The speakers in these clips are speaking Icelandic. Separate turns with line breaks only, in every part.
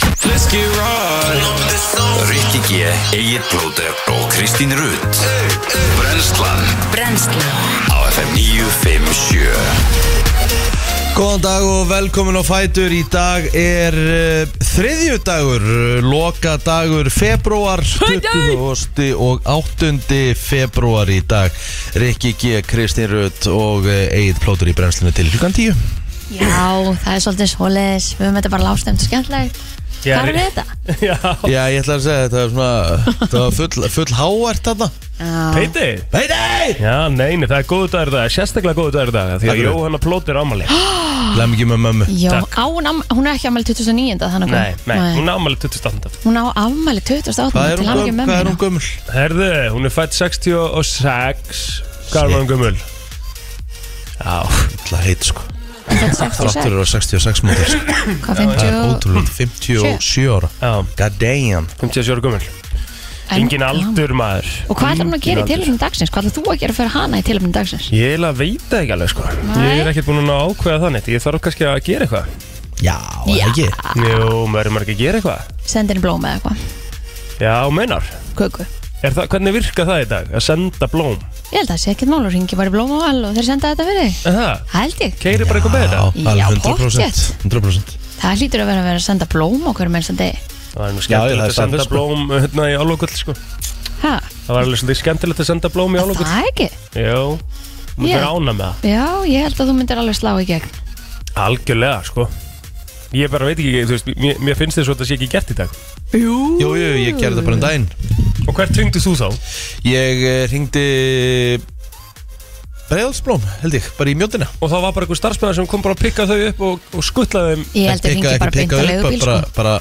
Let's get right
Rikki G, Egil Blóter og Kristín Rutt Brenslan
Brennslan
á FM 957
Góðan dag og velkomin á Fætur Í dag er uh, þriðju dagur, uh, loka dagur februar, 20. og 8. februar í dag Rikki G, Kristín Rutt og uh, Egil Plótur í brennslinu til hlukan 10
Já, það er svolítið svoleiðis Við höfum þetta bara lástemt og skemmtilegt
Já,
Hvað er
ri-
þetta?
Já,
Já, ég ætla að segja, þetta var svona, þetta var full, full hávært þarna
Já,
Payday
Hei, nei!
Já, neini, það er góðu dagur í dag, sérstaklega góðu dagur í dag Því að
Akkurat.
Jóhanna plótir ámali
Lem ekki með mömmu
Jó,
Takk.
á, hún, am- hún er ekki afmæli 2009 þannig að
Nei, nei, hún er ámali 28.
hún á afmæli 2008
Hvað er
til
hún
hamingju
gömul?
með
Hvað er
mér.
hún gömul?
Herðu, hún er fætt 66 Hvað er hún gömul? Já,
Ítla heit sko
Hún fædd
Þráttur
66,
eru á 66 mútur
hvað
Það er
50
ótrúlega 57 ára
já,
God damn
57 ára gömul
En-
Engin aldur maður
Og hvað ætlar hún að
Engin
gera í
aldur.
tilöfnum dagsins? Hvað ætlar þú að gera fyrir hana í tilöfnum dagsins?
Ég eiginlega veit það ekki alveg sko Ég er ekkert búin að ná að ákveða þannig Ég þarf kannski að gera eitthvað
Já, er það ekki
Jú, maður er maður ekki að gera eitthvað
Sendi henni blóm eða eitthvað,
Já, meinar
köku
Er það, hvernig virka það í dag? Að senda blóm
Ég held að það sé ekkert mál og ringi bara í blóm og all og þeir senda þetta fyrir þig
Er Það,
Hældi,
keiri bara eitthvað með þetta
Já,
Já,
alveg 100%,
pottþétt.
100%.
það hlýtur að vera að vera að senda blóm okkur með þess að degi
Það er nú
Já, já,
skemmtilegt að
það er
senda
staðfest, sko.
blóm hérna í álokvöld sko.
Ha,
Það var alveg svolítið skemmtilegt að senda blóm í
það
álokvöld
er ekki
Jó, maður
Ég-
er ána með það
Já, ég held að þú myndir alveg slá í gegn
Algjörlega, sko Ég bara veit ekki, þú veist, mér, mér finnst þess að þetta sé ekki gert í dag
Jú, jú, ég gerði það bara um daginn
Og hvert tringdu þú þá?
Ég eh, hringdi Breiðalsblóm, held ég, bara í mjóttina
Og þá var bara einhver starfsmæður sem kom bara að pikka þau upp og, og skuttlaði þeim
Ég held að
Pikka-
ringi bara beint að
pikka upp,
leigubíl sko.
bara, bara,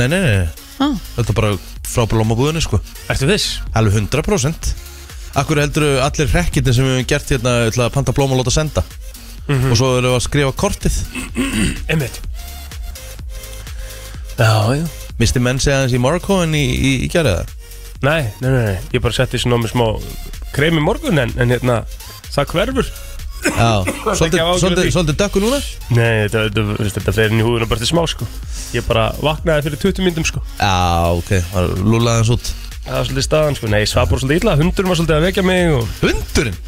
Nei, nei, nei, nei,
ah,
þetta er bara frá blómabúðinni sko
Ertu viss?
Alveg 100% Akkur heldur allir rekkitin sem við hefum gert hérna ætla að panta blóm og láta senda
Mhm.
Og svo erum við að skrifa kortið
Einmitt Já, já
Misti menn segja hans í Marco en í, í, í gerði það
Nei, nei, nei, nei, ég bara setti svona með smá krem í morgun en, en hérna, það hverfur
Já,
ekki að
svolítið,
hafa áhyggjur af
svolítið,
því.
svolítið dökku núna
Nei, þetta, þetta, þetta, þetta fleiri inn í húðuna bara til smá sko Ég bara vaknaði fyrir 20 myndum sko
Já, ok, lúlaði hans út
Það var svolítið staðan sko, nei, ég svaf bara svolítið illa, hundur var svolítið að vekja mig og
Hundurinn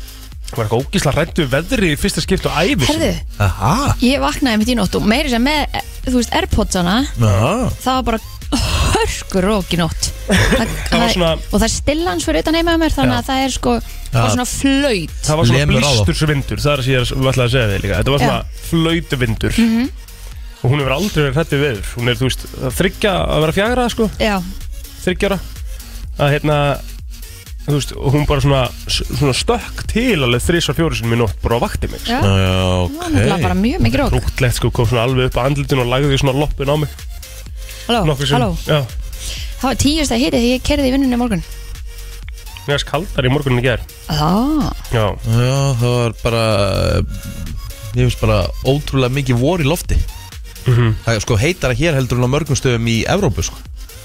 var eitthvað ógísla rættu veðri í fyrsta skipt og æfis
Herðu,
Ah.
Aha,
ég vaknaði mitt í nótt og meiri sem með, eh, þú veist, Airpodsana
Aha.
það var bara hörkur rók í nótt það,
Það var svona-
og það er stillans fyrir utan heima hjá mér þannig
Já.
að það er sko, það var svona flöyt
Það var svona
Lemur á þá.
blístursvindur, það er að ég er alltaf að segja þig líka Þetta var svona flautuvindur
Mhm.
Og hún hefur aldrei verið hrættu veður Hún er, þú veist, að þryggja að vera fjagra sko,
Já,
þryggjara Að hérna, þú veist, og hún bara svona, svona stökk til alveg þrís og fjóri sinni í nótt bara á vakti mig
já, það
Já,
var nefnilega
ok
bara mjög mikið rók
Rúktlegt sko, kom svona alveg upp að andlutinu og lagði svona loppin á mig
Halló,
nokkrum
halló,
sinnum. Já,
það var tíust að hiti þegar ég kerði í vinnunni í morgun
mér varst kaldar í morgunin í ger
Já,
Já,
Já, það var bara Ég finnst bara ótrúlega mikið vor í lofti
Mhm.
Það er sko heitara hér heldur en á mörgum stöðum í Evrópu sko.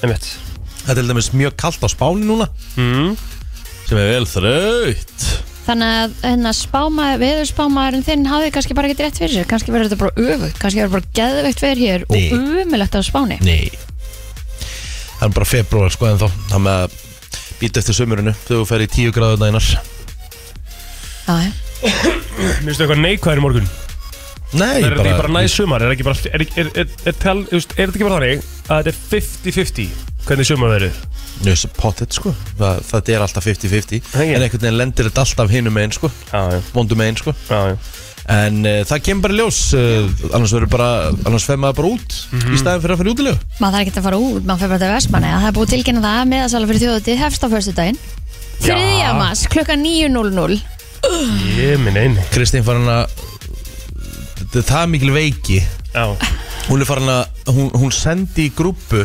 einmitt
Það er til dæmis mjög kalt á Spáni núna
mm.
Sem er vel þraut
Þannig að hérna, spáma, veðurspámaðurinn þinn hafði kannski bara ekki rétt fyrir sér, kannski verður þetta bara öfugt, kannski verður bara geðveikt veður hér
Nei.
og umilegt á spáni.
Nei Það er bara februar sko en þá Það með að býta eftir sömurinu Þegar þú fer í tíu gráðu dænar
Já, já.
Mér finnst eitthvað neikvæður í morgun
Nei,
Er þetta ekki bara næst sumar? Er, ekki bara, er, er, er, er, tel, þú veist, er þetta ekki bara þannig að þetta er 50-50 hvernig sumar verður?
Nei, þessi pottet sko það, Þetta er alltaf 50-50
Nei.
En einhvern veginn lendir þetta alltaf hinum einn sko
Já, já,
Vondum einn sko
já, já.
En uh, það kemur bara í ljós uh, Annars verður bara Annars fer maður bara út
Mhm.
Í staðin fyrir að fara í útilegu
Maður þarf ekki að fara út, maður fyrir bara til Vestmanni það er búið tilkynna það að meðasala fyrir þjóðutið hefst á fyrstu daginn.
Já.
Þriðja mass, klukkan 9.00.
Ég minn eini
Kristín farin að Þetta er það mikil veiki
Já,
Hún er farin að Hún, hún sendi í grúpu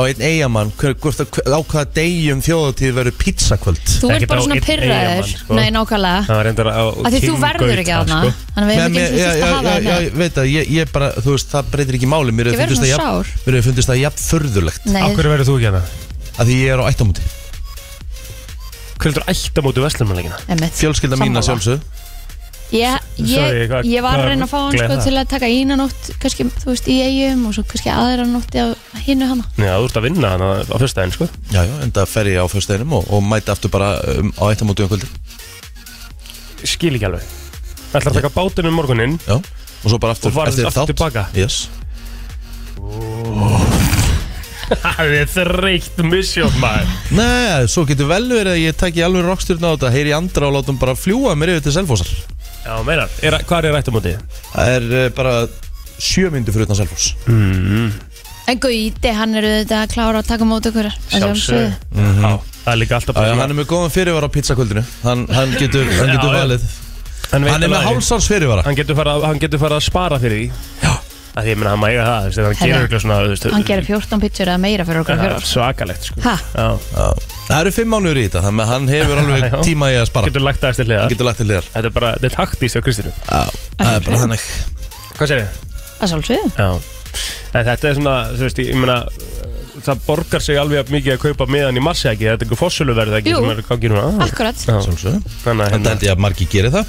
Á einn eigamann hver, hvort að- hver- Á hvaða degi um þjóðatíð verður pizzakvöld
Þú ert
Ekkert
bara
á
svona
einn
pyrraður.
eiginmann, sko.
Nei, nákvæmlega.
það var reyndar á
Af því þú
King
verður ekki
Gauta,
aðna.
sko.
Þannig við
Já,
hefum
mér-
ekki
já,
þurft
já,
að hafa
já,
það
já,
með.
ég veit að ég, ég bara, þú veist, það breytir ekki máli Mér
Ég
hefur
verður
fundist,
svona
það jafn-
sár.
mér hefur fundist það jafn förðulegt
Nei,
Af hverju verður þú ekki hérna? aðna?
Af því ég er á ættamóti
Hverju heldur ætta mótu veslumanleikina?
einmitt.
Fjölskylda mín að
Sammála.
sjálfsög
Ég, ég,
Sorry, hvað-
ég var
hvað-
að reyna að fá hann sko,
gleyða.
til að taka eina nótt kannski, þú veist, í eigum og svo kannski aðra nótti á hinnu hana
Já, þú ert að vinna hann á fyrsta enn, sko
Já, já, enda fer ég á föstudeginum og, og mæti aftur bara um, á eitt á móti um kvöldi
Skil ekki alveg Það ætlar að taka bátinn um morguninn
Já, og svo bara aftur
Og farið aftur tilbaka?
Yes
Það er þreytt misjóf maður
Nei, svo getur vel verið að ég taki alveg rockstyrna á þetta Heyri í andra og látum bara fljúa mér yfir til Selfossar
Já, meinar, er, hvað er um rættum á því?
Það er eh, bara sjö myndu fyrir utan Selfoss
Mhm.
En Gauti, hann eru þetta að klára að taka mót okkur að sjálfsögðu.
Já, það er líka alltaf
Mhm. Já, já,
bara
hann er með góðan fyrirvara á pizzakvöldinu Hann, hann getur, hann
Já,
getur
já.
valið
hann, veit
Hann er
alveg
með
að-
hálsars fyrirvara
hann getur farið að- hann getur farið að spara fyrir því að því ég minna hann mæga það þú veist, hann
Herra.
gerir eitthvað svona þú veist,
Hann gerir 14 pitchur eða meira fyrir okkur
það
að
er
fjórar
svakalegt sko.
Ha?
Já.
Já. Það eru fimm mánuður í þetta Þannig að hann hefur alveg
Já.
tíma í að spara
getur lagt aðeins til hliða
Hann getur lagt til liðar
þetta er bara þetta er taktist á Kristinu
Já, Það er bara þannig
hvað segir ég?
Að sjálfsögðu
Já. en þetta er svona þú veist ég minna það borgar sig alveg jafn mikið að kaupa miðan í mars eða ekki þetta er eitthvað fórsöluverð ekki
Jú.
sem er gangið núna Já.
Akkurat
Já.
Sjálfsögðu.
þannig að
Þetta
hérna-
held ég að margi geri það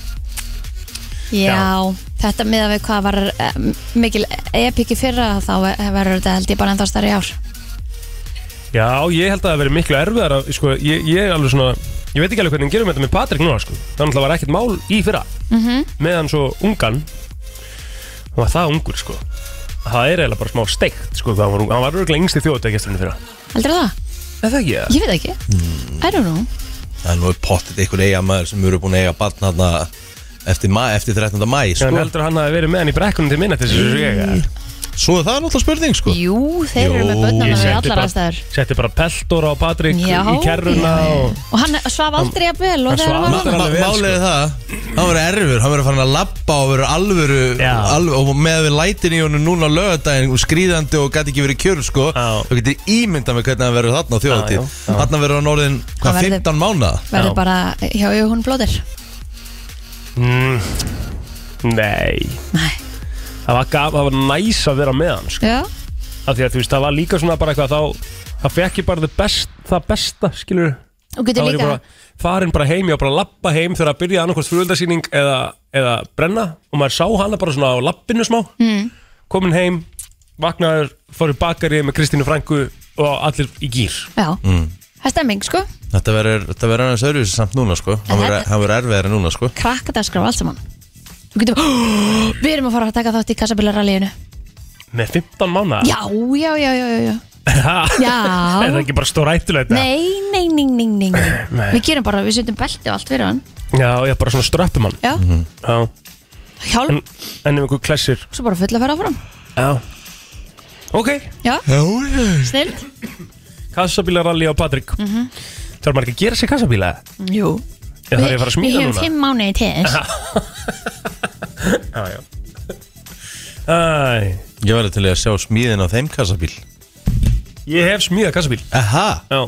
Já, þetta miða við hvað var um, mikil epiki fyrra þá verður þetta held ég bara ennþá starri ár
Já, ég held að það hafi verið miklu erfiðar að, sko, ég, ég er alveg svona ég veit ekki alveg hvernig við gerum þetta með Patrik núna sko. þannig að það var ekkert mál í fyrra
Mhm.
-hmm. meðan svo ungan hann var það ungur sko það er eiginlega bara smá steikt sko, hvað hann var ungur. hann var örgulega yngsti þjóðutækjasturinn fyrra
Heldur það?
Er það ekki það?
Ég veit ekki
Mm.
I don't know
Það er nú pottit einhver eiga maður sem eru búin að eiga barn hann eftir, ma- eftir 13. mæ
Sko?
sko.
Heldur að hann hafi verið með hann í brekkunum til minna þessu svo ég er.
Svo er það náttúrulega spurning sko.
Jú, þeir eru með
Jú,
börnana
ég
við
setti
allar
bara-
aðstæður
setti bara peltor á Patrik
Já,
í kerruna
já, já.
og
Og hann svaf aldrei að vel
hann
og þegar
svaf
hann
Ma-
var hann
aldrei.
ma-
alveg vel, sko.
Málið er það Hann verður erfur, hann verður farin að labba og verður alvöru,
Já.
alvöru og með við lætin í honum núna á lögadaginn skrýðandi og gæti ekki verið kjör sko
Já.
þá getur ímynda með hvernig hann verður þarna á
Já, já,
þjóðatíð
já.
Þarna verður hann orðin
Hann
hvað,
verður-
15 mánuða
verður
Já.
bara hjá Jóhann Blóðir
mm, Nei
Nei,
það var, gaf, það var næs að vera með hann sko.
já,
af því að þú veist, það var líka svona bara eitthvað þá, það fekk ég bara það best, það besta, skilur
og
þá
getur
var ég
líka
bara farin bara heim, ég var bara að lappa heim þegar að byrja annarkvæmst frugöldasýning eða, eða brenna og maður sá hana bara svona á lappinu smá mm. komin heim, vaknaður fór í bakarið með Kristínu Franku og allir í gýr
Já, það er stemming sko
Mm. Þetta verður þetta verður aðeins öðruvísi samt núna sko Hann verður-
þetta-
hann verður erfiðar en núna sko
Krakkadagskraf allt saman Þú getur Við erum að fara að taka þátt í kassabilarallíinu
með 15 mánu
Já, já, já, já, já, já.
er
Já.
það ekki bara stórættulegt
Nei, nei, nei, nei, nei, nei.
Nei.
Við gerum bara, við setjum belti og allt fyrir hann
já, ég er bara svona ströppumann
Já,
já.
hjálp,
en, en ef einhver klessir
svo bara fulla að fara áfram
já. ok,
Já,
Já,
snild
kassabílaralli á Patrik mm
Mhm.
-hmm. þarf maður ekki að gera sér kassabíla
Jú
Já, þarf ég að fara að
Við
smíða
hefum
núna?
fimm mánuði til þess
Já, já. Æ,
Ég verður til í að sjá smíðin á þeim kassabíl
ég hef smíðað kassabíl.
Aha,
Já,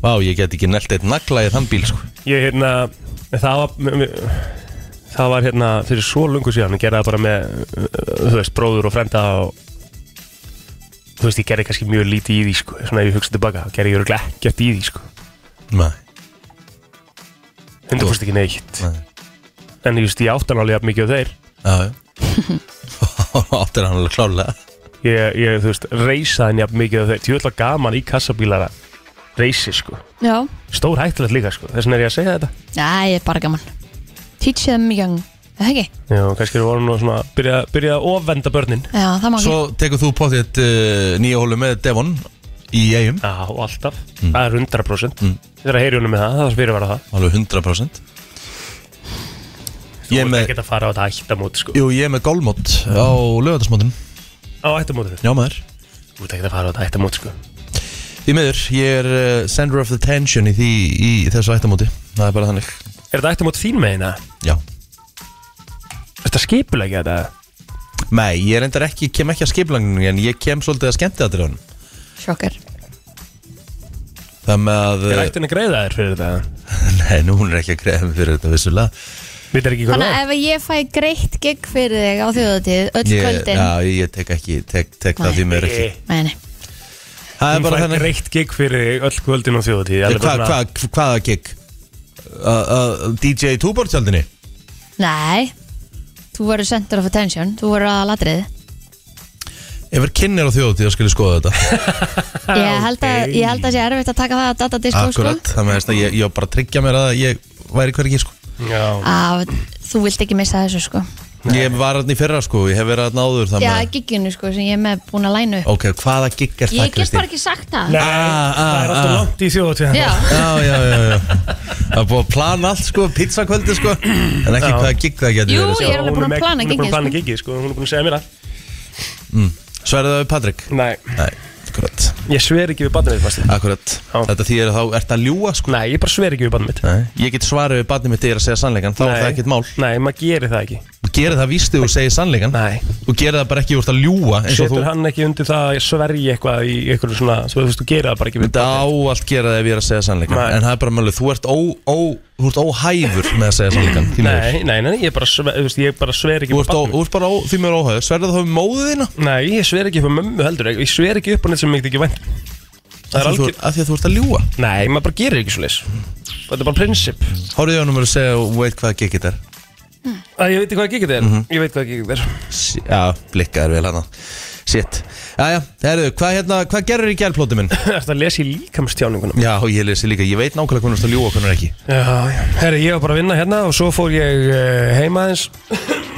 vá, ég get ekki nelt eitt nagla í þann bíl sko
ég hérna, það var, m- m- það var hérna fyrir svo lungu síðan, ég gerði það bara með, uh, þú veist, bróður og frenda og, þú veist, ég gerði kannski mjög lítið í því, sko, svona ef ég hugsa tilbaka, þá gerði ég örugglega ekkert í því, sko,
Nei,
100% ekki neitt.
Nei.
En ég veist, ég átti hann alveg jafn mikið á þeir.
já, já Áttir hann alveg klálega
Ég, ég, þú veist, reysaði hann jafn mikið á þeir. Tjóðlega gaman í kassabílara reysi, sko.
Já,
Stór hættilegt líka, sko. Þess vegna er ég að segja þetta.
það er bara gaman Teach them young, það ekki?
Já, kannski við vorum nú svona byrjað byrja að ofvenda börnin
Já, það má ekki
Svo tekur þú potið uh, nýja hólu með Devon í eigum
Já, alltaf, það er 100% mm. Þegar að heyri honum með það, það var fyrir að vera það
Alveg 100%
Þú
Ég
ert
með-
ekki að fara á þetta ættamót sko.
Jú, ég er með gólmót á lögatarsmótin
Á ættamótinu,
Já maður
þú ert ekki að fara á þetta ættamót sko.
Því miður, ég er uh, sender of the tension í, því, í þessu ættamóti Það er bara þannig
Er þetta ættamót þín með hérna?
Já
Er þetta skipulegja þetta?
Nei, ég er endar ekki, kem ekki að skiplanginni En ég kem svolítið að skemmti aðrið honum
Sjokkar
Það með að
Er
uh,
ættin að greiða þér fyrir þetta?
Nei, nú hún er ekki að greiða mig fyrir þetta vissulega
Við er ekki hvað
Þannig að
það er?
ef ég fæ greitt gig fyrir þig á þjóðatíð öll
ég,
kvöldin
Já, ég tek ekki, tek, tek
Nei.
það því miður ekki
Nei, nei.
Það er
Hún
bara
fær
þannig
greitt gig fyrir þig öll kvöldin og þjóðatíð
Hvað, hvað, hvað, hvaða gig? Uh, uh, DJ Túbortjaldinni?
nei, Þú verður center of attention, þú verður aðalatrið
Ef er kynnir á þjóðutíð að skilja skoða þetta
ég, held að, ég held að það sé erfitt að taka það að data diskó sko.
Akkurat, það með þess að ég, ég var bara að tryggja mér að ég væri hvergi sko
Já,
að þú vilt ekki missa þessu sko
Ég var hann í fyrra sko, ég hef verið hann áður þannig
Já,
að-
gigginu sko sem ég er með búin að læna upp
Ok, hvaða gig er það
Ég get bara ekki sagt það
Nei,
Ah, ah,
það er alltaf
ah.
langt í þjóðatíðan
Já,
Já, já, já, já Það er búið að plana allt sko, pizzakvöldi sko En ekki
Já.
hvaða gig það getur
Jú,
verið sko.
Ég er alveg búin að plana
Hún er búin
gigið,
að plana gigið, sko Hún er búin að segja mér það
Sverðu það Mm. við Patrik?
Nei,
Nei, akkurat,
ég sver ekki við badnið mitt, Basti
akkurat
Já.
Þetta því er að þá ert að ljúa sko
Nei, ég bara sver ekki við badnið mitt
Nei. Ég get svarið við barnið mitt er að segja sannleikan Þá er það ekkert mál
Nei, maður gerir það ekki
Þú gerir það víst þegar þú segir sannleikan
Nei
Þú gerir það bara ekki úr að ljúa eins og
Setur
þú
hann ekki undir það að sverja eitthvað í eitthvað svona Svo þú veist, þú gerir það bara ekki við
Þetta á allt gera það ef ég er að segja sannleikan
Nei.
En það er bara málið, þú ert, ó, ó, þú ert óhæfur með að segja sannleikan því miður.
Nei, nei, nei, ég bara, sver, þú veist, ég bara sver ekki
Þú
upp á
ert, ó,
barnið
þú ert bara ó, því mér óhæfur Sverðu það við móðu þína
Nei, ég sver ekki upp á mömmu heldur Ég sver ekki upp á neitt sem mér ekki vænt Það er
Af því þú-
algjör
Af því að þú ert að ljúa
Nei, maður bara gerir ekki svo leis Þetta er bara prinsip
Hóruðu ég á nummer að segja og veit hvað gig þetta er
Ég veit ekki hvað gigið er
Mhm.
Ég veit hvað gigið er
S- Já, blikkað er vel hana Shit Jæja, herru, hvað hérna, hvað gerir í gælplóti minn?
Þetta lesi líkamstjáningunum
Já, ég lesi líka, ég veit nákvæmlega hvernig þú ert að ljúa og hvernig ekki
Já, já Herri, ég var bara að vinna hérna og svo fór ég eh, heima aðeins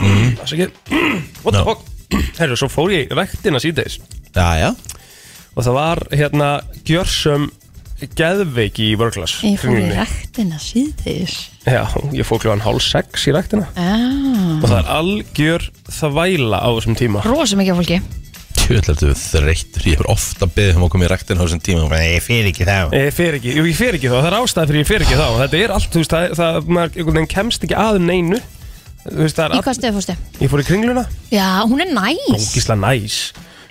Mhm.
Það sé ekki What the
Já.
fuck Herri, svo fór ég í rektina síðdeis
Jæja,
Og það var hérna gjörsum geðveiki í vörglas
ég fór í rektina síðtegis
Já, ég fór kljóðan hálf sex í rektina
Já,
Og það er algjör þvæla á þessum tíma
Ah. rosa mikið af fólki
tjöðlega þú þreyttur Ég hefur ofta beðið um að koma í rektin á þessum tíma og ég fyrir ekki þá
Ég fer ekki, jú, ég fer ekki þá, það er ástæði fyrir ég fer ekki þá Þetta er allt, þú veist, það, það maður einhvern veginn kemst ekki að neinu Þú veist, það er
Í
all,
hvað stöðu fórstu?
Ég fór í kringluna,
Já, hún er næs
ógísla næs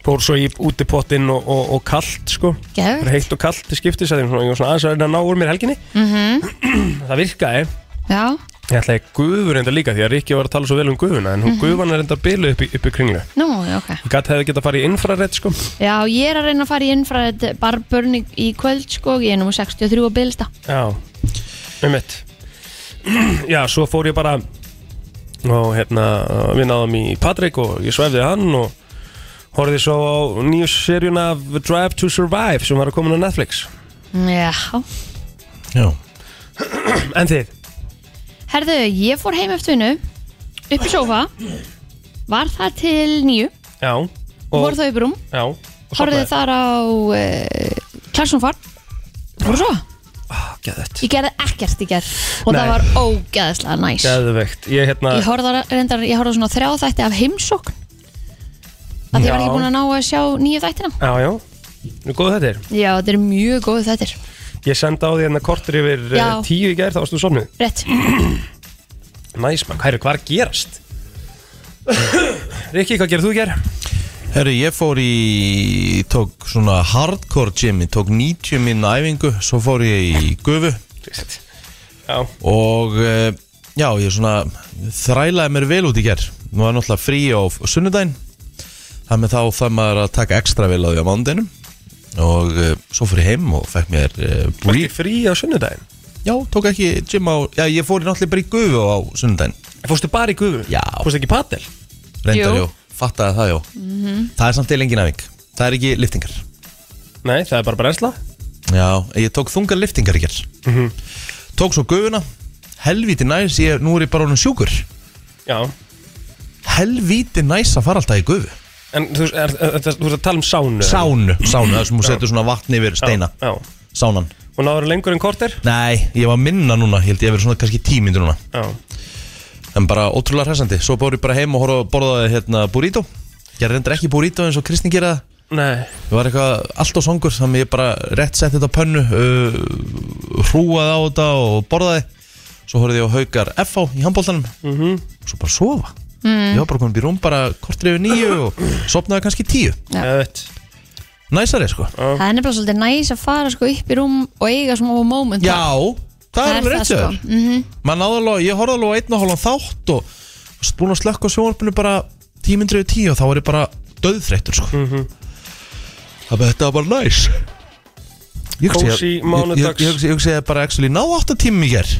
Fór svo í útipottinn og, og, og kalt, sko
Geðvegt.
Bara Heitt og kalt til skiptis Það er svona, ég var svona aðeins að reyna að ná úr mér helginni Það virkaði
Mhm. Já,
Ég ætlaði guður enda líka því að Rikki var að tala svo vel um guðuna En
Mhm.
hún guðvan er enda bilu upp í, upp í kringlu
nú, já, ok
Ég gæti hefði getað að fara í infrarætt, sko
Já, ég er að reyna að fara í innfræð barburn í- í kvöld sko, ég er nú 63 á bylsta
Já, um mitt Já, svo fór ég bara og hérna við náðum í Patrik og ég svefði hann og horfði svo á nýju seríun af Drive to Survive sem var að koma á Netflix
Já,
Já,
En þið?
herðu, ég fór heim eftir vinnu upp í sófa var það til nýju,
Já
voru þá upp í rúm
Já og
horfið þar á uh, Kjálssonfar og svo,
Gæðvegt
ég gerði ekkert í gerð og
Nei.
það var ógeðslega næs
Gæðvegt Ég hérna
ég horfði á- reyndar, ég horfði á svona þrjá þætti af heimsókn að því ég var
Já.
ekki búin að ná að sjá nýju þættina
Já, já Nú góðu þetta er
já, þetta eru mjög góðu þættir
Ég sendi á því hérna kortur yfir já.
Já.
tíu í gær þá varstu somnið
rétt,
Næs mann, hvað er hvað er að gerast? Rikki, hvað gerir þú í gær?
herru, ég fór í Tók svona hardcore gymi Tók 90 minn æfingu Svo fór ég í gufu
Já
og eh, já, ég svona þrælaði mér vel út í gerð nú er náttúrulega frí á sunnudaginn þannig að þá fær maður að taka ekstra vel á því á mándinum og uh, svo fór ég heim og fekk mér uh,
Frí,
brí
frí á sunnudaginn
já, tók ekki gym á já, ég fór í náttúrulega bara í gufu á sunnudaginn
Fórstu bara í gufu?
Já.
Fórstu ekki í padel?
reyndar,
Jú.
jú, fattaði það, jú
Mhm.
það er samt til engin afing, það er ekki liftingar
Nei, það er bara brennsla Mhm.
Já, ég tók þungar liftingar í gerð Tók svo gufuna Helvíti næs, ég, nú er ég bara honum sjúkur
Já
Helvíti næs að fara alltaf í gufu
En þú veist, er- er- þú veist að tala um sánu
Sánu, sánu, það sem hún setur svona vatn yfir
Já,
steina
Já
Sánan
Og náður lengur en korter
Nei, ég var minna núna, ég held ég að vera svona kannski tímindur núna
Já
En bara ótrúlega hressandi Svo bór ég bara heim og horf að borða hérna burrito Ég reyndar ekki burrito eins og Kristi gera það.
Nei
Ég var eitthvað allt og songur Þannig ég bara rétt setti þetta á pönnu uh, Hrúaði á þetta og borðaði Svo horfði ég á haukar FH í handbóltanum
Mhm.
Svo bara sofa
Mm.
Ég var bara komin upp í rúm bara kortrið yfir nýju Og sopnaði kannski tíu
Já.
Ég veit
Næsari sko
það er nefnilega svolítið næs að fara sko upp í rúm og eiga smá moment
Já, það er alveg rétt
sko.
sér
mm -hmm.
Man náði alveg, ég horfði alveg á einn og hálfan þátt og varst búinn að slökka á sjónvarpinu bara tímindriðu tíu og þá var ég bara döðþreyttur sko. mm Það þetta var bara næs Ég hugsi-
Kósí
ég- ég- ég- ég hugsi- ég hugsi að ég bara actually ná 8 tímum í ger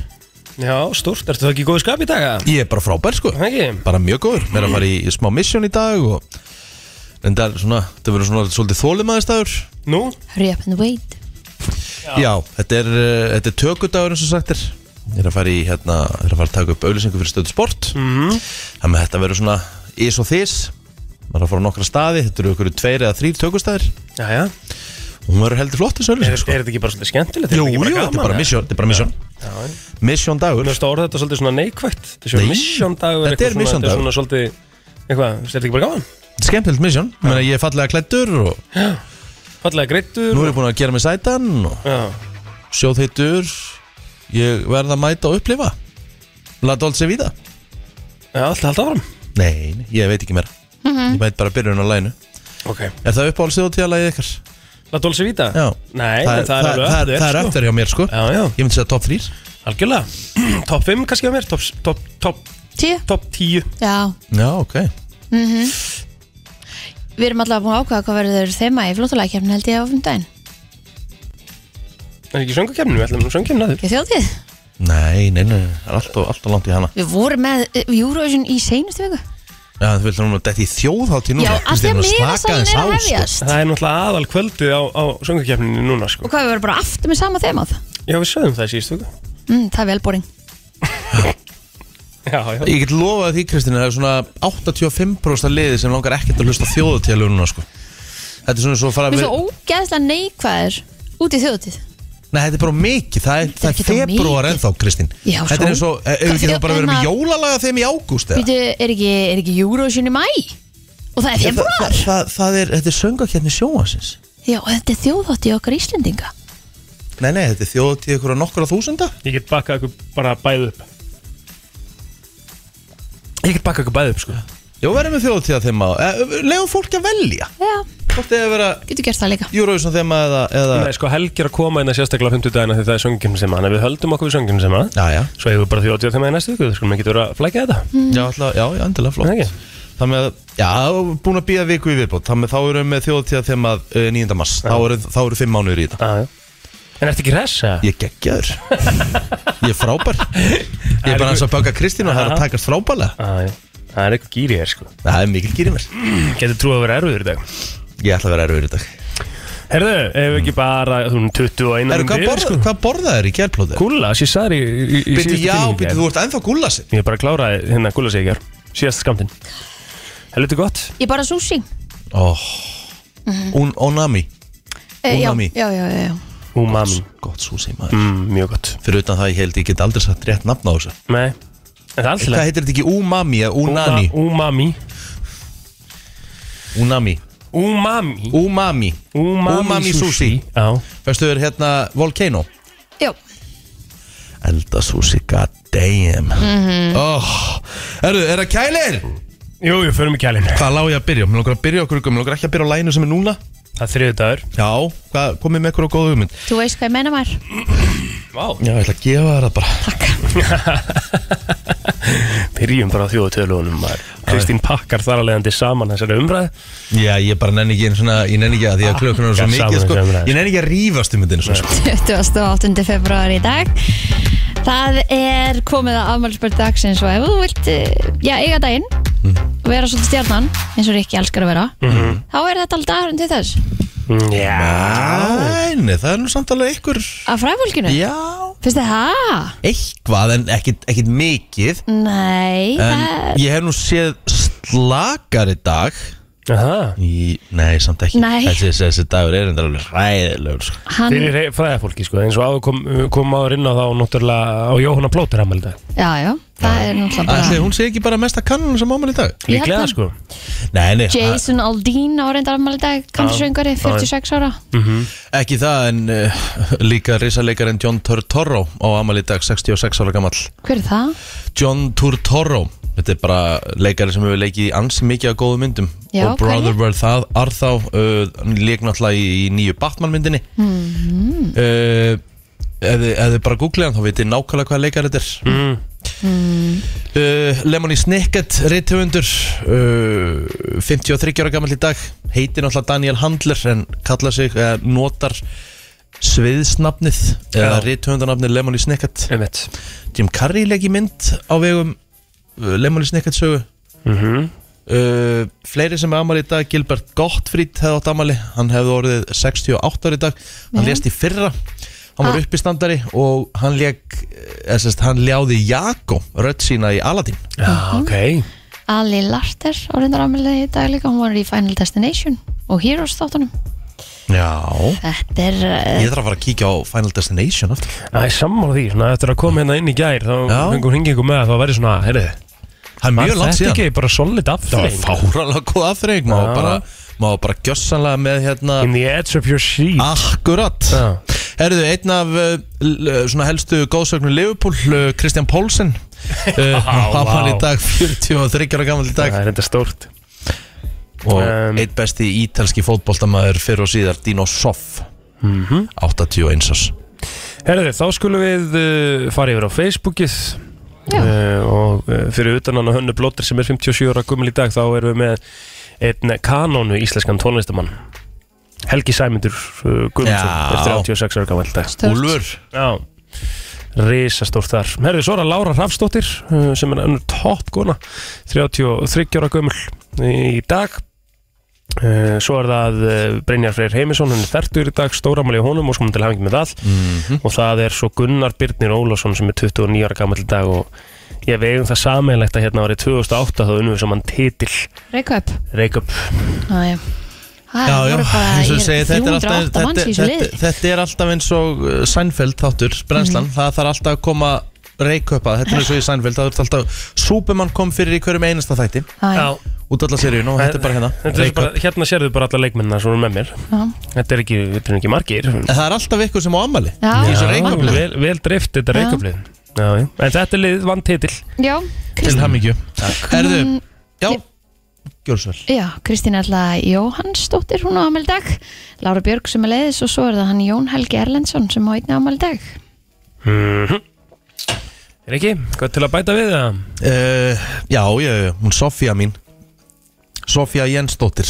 Já, stórt, ertu það ekki í góðu skap í dag? eða?
Ég er bara frábær sko
Það ekki? Mm.
Bara mjög góður Mér er að fara í smá mission í dag og En það er svona, það verður svona svolítið þólimaðistagur
Nú?
Hurry up and wait
Já, þetta er, uh, þetta er tökudagur eins og sagt er Ég er að fara í, hérna, ég er að fara að taka upp auðlýsingu fyrir stöðu sport
Mhm.
Þannig að þetta verður svona is og þis Maður er að fara á nokkra staði, þetta eru ykkur tveir eða þrýr tökustæðir
Já, já
Og hún verður heldur flott þessu
Er, er
auðlýsingu sko
þetta ekki bara svolítið skemmtilegt?
Jú, jú, þetta er bara misjón, þetta er bara misjón
misjón
Misjón dagur
Mér finnst að orða þetta svolítið svona neikvægt Þetta er
Nei,
misjóndagur
þetta er misjóndagur.
Þetta er svona svolítið Eitthvað, þetta er ekki bara gaman
Skemmtilegt misjón, ég meina ég er fallega klættur og
Fallega greittur
nú er ég búin að gera mig sætan og
Já,
sjóðheitur ég verð að mæta og upplifa La Dolce Vita
já alltaf halda áfram
nei, nei, ég veit ekki meira ég veit bara byrjun á læginu
Ok
er það uppáhaldsjóðtíðalagið ykkar?
La Dolce Vita?
já
Nei, það, það er
það,
alveg
það er eftir hjá mér sko
Já, já,
ég myndi segja top 3
algjörlega Top 5 kannski á mér Top, top, top,
Tíu?
top 10
Já, Mhm.
já, ok
við erum allavega búin að ákvaða hvað verður þema í flóttalækjafn held ég á fimmdæn
Er ekki söngakefninu? Við ætlum söngakefninu að þér
Ekki þjótið?
nei, nei, nei, það er alltaf, alltaf langt í hana
Við vorum með eh, Eurovision í seinustu viku
já, þú vildur hún að detti í þjóðhátti núna
Já, af því að miðasælun er að
hefjast
hefjast
Það er náttúrulega aðal kvöldið á, á söngakefninu núna sko
Og hvað, við verðum bara aftur með sama þemað
Já, við sögðum það síðustu viku.
mm, Það er vel boring
Já, já
Ég get lofað því Kristina, það er svona 85% af liði sem langar ekkert að hlusta þjóðutíðalög núna sko. Þetta er svona svo að fara að
Við erum
vera-
svo ógeðslega neikvæðir út í þjóðutíð
Nei, þetta er bara mikið, það er, það er
ekki það mikið.
februar ennþá, Kristín
Já, svo. hérna-
Þetta er eins og, eh, hefur ekki
Hvað
þá bara verið með
þjóðina-
jólalaga þeim í ágúst eða?
Býtu, er ekki, er ekki Eurovision í mæ? Og það er
Það, það,
februar
það, það er, þetta er söngakjarni sjónvarsins
Já, og þetta er þjóðhátti okkar Íslendinga
Nei, nei, þetta er þjóðutíð ykkur á nokkura þúsunda
Ég get bakkað ykkur bara bæð upp Ég get bakkað ykkur bæð upp sko
Jó, verðum við þjóðutíða þeim á Legum fólki að velja
Já,
Hvort eða vera
getur gert það líka
Eurovision þeim eða, eða...
Nei, sko, Helgi er að koma inn að sérstaklega á 50 dagina því það er söngakefninu sem að Við höldum okkur við söngakefninu sem að
Já, já,
Svo hefur bara því 80 þeim að í næstu viku Það skulum ekki vera að flækja þetta
já, alltaf, já, já, endilega
Nei,
flott
ekki.
Þannig að, já, búin að býja viku í viðbót Þannig að þá erum við þjóðutíða þeim að 9. mars Þá eru, þá eru fimm mánuður í þetta
Já, já. En ertu ekki hress að?
Ég geggjaður Ég er frábær Ég er bara eins og að baka Kristín og það er að takast frábærlega
Já, já. Það er eitthvað gýri hér sko
Það er mikil gýrið mér
Getur trúið að vera erfiður í dag
Ég ætla að vera erfiður í dag
Herðu, ef ekki bara þú um erum 21
Herru, hvað, borð,
sko
hvað borðað er í gerplóðu?
Gúlla, sér sagði í, í, í
Býttu,
síðustu
já,
kynningu í
býttu,
gær.
þú ert ennþá gúllasinn
Ég bara kláraði hérna gúlla sig í hér Síðast skamtinn Helviti gott
Ég bara sushi
oh. Un, Onami,
Eh, já,
Umami.
já, já, já, já.
Umami
gott súsi maður
mm, Mjög gott
Fyrir utan það ég held ég get aldrei satt rétt nafn á þessu
Nei En það er alltaf
Hvað heitir þetta ekki? Umami eða Unani?
Umami
Unami
Umami
Umami
Umami,
Umami sushi.
Já
Fyrstu er hérna Volcano
já.
Elda súsi, god damn
Mm.
oh. Herru, er það kælir?
Jú, við förum í kælinn
Hvað lág ég að byrja? Mér langar að byrja okkur ykkur, mér langar ekki að byrja á læginu sem er núna
Það er þriðu dagur
Já, hvað, komið með ykkur á góðu hugmynd
Þú veist hvað ég menna maður
Vá
Já, ég ætla að gefa þér það bara
Byrjum bara á þjóðu tölunum Kristín pakkar þar að leiðandi saman þessari umræð
Já, ég bara nenni ekki einu svona, ég nenni ekki að því að klökkunum er svo
Já,
mikið
saman
sko.
sem ræðist.
Ég nenni ekki að rífast um myndinu sko.
28. februar í dag Það er komið að afmælspöld dagsins og ef þú vilt eh, já, eiga daginn
Mhm.
og vera svolítið stjarnan eins og Rikki elskar að vera þá er þetta alltaf dagurinn til þess
Mm-hmm. Já
Æ, nei, það er nú samt alveg ykkur
að fræfólkinu,
Já,
finnst þið það?
eitthvað en ekkit, ekkit mikið
Nei,
En
það er
ég hef nú séð slakari dag
Aha.
í, Nei, samt ekki
Nei.
Þessi, þessi dagur er enda alveg ræðilegur sko.
hann,
Fyrir he- fræðafólki sko, eins og áður kom, kom áður inn á þá náttúrulega á Jóhanna Plóter ammæli í dag
já, já, það er náttúrulega
Ætli,
bara
Hún sé ekki bara mesta kannun sem ámæli í dag
Ég held
Líklega
það.
sko
Nei, nei, það-
Jason Aldean á reyndar afmæli í dag kannsöngari, 46 ára
Ekki það en uh, líka risalegarinn John Turturro á amal í dag, 66 ára gammal
hver er það?
John Turturro, þetta er bara leikari sem hefur leikið í ansi mikið af góðum myndum
Já,
og Brother
hverju?
Were Það Arthá uh, leik náttúrulega í, í nýju Batman myndinni mm -hmm. uh, eða, eða bara googlið hann þá veitir nákvæmlega hvað leikari þetta er
Mhm.
mm.
Hmm,
uh, Lemony Snicket, reythöfundur uh, 53 ára gammal í dag heitir náttúrulega Daniel Handler en kallar sig, uh, eh, notar sviðsnafnið eða
Já.
rithöfundanafnið Lemony Snicket
einmitt
Jim Carrey legg í mynd á vegum uh, Lemony Snicket sögu
mm -hmm.
uh, Fleiri sem er amal í dag Gilbert Gottfried hefði átt amali Hann hefði orðið 68 ári í dag Hann
Já.
lést í fyrra Hann var
Ah.
uppistandari og hann legg Hann ljáði Jakob rödd sína í Aladdin
Já,
Mhm.
ok
Ali Larter á reyndar ámælið í dag líka, hún var í Final Destination og Heroes þáttunum
Já
Þetta er, eh,
Ég þarf að fara að kíkja á Final Destination aftur
Það er sammála því, svona eftir að koma hérna inn í gær þá
Já.
fengur hringið ykkur með að það væri svona, heyrðu
Það er mjög langt
Þetta
síðan
ekki bara solid
Það var
aftreng
fáralega góð afþreying Má
Já.
bara, má bara gjössanlega með hérna
In the edge of your seat
Akkurat
Já.
Herðu, einn af uh, l- uh, svona helstu góðsögnum Liverpool, uh, Kristján Pólsen uh, Pappan í
vá.
dag 43 ára gammal í dag
Það er enda stórt
Og
Um,
einn besti ítalski fótboltamaður fyrir og síðar Dino Soff
Mhm.
81 árs
Herðu, þá skulum við uh, fara yfir á Facebookið
Já.
uh, og uh, fyrir utan hann og hönnu blóttir sem er 57 ára gummul í dag þá erum við með einn kanónu íslenskan tónlistamann Helgi Sæmundur uh, Guðmundsson
Já.
er 36 ára gammal dag
Stórt.
Úlfur,
Já Rísastórt þar Herðu, svo er að Lára Rafsdóttir uh, sem er önnur toppgona 33 ára gömul í dag Uh, Svo er það uh, Brynjar Freyr Heimisson hann er þertur í dag, stóramæli á honum og sko til hafingi með það
Mhm.
og það er svo Gunnar Birnir Ólafsson sem er 29 ára gammal í dag og ég vegum það sameiginlegt að hérna árið 2008 þá unnum við saman titil
reyka upp
Reykjavík
Já, já,
já,
Það
já,
Ah, voru bara
eins og ég
ég-
segi þetta er,
308
alltaf, þetta,
manns í þessu
þetta,
liði Mhm.
þetta er alltaf eins og uh, Seinfeld þáttur, brennslan Það þarf alltaf að koma reiköpa Þetta er eins og í Seinfeld, það er alltaf Superman kom fyrir í hverjum einasta þætti
Já, já,
Út alla seríun og þetta er bara hérna
Þetta er bara, Hérna sérðu bara alla leikmennina sem eru með mér
já.
Þetta er ekki, þetta er ekki margir
En það er alltaf ykkur sem á ammali
Já.
Í þessu
Já,
reykaflið
Vel, vel drift þetta
Já.
reykaflið Já, já. En þetta lið vann titil
Já,
Til
Kristín,
hamingju Herðu, já Gjórsvel
já, Kristín Erla Jóhannsdóttir, hún á ámæli dag Lára Björg sem er leiðis og svo er það hann Jón Helgi Erlendsson sem á einni ámæli dag
Mhm. Er ekki? Hvað til að bæta við það?
uh, Já, ég, hún Sofía mín Sofía Jensdóttir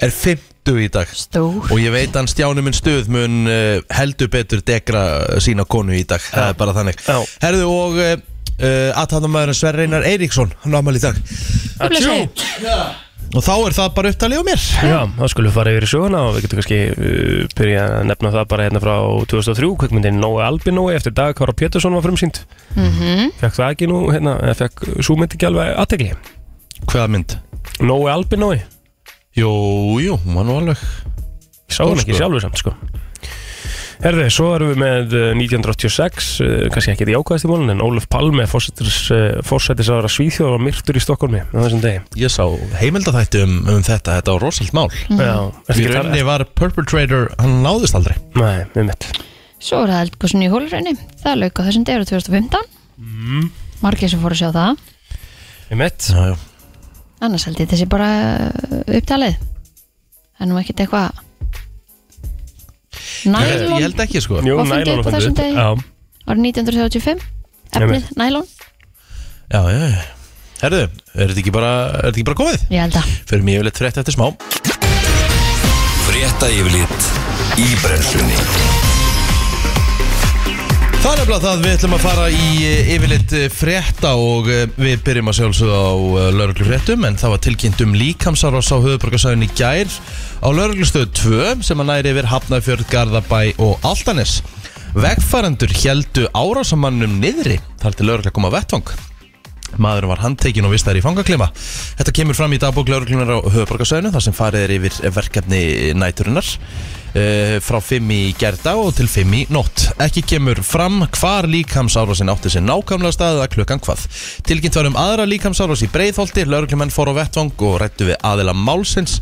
Er 50 í dag
Stór
Og ég veit hann Stjáni minn stuð mun uh, heldur betur degra uh, sína konu í dag Það er bara þannig
Já.
Herðu og uh, uh, aðtæðamæðurinn Sverre Einar Eiríksson Hann á ammali í dag
Blessaður.
Og þá er það bara upptalið á mér
Já, þá skulum við fara yfir í söguna og við getum kannski uh, byrja að nefna það bara hérna frá 2003 kveikmyndin Nói Albinói eftir dag Kára Pétursson var frumsýnd
Mhm.
-hmm. Fekk það ekki nú, hérna, eða fekk svo myndi ekki alveg aðtegli
Hvaða mynd?
Nói Albinói,
Jú, jú, hún var nú alveg
ég sá hann
Stór,
ekki
sko.
sjálfur samt sko Herðu, svo erum við með uh, 1986, uh, kannski ekki þetta jákvæðast í mólun en Ólaf Palme, fórsættisára Svíþjóð var myrtur í Stokkormi á þessum degi
Ég sá heimildaþætti um, um þetta, þetta var rosalt mál
Mm. Já, ertu
Í
ekki
rauninni
þar?
var Perpetrator, hann náðist aldrei
Nei, við mitt
Svo er það eldgóðsinn í hólurraunni. Það lauk á þessum degur 2015. Margir sem fóru að sjá það.
Við mitt
Mm. já, já.
Annars held ég þessi bara uh, upptalið. Það er nú ekkert eitthvað...
Ég, ég
Nælon
held ekki sko
Jú,
Var fundið
nælon
upp á
var
þessum
fundið
degi?
upp. Já,
árið 1935. Efnið,
Einmitt.
nælon.
já, já, já. Herðu, er þetta ekki bara, er þetta ekki bara komið?
Ég held að.
Fyrir mjög leitt frétt eftir smá
Frétta yfirlit í brennslunni
Það er nefnilega það við ætlum að fara í eh, yfirleitt eh, frétta og eh, við byrjum að sjálfsögða á lauruglu fréttum en það var tilkynnt um líkamsárás á höfuborgarsæðin í gær á lauruglustöðu 2 sem að næri yfir Hafnarfjörð, Garðabæ og Altanes Vegfærandur heldu árásamannum niðri þar til laurugla kom að vettvang Maðurinn var handtekinn og vistar í fangaklima. Þetta kemur fram í dagbók lauruglunar á höfuborgarsöðinu þar sem farið er yfir verkefni næturinnar uh, frá 5 í gerda og til 5 í nótt. Ekki kemur fram hvar líkamsárásin átti sér nákvæmlega staðið að klukkan hvað. Tilkynnt var um aðra líkamsárás í breiðholti, lauruglumenn fór á vettvang og rættu við aðila málsins.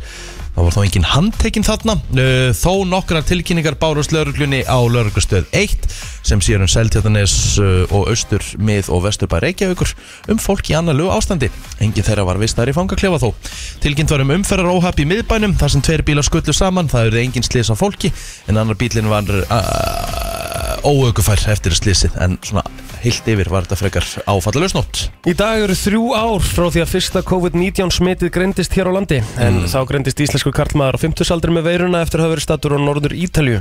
Það var þá engin handtekinn þarna Eh, Þó nokkrar tilkynningar bárust lauruglunni á lauruglustöð 1 sem sér um Seltjarnanes eh, og Austur, Mið og Vesturbæ Reykjavíkur um fólk í annarlegu ástandi Engin þeirra var vistar í fangaklefa þó Tilkynnt var um umferðaróhapp í miðbænum þar sem tveir bílar skullu saman, það eru engin slis á fólki en annar bílinn var a- óaukufær eftir slísið en svona heilt yfir var þetta frekar áfallalösnótt
Í dag eru þrjú ár frá því að fyrsta COVID-19 smitið greindist hér á landi en þá greindist íslensku karlmaður á 50 aldri með veiruna eftir að hafa verið stattur á norður Ítalju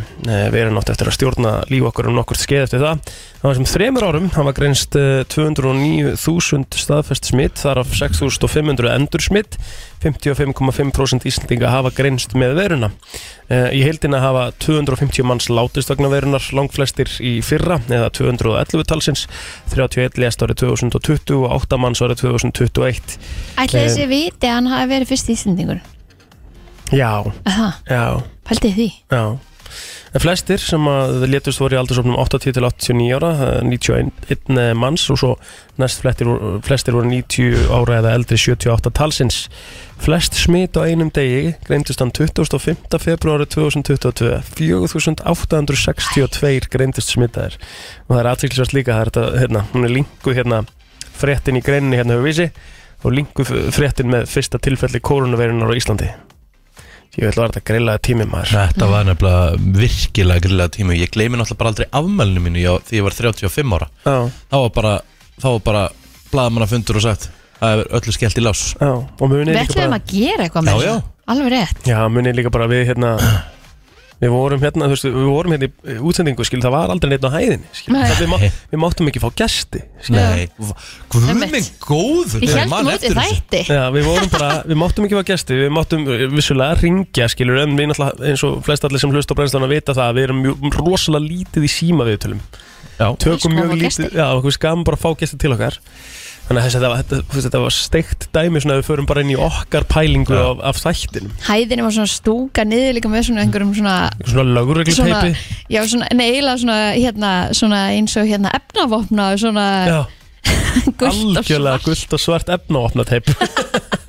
veirun átti eftir að stjórna líf okkar um nokkurt skeið eftir það Það var sem þremur árum, hann var greinst eh, 209.000 staðfest smitt þar af 6.500 endur smitt 55,5% Íslandinga hafa greinst með veiruna Eh, Í heildina hafa 250 manns látist vegna verunar langflestir í fyrra eða 211 talsins 31 lest árið 2020 og 8 manns árið 2021
Ætli
Eh,
þessi viti að hann hafi verið fyrst íslendingur
Já,
Það,
já,
pældi því
já En flestir sem að létust voru í aldursofnum 80 til 89 ára, það er 91 eh, manns og svo næst flestir, flestir voru 90 ára eða eldri 78 talsins. Flest smit á einum degi greindist hann 25. februari 2022, 4862 greindist smitaðir og það er aðtrygglisvært líka, það er þetta, hérna, hún er linkuð hérna, fréttin í greininni hérna hefur vísi og linkuð fréttin með fyrsta tilfelli koronaveirunar á Íslandi. Ég ætla að vera þetta greilaði tími maður.
Þetta var nefnilega virkilega grilla tími Ég gleymi náttúrulega bara aldrei afmælinu mínu já, Því ég var 35 ára
Já.
Þá var bara, þá var bara blaðamanna fundur og sagt Það er öllu skellt í lás
Já, og munið
Við
líka
ætlum
bara
að gera eitthvað
Já,
með
já.
þessu. Alveg rétt
Já, munið líka bara við hérna Við vorum hérna, þú veist, við vorum hérna í útsendingu, skil, það var aldrei neitt á hæðinni, skil
Nei.
það, við, má, við máttum ekki fá gesti, skil
Nei, hvað er
Einmitt.
minn
Ég
góður Ég
held
man
um út í
eftir þessu.
þætti
Já, við vorum bara, við máttum ekki fá gesti, við máttum eh, vissulega ringja, skilur, en við náttúrulega, eins og flest allir sem hlust á brennslana vita það, við erum mjög, rosalega lítið í síma viðtölum.
Já.
Tökum
Elskum
mjög
að fá
lítið,
gesti.
já, okkur skam bara að fá gesti til okkar. Þannig að þessi, þetta, var- þetta, þetta, þetta var steikt dæmi svona að við förum bara inn í okkar pælingu
Já.
af, af þættinum.
Hæðinni var svona stúka niður líka með svona einhverjum svona
Svona
Svona,
lögurregluteipi.
já, svona, nei, eiginlega svona, hérna, svona eins og hérna efnavopna og svona
Já.
gult og
algjörlega
svart.
gullt og svart efna og opna teip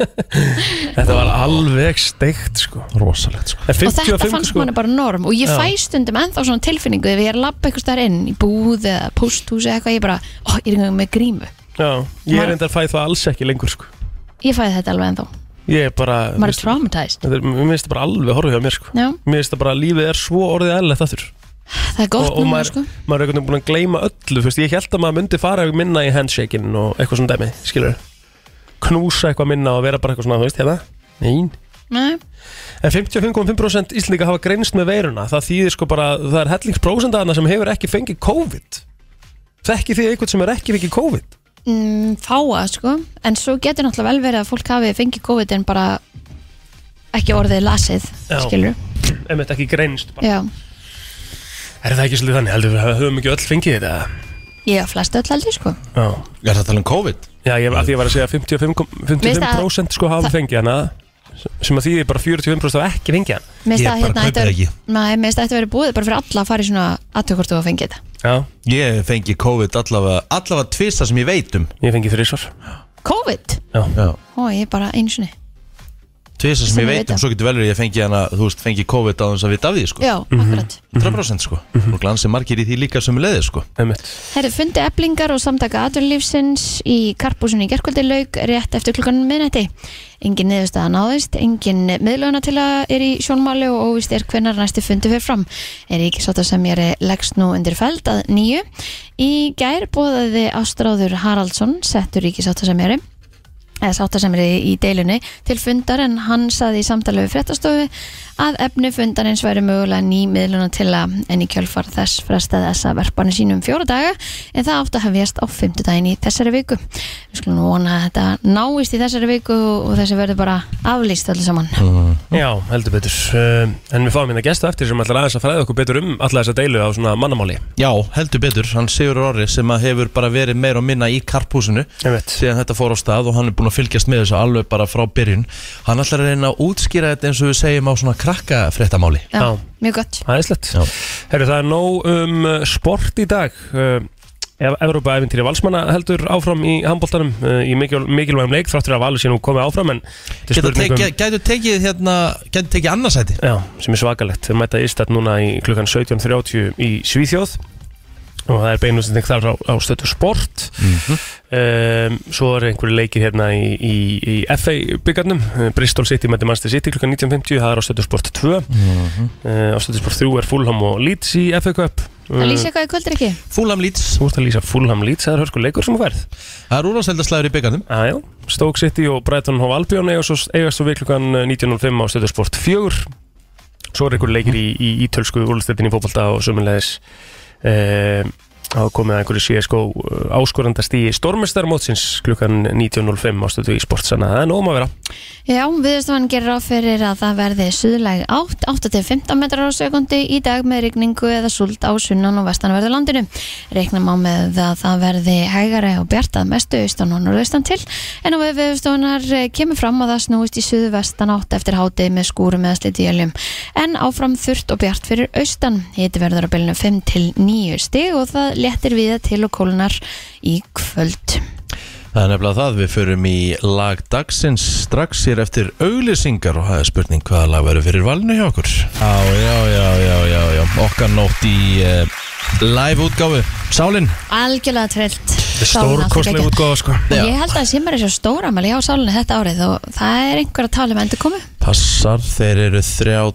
Þetta var alveg steikt sko
Rosalegt sko
En
Og þetta
55,
fannst
sko,
manni bara norm Og ég
Já.
fæ stundum ennþá svona tilfinningu Ef ég er að labba eitthvað staðar inn í búð eða pósthúsi eða eitthvað Ég bara, ó, ég er einhverjum með grímu
já, Ég
Maður-
er endar fæð það alls ekki lengur sko
Ég fæði þetta alveg ennþá
Ég er bara
Maður er
veist,
traumatized
þetta er- Mér finnst það bara alveg horfið á mér sko
Já,
Mér finnst það bara að lífið er svo orðið eðlilegt aftur
það er gott
Og, og
núna,
maður,
sko
maður er einhvern veginn búin að gleyma öllu fyrst. Ég held að maður myndi fara eitthvað minna í handshakin og eitthvað svona dæmi, skilur Knúsa eitthvað minna og vera bara eitthvað svona, þú veist, hérna Nein
Nei,
En 55,5% Íslandika hafa greinst með veiruna Það þýðir sko bara, það er hellingsprósendana sem hefur ekki fengið COVID Þekki því einhvern sem er ekki fengið COVID
mm, fáa, sko En svo getur náttúrulega vel verið að fólk hafi fengið COVID En bara ekki orðið lasið
Já.
Skilur,
Ef þetta ekki greinst bara.
já
Er það ekki svolítið þannig, heldur við höfum ekki öll fengið þetta
Ég hef flest öll heldur, sko
Já,
Ég er það að tala um COVID
Já ég, að því ég var að segja að 55,
Veist að-
55% sko hafa fengið hana sem að þýðir bara 45% hafa ekki fengið hana
Mér finnst
Ég
að
bara
hérna
kaupi
ætti
það
að-
ekki.
Nei, mér finnst að þetta verið búið bara fyrir alla að fara í svona aðtökortu að fengið þetta
Já,
Ég fengi COVID allavega, allavega tvista sem ég veit um
ég fengið þrísvar
COVID? Ó, ég bara einu sinni
Tvista sem
Sem
ég
ég
veit
veit
um,
af.
svo getur velur ég fengi hana Þú veist, fengi COVID á þess að vita af því sko
Já, akkurat
100% sko Og glansið margir í því líka sem leði sko
Mhm. Einmitt.
Herðu fundi eblingar og samtaka aturlífsins í karpúsinu í gerkvöldi lauk rétt eftir klukkan miðnætti. Engin niðurstaða náðist, engin miðlöguna til að er í sjónmáli og óvist er hvenar næsti fundi fyrir fram. Er ekki sátt að sem ég er leggst nú undir feld að nýju. Í gær bóðaði Ástráður Haraldsson, settur ríkisáttasemjari eða sáttasemri í deilunni til fundar en hann saði í samtali við fréttastofu að efni fundarins væri mögulega ný miðluna til að en í kjölfar þess frestaði þessa verpanir sínum fjóra daga en það átt að hefjast á fimmtudaginn í þessari viku við skulum nú vona að þetta náist í þessari viku og þessi verður bara aflýst öllu saman
Mm-hmm. Já, heldur betur um, En við fáum hérna gestu eftir sem ætlar aðeins að fræða okkur betur um alla þessa deilu á svona mannamáli
Já, heldur betur, hann Sigur Orri sem að hefur bara verið meira og minna í karpúsinu
Einmitt.
síðan þetta fór á stað og hann er búin að fylgjast með þessu alveg bara frá byrjun Hann ætlar að reyna að útskýra þetta eins og við segjum á svona krakkafréttamáli
Já.
mjög gott
Æðislegt
Já.
Herru, það er nóg um uh, sport í dag uh, Evrópa eventýri valsmanna heldur áfram í handbóltanum uh, í mikil, mikilvægum leik þráttur að valur sé nú komið áfram en þetta er
Gætu
spurning um-
tekið, gætu tekið hérna, gætu tekið annarsæti
Já, sem er svakalegt Við mæta ístætt núna í klukkan 17.30 í Svíþjóð og það er beinustending þar á, á stötu sport um, Svo er einhverju leikir hérna í, í, í FA byggarnum Bristol City mæti Manchester City Ehm, klukkan 19.50 það er á stötu sport 2 mm á stötu sport 3 er Fulham og Leeds í FA Cup
að lýsa eitthvað í kvöldur ekki
Fúlam Leeds
Þú ert að lýsa Fulham Leeds, það er hörku leikur sem þú verð
Það er úrvarsveldaslæður í byggarnum
Aðjó, Stoke City og Brighton og Albion eiga svo, eigast svo við klukkan eh, 19.05 á stöðusport 4 Svo er einhver leikir í, í ítölsku úrlustættin í fótbolta og sömulegis eh, hafa komið að einhverju CSGO áskorandast í stormestar mótsins eh, klukkan 19.05 á stöðu í sport þannig að það er nóg um að vera
Já, viðstofan gerir ráð fyrir að það verði suðlæg 8, 8-15 metrar á sekundi í dag með rigningu eða súld á sunnan og vestanverðu landinu. Reknum á með að það verði hægara og bjartað mestu austan og norðaustan til en á við viðstofanar kemur fram að það snúist í suðvestan átt eftir hátið með skúrum eða sliti jöljum. En áfram þurrt og bjart fyrir austan. Hiti verður á bylnu 5 til 9 stig og það léttir viða til og kólunar í kvöld.
Það er nefnilega það, við förum í lag dagsins strax hér eftir auglýsingar og það er spurning hvaða lag verður fyrir valinu hjá okkur. Já, já, já, já, já, já, okkar nótt í uh, live útgáfu. Sálin?
Algjörlega trillt.
Stórkostleg útgáða sko
Og Ég held að Simmer er svo stóramæli á sálunni þetta árið og það er einhver að tala um endurkomu.
Passar, þeir eru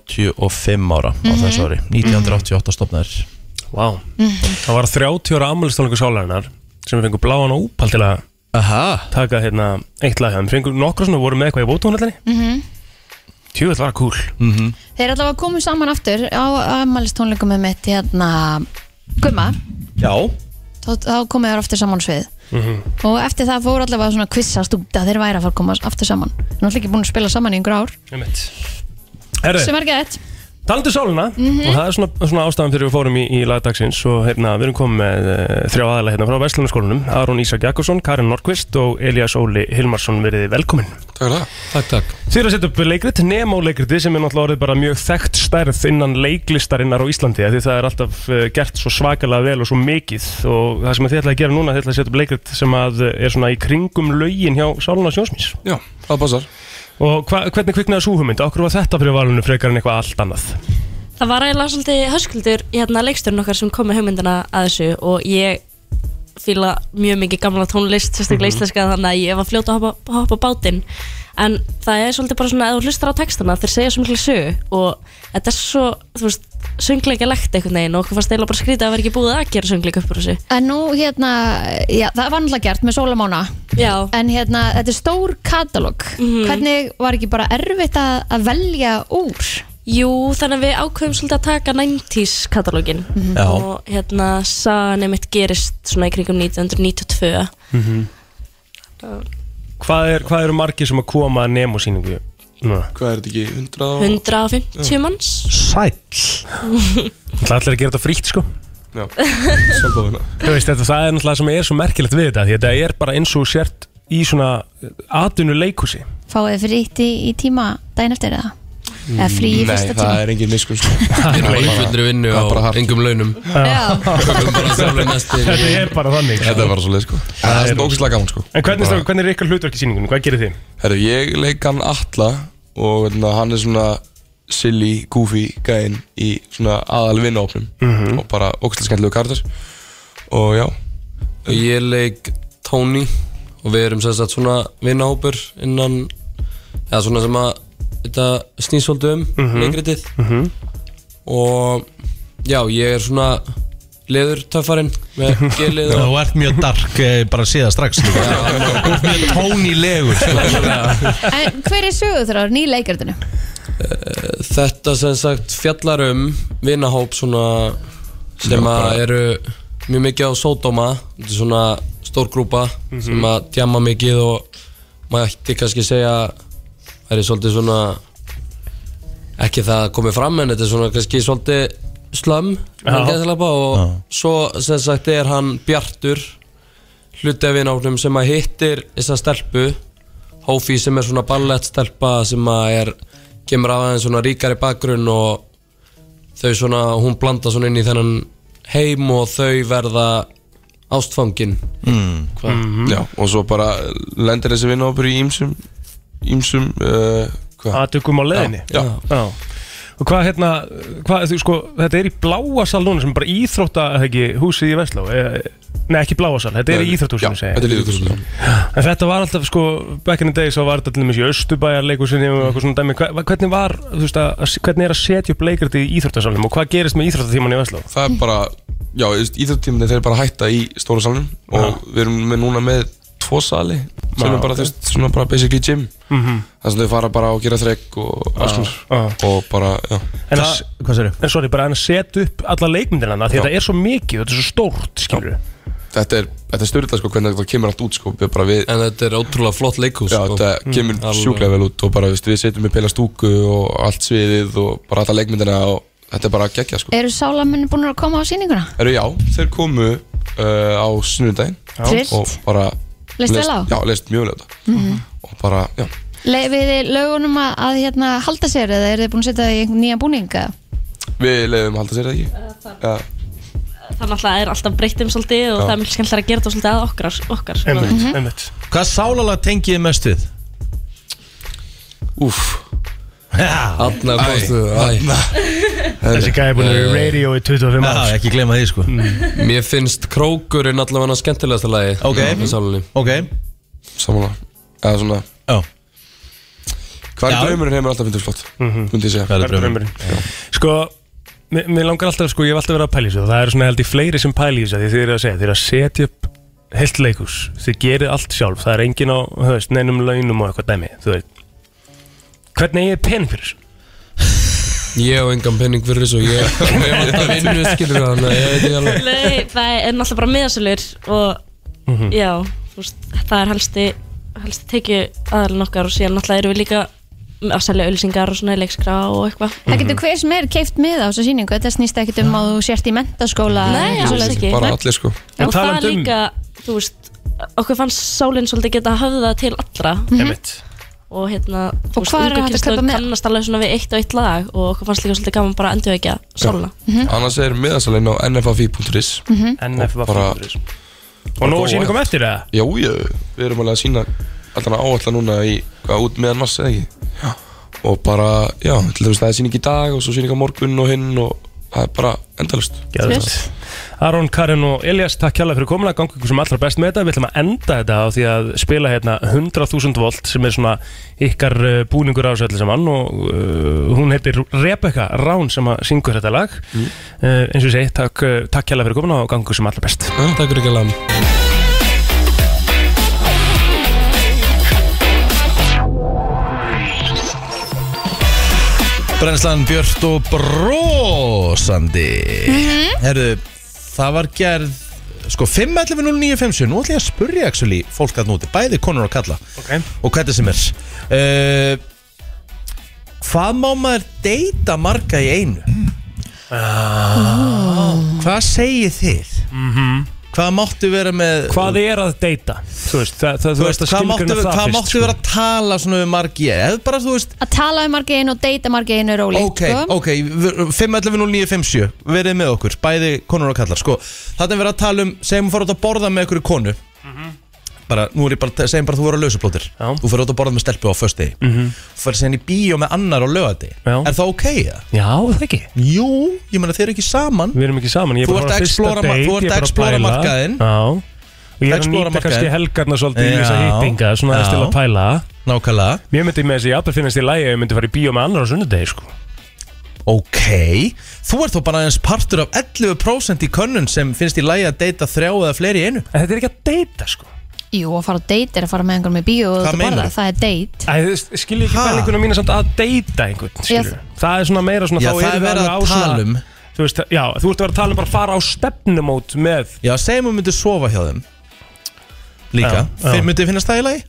35 ára á þessu ári.
Mhm.
1988 stopnaðir.
Vá, það var 30 ára ammælistónleiku sálarinnar sem við fengum bláan og úpal til að
Aha,
taka hérna eitt lag hjá þeim. Við fengum nokkru svona, vorum með eitthvað í bótónallinni mm -hmm. Tjúvill var kúl
Mhm.
Þeir allavega komu saman aftur á ammælistónleikum með mitt hérna Gumma,
já,
þá, þá komu þeir aftur saman á svið.
Mhm.
Og eftir það fór allavega svona kvissast út að þeir væri að fara að koma aftur saman. Þeir eru náttúrulega ekki búin að spila saman í einhver ár.
Herðu,
Sem er gett.
talandu um sálina og það er svona, svona ástæðan fyrir við fórum í, í lagdagsins og hérna, við erum komið með uh, þrjá aðalega hérna frá Vestlunarskólanum Aron Ísak Jakobsson, Karin Norkvist og Elias Óli Hilmarsson verið velkomin
Takk fyrir það. Takk, takk.
Þið eru að setja upp leikrit, Nemo leikriti sem er náttúrulega orðið bara mjög þekkt stærð innan leiklistarinnar á Íslandi af því það er alltaf eh, gert svo svakalega vel og svo mikið og það sem þið ætlaði að gera núna þið ætlaði að setja upp leikrit sem að eh, er svona í kringum lögin hjá Sáluna Sjónsmís
Já, það passar.
og hva, hvernig kviknaði sú hugmynd? Okkur var þetta fyrir valinu frekar en eitthvað allt annað
Það var eiginlega svolítið höskuldur hérna leiksturinn okkar sem kom með hugmyndina að þessu og ég fíla mjög mikið gamla tónlist, sérstaklega íslenska þannig að ég var fljóta að hoppa, hoppa á bátinn en það er svolítið bara svona að þú hlustar á textana þeir segja svo miklu sögu og þetta er svo, þú veist, söngleikalegt einhvern veginn og okkur fannst eiginlega bara skrítið að vera ekki búið að gera söngleik upp úr þessu
En nú hérna, já, það var náttúrulega gert með Sólamána.
Já,
En hérna, þetta er stór katalóg. Hvernig var ekki bara erfitt að, að velja úr?
jú, þannig að við ákveðum svolítið að taka 90s katalógin
já.
og hérna sagan einmitt gerist svona í kringum 1992
Mhm.
Hvað, er, hvað eru margir sem að koma að Nemo síningu? Núna?
Hvað er þetta ekki? 100 og...
150 manns
Sæll.
Það ætlaði að gera þetta frítt sko
Já, sjálfbóðina.
Þú veist, þetta, það er náttúrulega sem er svo merkilegt við þetta því þetta er bara eins og þú sért í svona atvinnu leikúsi
fáið þið frítt í, í tíma daginn eftir eða? Eða frí í
Nei,
fyrsta
það
tíma?
er engin miskunn. sko.
Við erum á fullri vinnu
það er bara
og
hart.
engum launum
Já,
Tökum bara sjálfur næstir
Þetta er bara þannig
Þetta er bara svo leið, sko. Það er svona ógæslega gaman, sko.
En hvernig, strákar, hvernig er ykkar hlutverk í síningunni? Hvað gerir þið?
Herru, ég leik hann Alla og hérna, hann er svona silly, goofy gæinn í svona aðal vinnaopnum
Mhm.
og bara ógæslega skemmtilegu kardir. Og já,
Og ég leik Tony og við erum sem sagt svona vinnahópur innan eða svona sem að þetta snýst svolítið um
Mhm.
Mhm.
leikritið
Mhm.
og já, ég er svona leðurtöffarinn með gelið og
Þú ert mjög dark, eh, bara síða strax. líka. Þú ert sko. mjög tónilegur.
en hver er sögur þar á nýleikartinu?
þetta sem sagt fjallar um vinnahóp svona sem að eru mjög mikið á sódóma þetta er svona stór grúpa sem að djama mikið og maður ætti kannski segja það er svolítið svona ekki það að komið fram en þetta er svona kannski svolítið slömm hann geðslappa, og svo sem sagt er hann Bjartur hluti af vinnahópnum sem að hittir þessa stelpu Hófi sem er svona ballettstelpa sem að er kemur af aðeins svona ríkari bakgrunn og þau svona, hún blanda svona inn í þennan heim og þau verða ástfangin
Mm. já, og svo bara lendir þessi vinnaopur í ímsum, ímsum, uh, hvað?
Atökum á leðinni?
Já,
Já. Og hvað hérna, hvað, þú sko, þetta er í bláasal núna sem er bara íþrótta, eða ekki, húsið í Vestló e, Nei, ekki bláasal, þetta er í
Já,
íþróttahúsinu,
þetta
segi
er líðutúsinu, já.
ég. En þetta var alltaf, sko, back in the days, þá var þetta allir mjög í Östubæjarleikusinu og eitthvað svona dæmi Hva- Hvernig var, þú veist, að, hvernig er að setja upp leikriti í íþróttasalnum og hvað gerist með íþróttatíman í Vestló?
Það er bara já, íþjóttíminni þeir bara hætta í stóra salnum og við erum með núna með tvo sali sem
Já,
er bara,
ok.
þú veist, svona bara basically gym mm -hmm. þar sem þau fara bara og gera þrekk og alls konar og bara, já
En
Hvað-
að-
Hvað sér
en sorry, bara en að setja upp alla leikmyndir hann því þetta er svo mikið, þetta er svo stórt skilur
þetta er, þetta er styrla sko hvernig þetta kemur allt út Mm. sko við bara við
En þetta er ótrúlega flott leikhús
Já,
sko.
þetta kemur
alveg.
sjúklega vel út og bara, veist, við setjum upp heila stúku og allt sviðið og bara alla leikmyndina og þetta er bara geggja, sko.
Eru sálamunni búin að koma á sýninguna?
Eru, já, þeir komu uh, á sunnudaginn
Trillt.
og bara...
Leist vel á?
Já, leist mjög vel á þetta.
Mhm.
Og bara, já,
Leifið þið Mhm. lögunum að, að hérna, halda sér eða eru þið búin að setja það í einhvern nýja búninga?
við leiðum að halda sér það ekki. Já,
Það náttúrulega er alltaf breytt um svolítið og það er mjög skemmtilega að gera þetta svolítið að okkar, okkar svona.
einmitt, einmitt
Hvað sálalag tengið þið mest við?
úf,
Já,
Þarna komstu, æ,
þessi gæði búin
Eh.
að vera í radio í 25
já,
árs
ekki glema því sko
Mm.
Mér finnst Krókurinn allavega skemmtilegasta lagi
Ok.
Í sálinni
Ok,
samanlega. Eða svona,
já,
hvað
Já.
er draumurinn hefur alltaf fyndið flott, myndi ég segja.
hvað er draumur?
Draumurinn. sko mér, mér langar alltaf, sko, ég hef alltaf verið að pæla í þessu og það er svona held í fleiri sem pæla í þessu af því þið eru að segja, þið eru að setja upp heilt leikus, þið gerið allt sjálf það er engin á, þú veist, neinum launum og eitthvað dæmi, þú veit hvernig ég er pen fyrir þessu?
Ég á engan penning fyrir þessu Ég ég hef alltaf vinnu skilur þannig að ég veit ekki alveg
Nei, það er náttúrulega bara miðasölur og já, þú veist, það er helsti, helsti tekið aðalinn okkar og síðan náttúrulega erum við líka að selja ölsingar og svona í leikskrá og eitthvað.
Það getur hver sem er keift með á þessu sýningu þetta snýst ekkit um að þú sért í mentaskóla
Nei, alls ekki.
Bara
Nei.
allir, sko.
En
og það
talandi um-
líka, þú veist, okkur fannst sálinn svolítið geta höfða til allra
Einmitt.
og hérna, þú
Og hvar er hægt að
ungu
kaupa
kynslóð
miða?
kannast alveg svona við eitt og eitt lag og okkur fannst líka svolítið gaman bara að endurvekja sálina.
Mhm.
Mhm.
Annars er miðasalinn á nfafi.is.
NF var
bara-
fyrir þessu. og nú
Bara
sýnum
óvænt.
kom eftir það
Já, já, við erum alveg að sína alltaf áallan núna í hvað, út meðan massa eða ekki og bara, já, til dæmis það er síning í dag og svo síning á morgun og hinn og það er bara endalust
Geðveikt. Aron, Karin og Elias, takk hérlega fyrir komuna gangi ykkur sem allra best með þetta, við ætlum að enda þetta á því að spila hérna 100.000 volt sem er svona ykkar uh, búningur á þessu öllu saman og uh, hún heitir Rebecca Rán sem að syngur þetta lag uh, eins og ég segi, takk, uh, takk hérlega fyrir komuna og gangi ykkur sem allra best
Takk fyrir ekki alveg
Brennslan Björn og brosandi Herðu, það var gerð sko 5.11.09.50 Nú ætlum ég að spurja actually fólk að núti Bæði konur og kalla
Ok.
Og hvað það sem er uh, Hvað má maður deyta marga í einu?
Mm.
Hvað segir þið? Hvað máttu vera með
Mhm. Hvað er að deyta? Þú veist, það, það,
Þú
þú
veist,
veist að
hvað máttu,
skilgjörna það
hvað
fyrst sko.
máttu vera að tala svona við margi í einu? Eða bara þú veist
Að tala um margin og deyta margin er ólíkt sko.
Ok, ok, 5.11.09.57 Verið með okkur, bæði konur og kallar sko. Þannig er verið að tala um, segjum við fara út að borða með einhverju konu
Mhm.
bara, Nú er ég bara, segjum bara að þú voru á lausuplótir
Já.
Þú fyrir út að borða með stelpu á föstudegi mm
Mhm.
-hmm. Fyrir síðan í bíó með annar á lögadegi
Já.
Er það ok? Ja?
Já, það ekki,
Jú, ég meina þeir eru ekki saman
við erum ekki saman ég er
Þú
bara
ert að
á fyrsta
explora mar-
date,
þú ert
ég er
að
bara
explora
pæla.
markaðinn.
Já, og ég er að
Explora
nýta kannski
markaðinn.
helgarna svolítið í þessa
Já.
hýttinga svona aðeins til
Já.
að pæla
Nákvæmlega
Mér myndi með þessi jafnveg finnast í lægi að ég myndi fara í bíó með annar á sunnudegi sko.
Ok, þú ert þó bara aðeins partur af 11% í könnun sem finnst í lagi að deyta þrjá eða fleiri í einu
En þetta er ekki að deyta sko.
Jú, að fara á deyta er að fara með einhverjum í bíó og
Hvað
út að borða,
meinarðu?
það er deyt
Æ, þið skiljið ekki
Ha?
fælingunum mína samt að deyta einhvern skilurðu.
Já.
Það er svona meira svona
Já,
þá
það
erum
er
við alveg
verið að
á svona-
tala um.
Þú veist, já, þú ert að vera að tala um bara að fara á stefnumót með
Já, segjum við myndum sofa hjá þeim Líka,
Já, já.
Fi- myndi þið finnast það í lagi?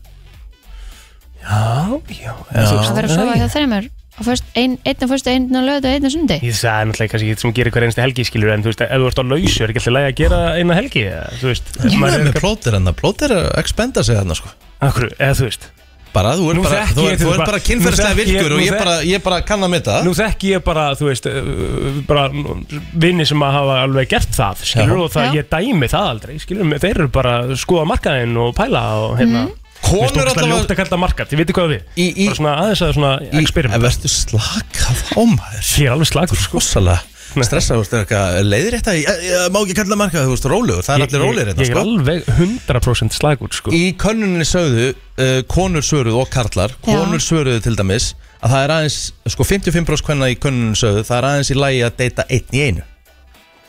Já, já, já.
Að vera að sofa hjá þreymur á fyrst, ein, einn á fyrstu, einn á lögðu og einn á sundi
Ég sagði náttúrulega kannski ekki sem gerir hver einstu helgi skilur En þú veist, ef þú ert á lausu er ekki alltaf lægi að gera eina helgi eða, Þú veist,
Ég
maður
er
er
með plóter en það, plóter er að expenda sig þarna sko
Akkur, eða þú veist
Bara, þú ert
Nú
bara,
þekki
þú
ég
ert,
þig
þú ert
bara-
bara
nú
kynferðslega
þekki ég-
virkur og
nú
ég
þek-
bara, ég bara kann að mynda
Nú þekki ég bara, þú veist, uh, bara vini sem að hafa alveg gert það, skilur,
Já.
og það,
Já.
ég dæmi það aldrei, skilur, þeir eru bara að skoða markaðinn og pæla og hérna, Mér
Konur
stókst að ljóta
allavega
að kalla það markað, ég veit hvað við
Í, í,
Bara svona aðeins að svona
í,
experiment
verður slakað á maður
Ég er alveg slagur sko
Rósalega stressað, þú veist, er eitthvað leiðrétta í- Ég ég- má ekki kalla marka, þú veist, rólegur, það er allir rólegir
Ég
þetta
ég er
sko
alveg 100% slagur sko
Í könnuninni sögðu uh, konur svöruð og karlar Konur svöruðu til dæmis að það er aðeins, sko 55% hvenna í könnuninni sögðu það er aðeins í lagi að deyta einn í einu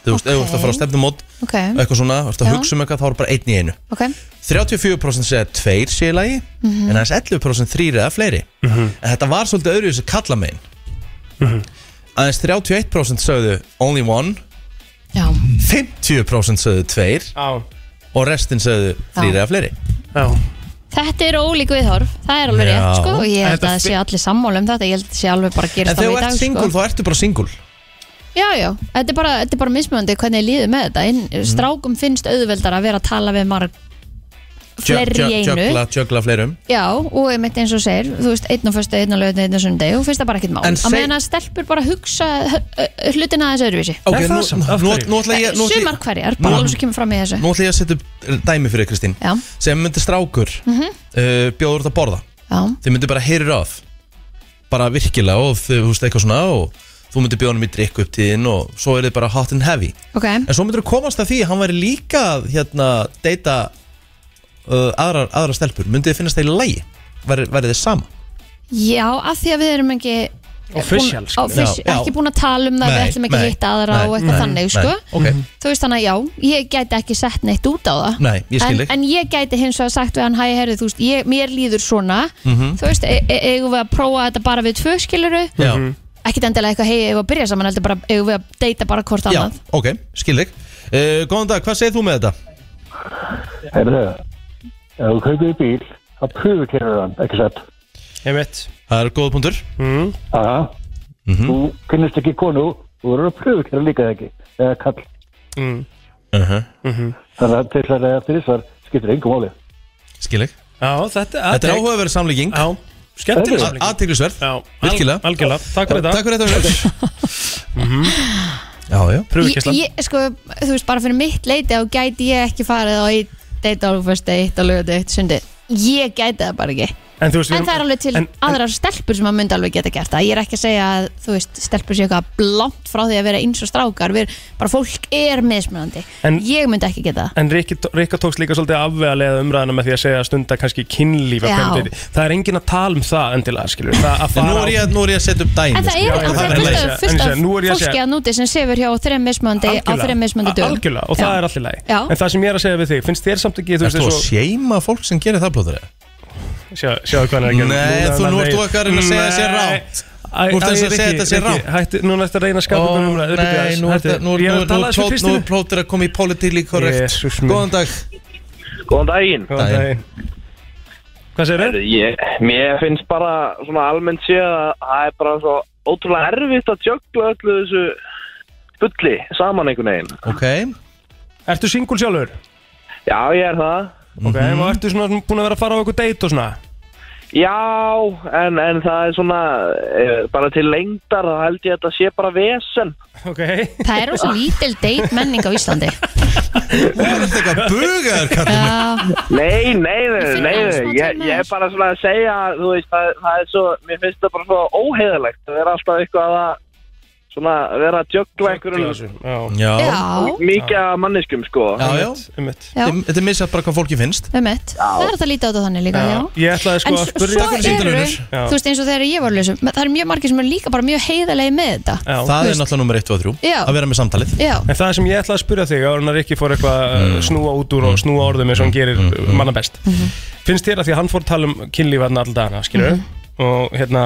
Þú þú veist, ef þú ert að fara á stefnumót
Ok,
eitthvað svona, þú ert að
Já.
hugsa um eitthvað þá er bara einn í einu
ok
34% segja að tveir sé í lagi
Mhm.
en aðeins 11% þrýr eða fleiri en þetta var svolítið öðru þess að kalla megin aðeins 31% sögðu only one
Já,
50% sögðu tveir
Já,
og restin sögðu þrýr
Já.
eða fleiri
já
þetta er ólík viðhorf Það er alveg
Já.
rétt, sko og Ég held
Þetta
að það sé allir sammála um þetta Ég held að það sé alveg bara að
en
gerast
þegar þú
alveg í
ert
dag, sko
single þá ertu bara single
Já, já, þetta er bara, þetta er bara mismöndi hvernig líður með þetta Inn,
Mhm.
Strákum finnst auðveldar að vera að tala við marg fleiri í einu
Jökla, jökla fleirum
Já, og ég mitt eins og segir, þú veist, einn og fyrstu, einn og lögðin, einn og sundi og finnst það bara ekkert mál.
En
Að
seg-
meðan að stelpur bara hugsa h- h- hlutina aðeins öðruvísi. Eh,
Ok,
Er það
nú,
samt?
nú,
Af
nú,
hverju?
nú ætla ég nú ætla ég-
Sumar hverjar, bara
Nú-
alveg sem kemur fram í þessu.
Nú ætla ég að setja upp eh, dæmi fyrir þig, Kristín
Já, Mm.
sem myndi strákur uh, bjóður út að borða
Mhm. já,
þið myndi bara heyrir af bara virkilega og þið húst eitthvað svona og þú myndi bjóða honum í drikku upp tíðin og svo er þið bara hot and heavy
ok,
en svo myndir þú komast að því að hann væri líka að, hérna deyta uh, aðrar, aðrar stelpur, myndið þið finnast það í lægi verið þið sama
já, af því að við erum ekki
Official,
búin,
sko.
offici-
Já, já.
ekki búin að tala um það, við
Nei,
ætlum ekki
nei,
að hitta aðra
nei,
og eitthvað
nei,
þannig,
nei,
sko.
ok.
Þú veist þannig að já, ég gæti ekki sett neitt út á það.
Nei, ég skil
en,
þig
en ég gæti hins vegar sagt við hann hæ, herri, þú veist, ég, mér líður svona
Mhm.
þú veist, e- e- eigum við að prófa þetta bara við tvö skiluru
Mm. Já.
ekkit endilega eitthvað hei, eigum við að byrja saman heldur bara, eigum við að deyta bara hvort
Já,
annað
ok, skil þig uh, Góðan dag, hvað segir þú með þetta?
Herðu, ef þú kaupir bíl, þá pröfukerur hann, ekki satt?
Ég veit
Það er góða punktur
mm.
Aha.
Mhm.
Þú kynnist ekki konu, þú verður að pröfukera líka eða ekki, eða kall.
Mm.
Mhm.
Þannig að til að eða þrísvar skiptir engum máli.
Skil þig
Já, þetta,
Þetta er áhugaverð samlíking
Já, skemmtileg
Þetta
samling
Aðteglisverð
Já,
Virkilega.
Algjörlega, takk fyrir þetta
Takk fyrir þetta Já, já
ég,
Pröfukislan
ég, sko, þú veist, bara fyrir mitt leiti þá gæti ég ekki farið á eitt deyta á fyrst eitt og lögðu eitt sundi ég gæti það bara ekki
En þú veist,
en
við erum-
það er alveg til
en- en-
aðrar stelpur sem að myndi alveg geta gert það ég er ekki að segja að, þú veist, stelpur sé eitthvað blámt frá því að vera eins og strákar við, bara fólk er mismunandi
En-
ég myndi ekki geta það
En Rikki, Rikka tókst líka svolítið afvega leða umræðina með því að segja að stunda kannski kynlíf
Já.
að kvöldið. Það er engin að tala um það endilega, skilur. við. Það að
En nú
fara
er ég, nú er ég að setja upp sko. dæmi
En það
skilur.
er,
já,
og það
það
er
er
fullt
leið.
af, fullt
En
af
sér, nú er ég að
fólki
segja-
að núti sem sefur hjá þreim mismöndi á
Algjörlega.
þreim mismöndi dögum
Algjörlega, og það
Já.
er allir læg.
Já.
En það sem ég er að segja við þig, finnst þér samt ekki, þú
Erst
veist,
þú að
eins og...
séma fólk sem gerir það blóður?
Sjá- Sjáðu hvað hann er að gera.
Nei,
er
þú-
hann
nú ert þú eitthvað að reyna að segja að sé
Nei.
rangt.
Æ,
Nú ert
æ,
eins og að segja
Rikki,
þetta sé
Rikki,
rangt.
hættu- Núna ertu að reyna að skapa
Ó,
okkur umræðu.
Nei, nú er þetta- nú er-
Ég er
nú
að tala þessu
er
Kristínu.
plótur að koma í politíli korrekt
Jesús minn.
Góðan dag
Góðan daginn
Góðan daginn. Hvað segir þau?
ég, Mér finnst bara svona almennt sé að það er bara svo ótrúlega erfitt að tjögla öllu þessu bulli saman einhvern veginn
Ok,
Ertu singul sjálfur?
Já, ég er það
Ok,
Mhm.
og ertu svona búin að vera að fara á eitthvað date og svona?
Já, en, en það er svona eh, bara til lengdar þá held ég að þetta sé bara vesen
Ok.
Það er rosa lítil date menning á Íslandi
það er eitthvað bugaður kall
Já,
Nei, nei, nei, nei, nei. Ég, ég er bara svona að segja þú veist, það, það er svo, mér finnst það bara svo óheðalegt að vera alltaf eitthvað að svona vera að tjögla einhverjum
Já.
Já,
já,
mikið af manneskum sko
já, já
Einmitt.
já,
Þetta er missað bara hvað fólki finnst
um eitt Það er þetta lítið á þetta þannig líka, já
Ég ætlaði sko
En
að
s-
spyrja
Takk fyrir
svo eru,
símtalið,
Unnur. Já.
þú veist eins og þegar ég var lausum Það eru mjög margir sem eru líka bara mjög heiðalegi með þetta
Já.
Það er
Veist.
náttúrulega nummer 1 og 3
Já.
Að vera með samtalið
Já,
En það sem ég ætlaði að spyrja þig áður en að Rikki fór eitthvað mm. snúa út úr og snúa orðum eins og hann gerir mm. manna best Finnst þér að því að hann fór að tala um kynlíf hann alltaf dagana, skilur og hérna,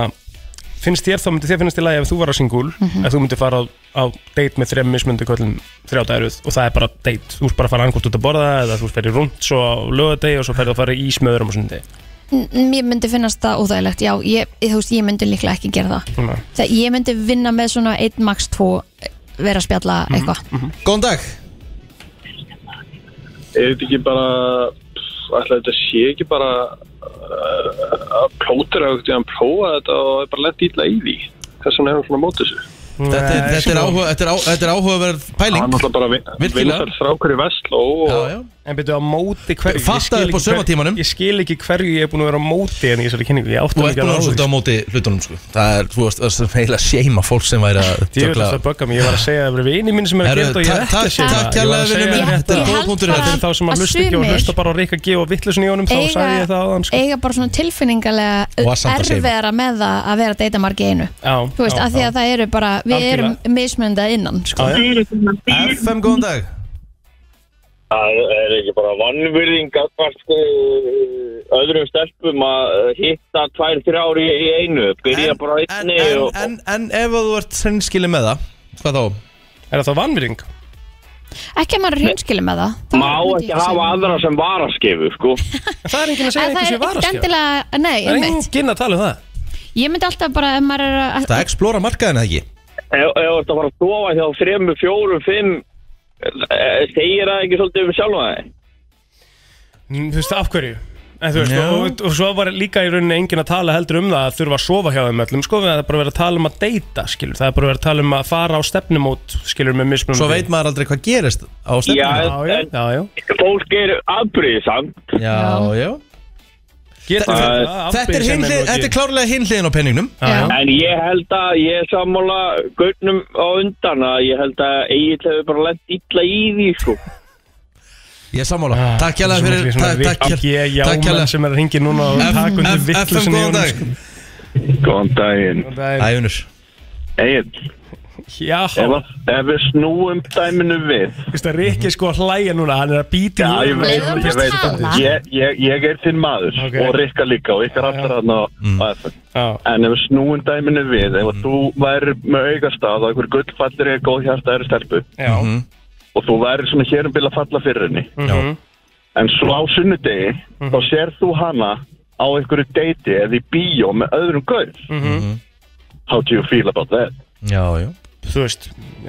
finnst þér þá myndi þér finnst í lagi ef þú var að singul ef þú myndi fara á, á date með þrem mismundu köllum þrjá dæruð og það er bara date þú ert bara að fara angurt út að borða eða þú ferði rundt svo á lögadegi og svo ferði að fara í smöðurum og sundi
n- mér myndi finnast það óþægilegt Já, ég, þú veist, ég myndi líklega ekki gera það Það ég myndi vinna með svona 1 max 2 vera að spjalla
Mhm.
eitthvað
Góðan dag
Er þetta ekki bara, ætla þetta sé ekki bara að plótur að hann prófa þetta og er bara lett ítla í því? Þess vegna er hann svona mótið þessu.
Þetta er- þetta er áhuga- þetta er á- þetta er áhugaverð pæling
náttúrulega bara
Virkilega. vinsæll
strákur í Vestló
Já, já
En byrju á móti hverju Ég skil
Fattaðu upp á
ekki hverju-
sumartímanum.
Ég skil ekki hverju ég er búin að vera á móti en ég svolítið kynningu Ég átti
Þú
mig
ert
ekki
búin
alveg
að vera
á því.
svolítið á móti hlutunum sko. Það er, þú veist, það er heila séma fólk sem væri að
Ég vil alltaf bögga mig, ég var að segja að það eru vinið mín sem er að
Herru,
gera þetta og ég er
takk-
ekki að
takk-
segja
takk kærlega, vinur minn. Þetta er
Ég
góð
held
punktur,
bara
þetta
Fyrir þá sem
að
að hlusta ekki og
sumir-
hlusta bara á Rikka G og vittlusin í honum Um þá sagði ég það á hann sko.
eiga bara svona tilfinningalega
Og að samt að segja.
erfiðara með það að vera að deyta margi einu
Já,
þú veist,
já,
af því að það eru bara við erum mismöndað innan sko.
FM, góðan dag
Það er ekki bara vannvirðing að hvert sko öðrum stelpum að hitta tvær, þrjár í, í einu byrja bara á einni
en,
og
en, en ef að þú ert sennskili með það Hvað þá?
Er það vannvýring?
ekki að maður er hreinskili með það
má ekki hafa aðra sem varaskefu sko
Það er enginn að segja
en það
einhversu
er ekkert
varaskjá
endilega nei,
Það er
einmitt.
enginn að tala um það
ég myndi alltaf bara ef maður er að
Það explora markaðina ekki
ef ef þú ert að fara að stofa hjá þremur, fjórum, fimm eh, segir það ekki svolítið um sjálfa það
Mm, Þú veist, af hverju? En þú veist,
Já.
og, og, og svo var líka í rauninni enginn að tala heldur um það að þurfa að sofa hjá þeim öllum sko, það er bara verið að tala um að deyta, skilur það er bara verið að tala um að fara á stefnumót skilur með mismunum
Svo veit maður aldrei hvað gerist á
Já,
stefnum
Já,
en
já, já
fólk er afbrýðisamt
Já, já
Getur
Þetta-
verið að
Þetta er,
afbrýðisemi
hinli,
og ekki-
þetta er klárlega hinliðin á penningnum
Já, já.
En ég held að ég er sammála gaurnum á undan að ég held að Egil hefur bara lent illa í því sko.
Ég er sammála
Ah,
Takk hjá
svona-
fyrir
svona
Takk
Rikki G.
hjá Takk
Jámann
hjá
sem er að ringi núna og taka undir
FM,
vittlusin í
góðan dag
honum,
Góðan daginn.
sko. Það er-
Æjunur
Egil,
Já,
ef, ef við snúum dæminu við.
þú veist að Rikki er sko að hlæja núna hann er að býta
Já, ég veit,
Leyfum
ég
honum
veit.
að tala.
Ég, ég, ég er þinn maður
Ok.
og Rikka líka og ykkar allar hann á á FM.
Já,
En ef við snúum dæminu við, ef þú væri með augastað og einhver gullfallir er góð hjarta er stelpu
já,
og þú væri svona hér um bil að falla fyrir henni.
Mhm.
En svo á sunnudegi, þá sér þú hana á einhverju deiti eða í bíó með öðrum gaur.
mhm.
How do you feel about that?
Já, já
þú veist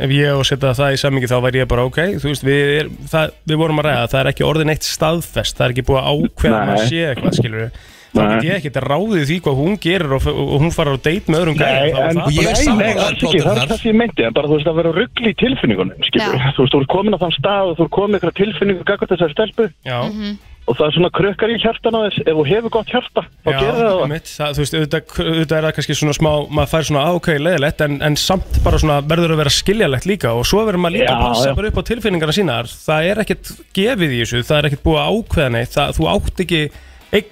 ef ég og setja það í samingi þá væri ég bara ok þú veist, við, er, það, við vorum að ræða það er ekki orðin eitt staðfest, það er ekki búið að ákveða
Nei.
að sé eitthvað, skilur við þá
Nei.
get ég ekkert ráðið því hvað hún gerir og, og hún farar á deit með öðrum gæðum þá er
en,
það
ég er
nei,
sammála
nei, alls ekki,
Plóter
það
þar.
er það sem ég meinti en bara þú veist að vera ruggli í tilfinningunum skilur,
Já.
þú veist, þú ert komin á þann stað og þú ert komin eitthvað tilfinningu gagvart þessari stelpu
já,
Mhm.
og það er svona krökkar í hjartan á þess ef þú hefur gott hjarta, þá
já,
gerir það það
einmitt, það, þú veist, auðvitað, auðvitað er það kannski svona smá maður fær svona "Ah, ok, leiðilegt en, en samt bara svona verður að vera skiljalegt líka og svo verður maður líka
Já,
að passa
já.
bara upp á tilfinningarna sínar það er ekkert gefið í þessu, það er ekkert búið að ákveða neitt það, þú átt ekki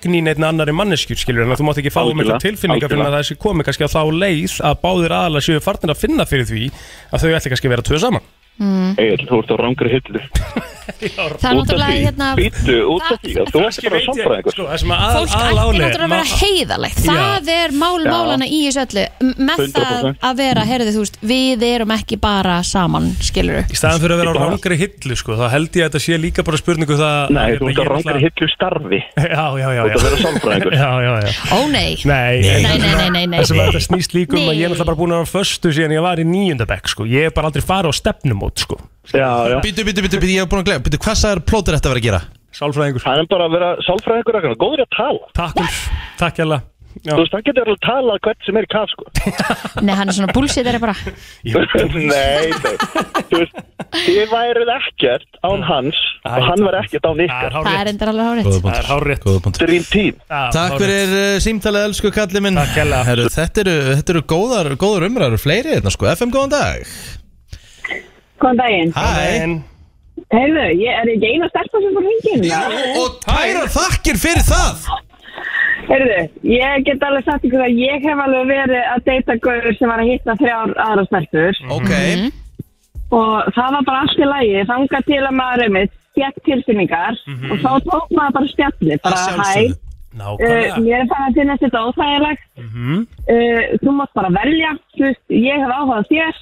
eign í neittna annari manneskjur skilur en þú mátt ekki fá um
Algjörlega,
eitthvað tilfinningar fyrir að það
algjörlega.
sé komið kannski á þá leið að báðir aðalega séu farnir að finna fyrir því að þau ætli kannski að vera tvö saman
Egil, þú ert á rángri hillu
Mm. það er náttúrulega hérna
býttu út af því, að þú ert bara samfræðingur
sko, það sem að
fólk ætti
aðalega
náttúrulega að vera heiðalegt
Já.
það er mál málana í þessu öllu M- með það
100%.
að vera, heyrðu þú veist við erum ekki bara saman, skilur
í staðan fyrir að vera á rangri hillu sko, þá held ég að þetta sé líka bara spurningu það
Nei, þú
Ég
ert á
er
rángri
náttúrulega-
hillu starfi
já, já, já,
þú ert
já.
að vera samfræðingur
já, já, já.
ó nei,
Nei,
nei, nei, nei, nei.
Það sem að þetta snýst líka um að ég er
Nei.
náttúrulega bara búin að vera föstu síðan ég var í níundabæk sko. Ég er bara aldrei farið á stefnumót sko.
Já, já
Býtu, býtu, býtu, býtu, ég hef búin að glemja Býtu, hvað sagður plótur þetta að vera að gera?
Sálfræðingur
Það er bara að vera sálfræðingur ekkert, góður í að tala
Takk, Ulf. takk hella
Þú veist, það getur alveg talað hvert sem er í kaf, sko
nei hann er svona bullshit er bara
Nei, nei Þú veist, þið væruð ekkert án hans
Æ,
og hann var ekkert án
Það er
ykkar
það er
hárið
endur alveg hárétt
Góða
Það er hárrétt.
Góða punktur
Dream Team
Takk fyrir uh, símtalið, elsku kalli minn
Takk hérlega.
Herru, Þetta eru, þetta eru góðar, góðar umræður Fleiri hérna sko, FM góðan dag
Góðan daginn.
Hæ
En
Heyrðu, ég er ekki eina stelpa sem fór hengið.
Og tæra þakkir fyrir það
Heyrðu, ég get alveg sagt ykkur að ég hef alveg verið að deyta gauður sem var að hitta þrjár aðra stelpur Mhm.
Ok,
og það var bara allt í lagi, þangað til að maður er mitt, gekk tilfinningar og þá tók maður bara spjalli,
Mhm. að
bara hæ,
sjálfsögðu
uh,
nákvæmlega
mér er fann að finna þetta óþægilegt,
Mhm.
uh, þú mátt bara velja, þú veist, ég hef áhugað þér,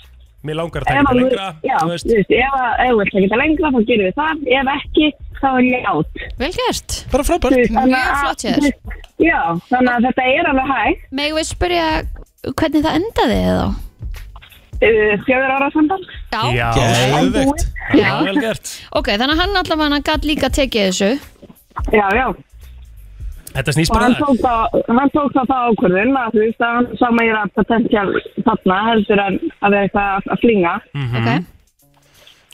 Mér langar að taka þetta
þú-
lengra
já,
þú
þú
veist.
veist, ef að- ef þú vilt ekki þetta lengra þá gerum við það, ef ekki, þá er ég átt.
vel gert,
bara frábært
Þú veist, þannig
Mjög
að-
flott hjá þér.
þú veist, Já, þannig að þetta er alveg hægt
megum við spyrja hvernig það endaði þá
uh, fjögur ára samband
já,
Já,
Geðvegt
já,
vel gert
ok, þannig að hann allavega gætt líka tekið þessu
Já, já,
Þetta snýst
og
bara um
hann
það
tók þá, hann tók þá þá ákvörðun að þú veist að hann sá meira potential þarna heldur en að vera eitthvað að- að flinga
ok,
Mhm.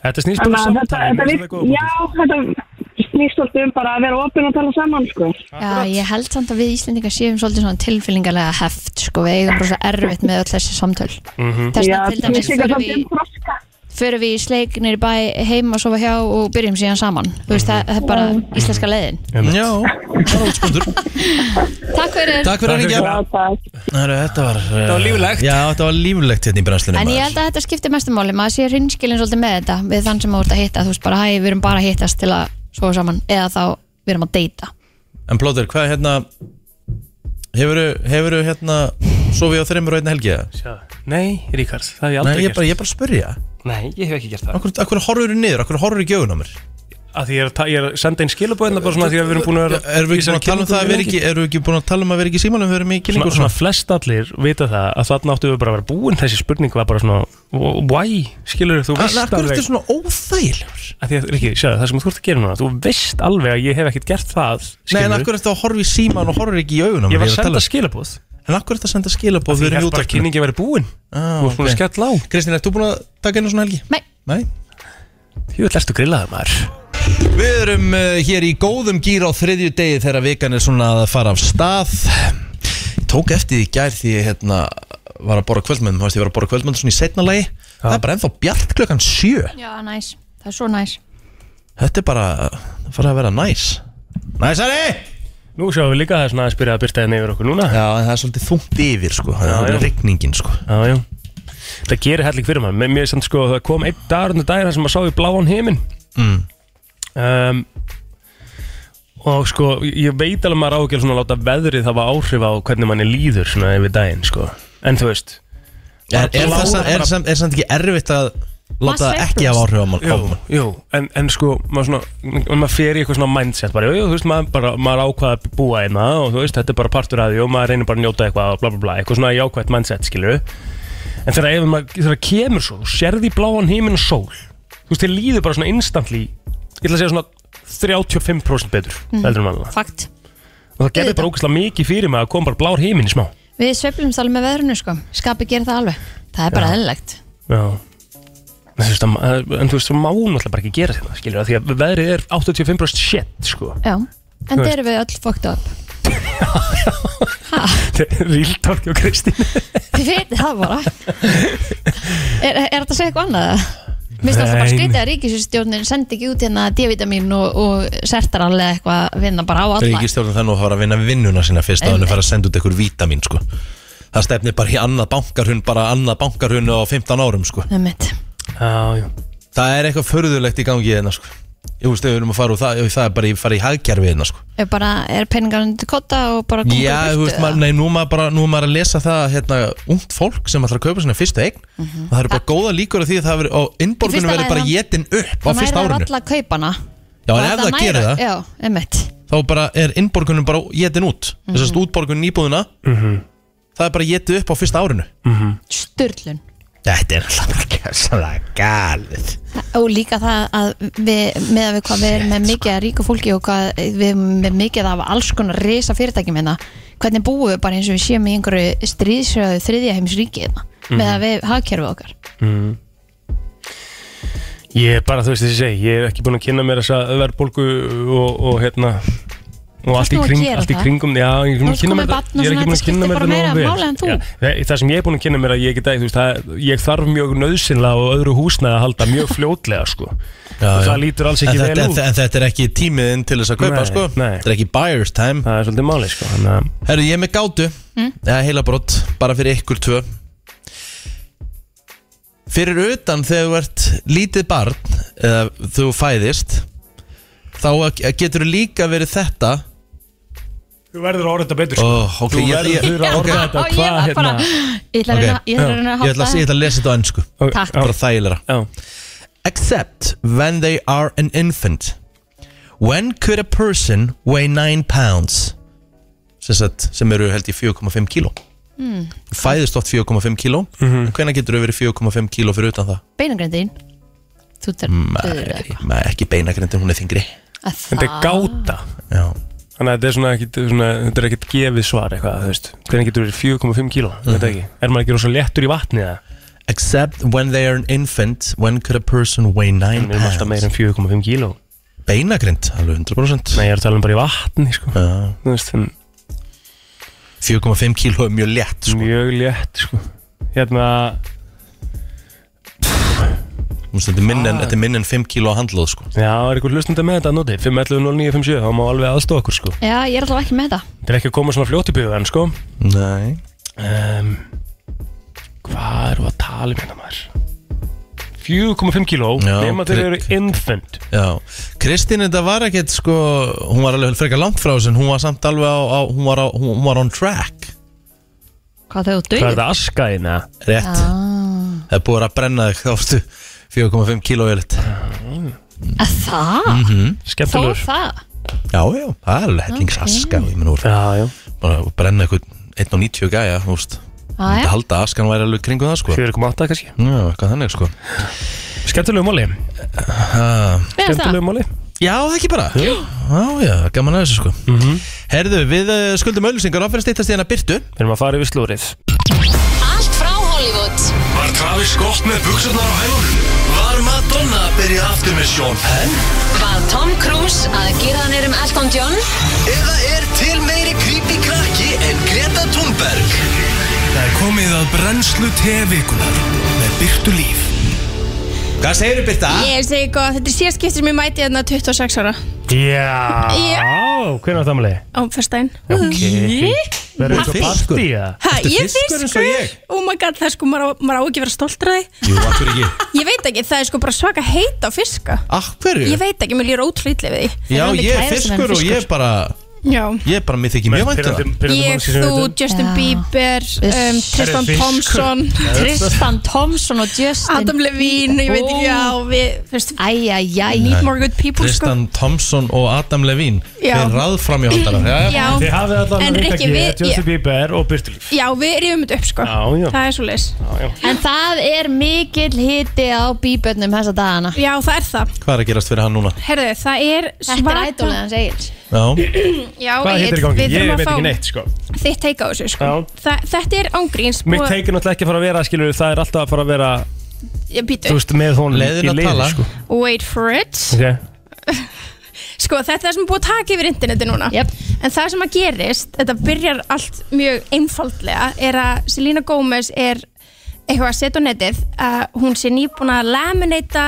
Þetta snýst
en
bara
að þetta,
samtalið
þetta
mér
við,
finnst það góð
já,
punktur.
þetta snýst alltaf um bara að vera opinn og tala saman sko
já, ég held samt að við Íslendingar séum svolítið svona tilfillingarlega heft, sko, við eigum rosa erfitt með öll þessi samtöl þess
Mhm. Já,
Mhm.
að til
snýst
dæmis
líka
fyrir
svolítið
við
um froska
förum við í sleik nýri bæ heim að sofa hjá og byrjum síðan saman Þú veist, það, það er bara íslenska leiðin
Já,
Takk fyrir
Takk fyrir Takk fyrir. hringja. Heru, þetta var Þetta
var líflegt
Já, þetta var líflegt hérna í brennslunum
En ég held að þetta skiptir mestumáli, maður sé hreinskilin svolítið með þetta við þann sem maður ert að hitta, þú veist bara hæ, við erum bara að hittast til að sofa saman eða þá við erum að deyta
En Plóter, hvað er hérna Hefurðu, hefurðu hérna Sofið á þreymur og einna helgi eða?
Sjá. Nei, Ríkars, það hef ég aldrei
Nei, ég
gert.
bara, ég bara spyrja
Nei, ég hef ekki gert það
Akkur, akkur horfur þú niður, akkur horfur þú ekki augun á mér
að Því ég er, að ta- ég er að senda einn skilabóðina bara svona því að við erum búin að vera
Erum við ekki búin að tala um það að vera ekki Erum við ekki búin að tala um að vera ekki í símanum Við erum í
Svona,
kynningu og
svona
svona
flest allir vita það að þarna áttu við bara að vera búin þessi spurning var bara svona wh- why, skilur þú
Hvað
veist
er þetta svona óþægilegur?
að því að, Riki, sjáðu, það sem þú ert að gera núna þú veist alveg að ég hef ekkert gert það
Nei,
skilurðu.
en akkur er þetta að horfa í síman og horfur ekki í augun á mér
ég var að
er tala
senda
um-
skilabóð
En akkur er þetta að senda skilabóð
Því ég held bara að kynningin væri búin
ah,
Þú varst búin að skella á
Kristín, ert þú búin að taka einu svona helgi?
Nei
Nei
Jú, ætlastu grillaði maður
Við erum uh, hér í góðum gýr á þriðju degi þegar vikan er svona að fara af stað Ég tók eftir því í gær því ég hérna var að borra kvöldmönd Þú veist, ég var að borra kvöldmönd svona í setna lagi Það er bara ennþá bjart klukkan sjö
Já, næs, það er svo næs
Þetta er bara, það fara að vera næs Næsari!
Nú sjáum við líka að það er svona að spyrja að byrta henni yfir okkur núna
Já, en það er svolítið þungt yfir sko Það
Já,
er
já.
rigningin sko
Já, já Það gerir helling fyrir maður Mér- Mér er samt sko að það kom einn dagur undir dagir þar sem maður sá við bláan heiminn
mm.
um, Og sko, ég veit alveg að maður ágjör svona að láta veðrið hafa áhrif á hvernig manni líður svona yfir daginn sko En þú veist
Er, er,
Blá-
það, samt- er, samt- er samt ekki erfitt að láta það ekki hafa áhrif á mann á
Jú,
mann?
jú, en, en sko, maður svona og maður fer í eitthvað svona mindset bara, jú, jú, þú veist, maður, bara, maður ákvað að búa einna og þú veist, þetta er bara partur að því og maður reynir bara að njóta eitthvað og bla bla bla, eitthvað svona jákvætt mindset, skilur en þegar, ef maður, þegar kemur svo þú sérði bláan heiminn og sól þú veist, þér líður bara svona instantly ég ætla að segja svona 35% betur
Mhm.
heldur en annað
Fakt
og það gerði bara ógeðslega mikið fyrir mig að kom bara blár heiminn í smá
Við sveiflumst alveg með veðrunu sko, skapi gerir það alveg Það er bara eðlilegt
Já En þú veist, að- en þú veist, það má náttúrulega bara ekki gera þetta, skilur því að veðrið er 85% shit, sko.
Já, en
Þú
það
veist.
erum við öll fókt upp
Ríltorki og Kristín
Þið veitir það bara Er, er þetta að segja eitthvað annað? Mér finnst alltaf bara
Nei.
skrítið að ríkisustjórnin sendi ekki út hérna D-vitamin og, og sertar alveg eitthvað að vinna bara á alla
Ríkistjórnum það nú að fara að vinna vinnuna sína fyrst að hann
Einmitt.
fara að senda út einhver vítamin sko. Það stefnir bara í annað bankarhund bara annað bankarhund á 15 árum sko.
Einmitt.
Já, já
Það er eitthvað förðulegt í gangi hérna sko. Ég veist, ef við erum að fara úr það, það er bara í, fara í hagkerfi hérna sko.
Er bara, er peningar undir kotta og bara koma
Já,
bara í
þú
burtu
veist, maður, nei, nú er maður bara, nú er maður að lesa það hérna, ungt fólk sem ætlar að kaupa sinna fyrstu eign og það eru bara góða líkur af því að það verið, og innborgunum
Mhm. Í fyrsta
verið
lagi
bara
það-
jetin upp á
Það
fyrsta
nær
árinu.
það alla kaupana
Já, en
Og
ef það
nær-
gerir það,
Já, einmitt
þá bara er innborgunum bara jetin út. Mm -hmm. Þessast
Mhm.
útborgunum íbúðuna,
Mhm.
það er bara jetið upp á fyrsta árinu.
Sturlun
Þetta er alltaf bara gæðslega galið
Og líka það að við, með að við hvað við erum með mikið að ríku fólki og hvað við erum með mikið af alls konar risa fyrirtækjum hérna Hvernig búum við bara eins og við séum í einhverju stríðsröðu þriðja heims ríkið hérna Með að við hagkerfið okkar
mm. Ég er bara, þú veist þess að segja, ég er ekki búin að kynna mér þessa verðbólgu og, og hérna og allt í,
nú að
kring,
gera
allt í
það.
kringum já, ég er
Nú
búin
ert
að kynna
komin
mér
barn og svona,
ég er ekki búin
þetta
að kynna
skiptir
mér
bara meira
nógu
máli en þú.
vel. Já, það- það sem ég er búin að kynna mér að ég get að þú veist, það, ég þarf mjög nöðsynlega og öðru húsnæði að halda mjög fljótlega sko.
já.
og það lítur alls
en
ekki
þetta,
vel út
en, þetta er ekki tímiðinn til þess að kaupa
Nei,
sko
nei.
Þetta er ekki buyer's time
Það er svolítið máli sko
Herru, ég er með gátu
Mm.
Eða heilabrott, bara fyrir ykkur tvö Fyrir utan þegar þú ert lítið barn Eða þú fæðist Þá getur þú líka verið þetta
Þú verður að orða þetta betur
sko. oh, okay,
Þú
ég-
verður að
ég- ok.
orða þetta
Og ég
hvað
var bara
hérna
Ég ætla að reyna- ég ætla að reyna að
Ég ætla
halda
að- ég ætla að lesa þetta á ennsku
Takk.
Bara þægilega Except when they are an infant When could a person weigh 9 pounds sem, sagt, sem eru held í 4,5 kíló
mm,
Fæðist oft 4,5 kíló
Mhm.
En hvenær getur þau verið 4,5 kíló fyrir utan það?
Beinagreindin Þú þarf
Nei, nei, ekki beinagrindin, hún er þingri
Þetta er gáta
Já.
Þannig að þetta er svona ekkit, svona, þetta er ekkit gefið svar eitthvað, þú veist Hvernig getur verið 4,5 kíló, mm. veit það ekki Er maður ekki rosa léttur í vatni eða?
Except when they are an infant When could a person weigh 9
Við erum alltaf meira en 4,5 kíló
Beinagrind, alveg 100%
Nei, ég er að tala um bara í vatni, sko
Já.
Þú veist, en
4,5 kíló er mjög létt
sko. Mjög létt, sko Hérna
Þú veist, Þetta er minn en- þetta er minn en 5 kíló handlóð sko.
Já, er ykkur hlustandi með þetta að noti 511-0957, þá má alveg aðstofa okkur sko
Já, ég er alltaf ekki með það
Þetta er ekki að koma svona fljótt í byggðu en sko
Nei
um, Hvað eru að tala um hérna maður? 4,5 kíló
Já,
nema þeir
krydd.
eru infant
Já, Kristín þetta var ekkert sko, hún var alveg frekar langt frá þessu en hún var samt alveg á, á, hún, var á hún, hún var on track
Hvað þau Ah. döið?
askaðina?
Rétt, það er búið að brenna þig þá ástu 4,5 kíló eða litt
Að það?
mm -hmm.
Ah, Þó það?
Já, já, það er alveg helling
Ok.
aska ég meina, úr,
já, já.
bara að brenna eitthvað 1,90 gæja, þú veist
Já, Ah, já.
Þetta halda að askan væri alveg kringu það sko
4,8 kannski
Já, eitthvað þannig sko Eh,
Skemmtilegu máli Skemmtilegu máli
Já, það ekki bara Já, já, gaman að þessu sko
Mhm.
Herðu, við eh, skuldum öllusingar áfæri stýttast í hana Byrtu Við
erum að fara yfir slúrið
Allt frá Hollywood
Var Travis Scott með buksarnar á hælunum? Var Madonna að byrja aftur með Sean Penn?
Var Tom Cruise að gera hann erum Elton John? Eða er til meiri creepy krakki en Greta Thunberg?
Það er komið að brennslu tevikunar með Byrtu Líf
Hvað segirðu Byrta?
Ég segi góð, þetta er síðast skiptir mér mæti hérna 26 ára
Já,
Já.
hvernig var það máli?
á fyrstæðin
Verður þú
fiskur?
basti eða?
Ha,
Ertu
ég er
fiskur eins og ég?
oh my god, það er sko, maður á, maður á ekki að vera stoltur af því
Jú, af hverju ekki?
Ég veit ekki, það er sko bara svaka heit á fiska
Af hverju?
Ég veit ekki, mér líður ótrúlega við því
Já, ég er fiskur og ég er bara
Já,
Ég er bara, mér þykir mjög vænt um það
ég, þú,
um.
Justin Bieber um, Tristan
Herri, fiskur.
Thompson
Tristan Thompson og Justin
Adam Levine, ég veit ekki, já, við
Æjæjæ
Nei.
Need more good people, sko
Tristan Thompson og Adam Levine
Já.
Þeir ráð fram í hóndarar
Já.
Þið hafið allan
En Rikki, við-
Justin Bieber og Byrtu Líf
Já, við rifum þetta upp, sko
Já, já.
Það er svo leis
Já, já
En það er mikill hiti á bíbönnum þessa dagana
Já, það er það
Hvað er að gerast fyrir hann núna?
Herðu, það er svaka
Þetta er ædólið hans Egil
Já
Já,
Hvað heitir í gangi?
við
Ég
þurfum að
veit
fá
ekki neitt sko
Þitt teika á þessu, sko
Já.
Þa, Þetta er ángríns
Mitt teik er náttúrulega ekki að fara að vera skilur Það er alltaf að fara að vera
Ég býtu
Þú veist með hún
Leiðin að tala.
sko.
Wait for it
okay.
Sko, þetta er það sem er búið að taka yfir interneti núna
yep.
En það sem að gerist, þetta byrjar allt mjög einfaldlega Er að Selena Gomez er eitthvað að setja á netið að hún sé nýbúin að laminata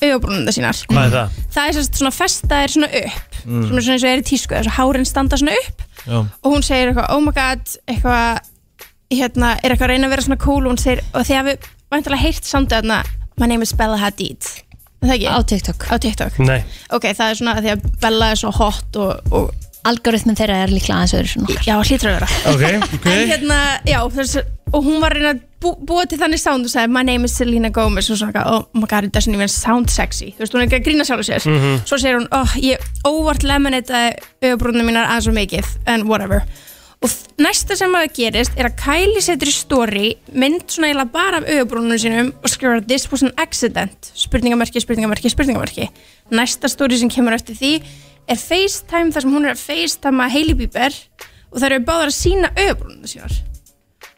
augabrúnunda sínar
Hvað er það?
Það er sérst svona festa er svona upp
Mm.
sem er svona eins og er í tísku, þess að hárin standa svona upp
Já
og hún segir eitthvað, oh my god eitthvað, hérna, er eitthvað að reyna að vera svona cool og hún segir, og þið hafið vantilega heyrt samt þarna, my name is Bella Hadid er það ekki? Á
TikTok
Á TikTok
Nei
Ok, það er svona að því að Bella er svona hot og, og
Algoritmin þeirra er líklega aðeins öðru svona
Já, hlýtur að vera
Ok,
En hérna, já, þess, og hún var að reyna að bú, búa til þannig sound og sagði, my name is Selena Gomez og svona, eitthvað, oh my god, it doesn't even sound sexy þú veist, hún er ekki að grína sjálf sér
Mhm.
svo segir hún, oh, ég óvart lemonitaði auðbrúnum mínar aðeins og mikið en whatever og f- næsta sem að gerist er að Kylie setur í story mynd svona eiginlega bara af auðbrúnum sínum og skrifar this was an accident spurningamarki, spurningamarki, spurningamarki næsta story sem kemur eftir því er FaceTime þar sem hún er að FaceTime Hailey Bieber og þær eru báðar að sína auðbrúnum sínar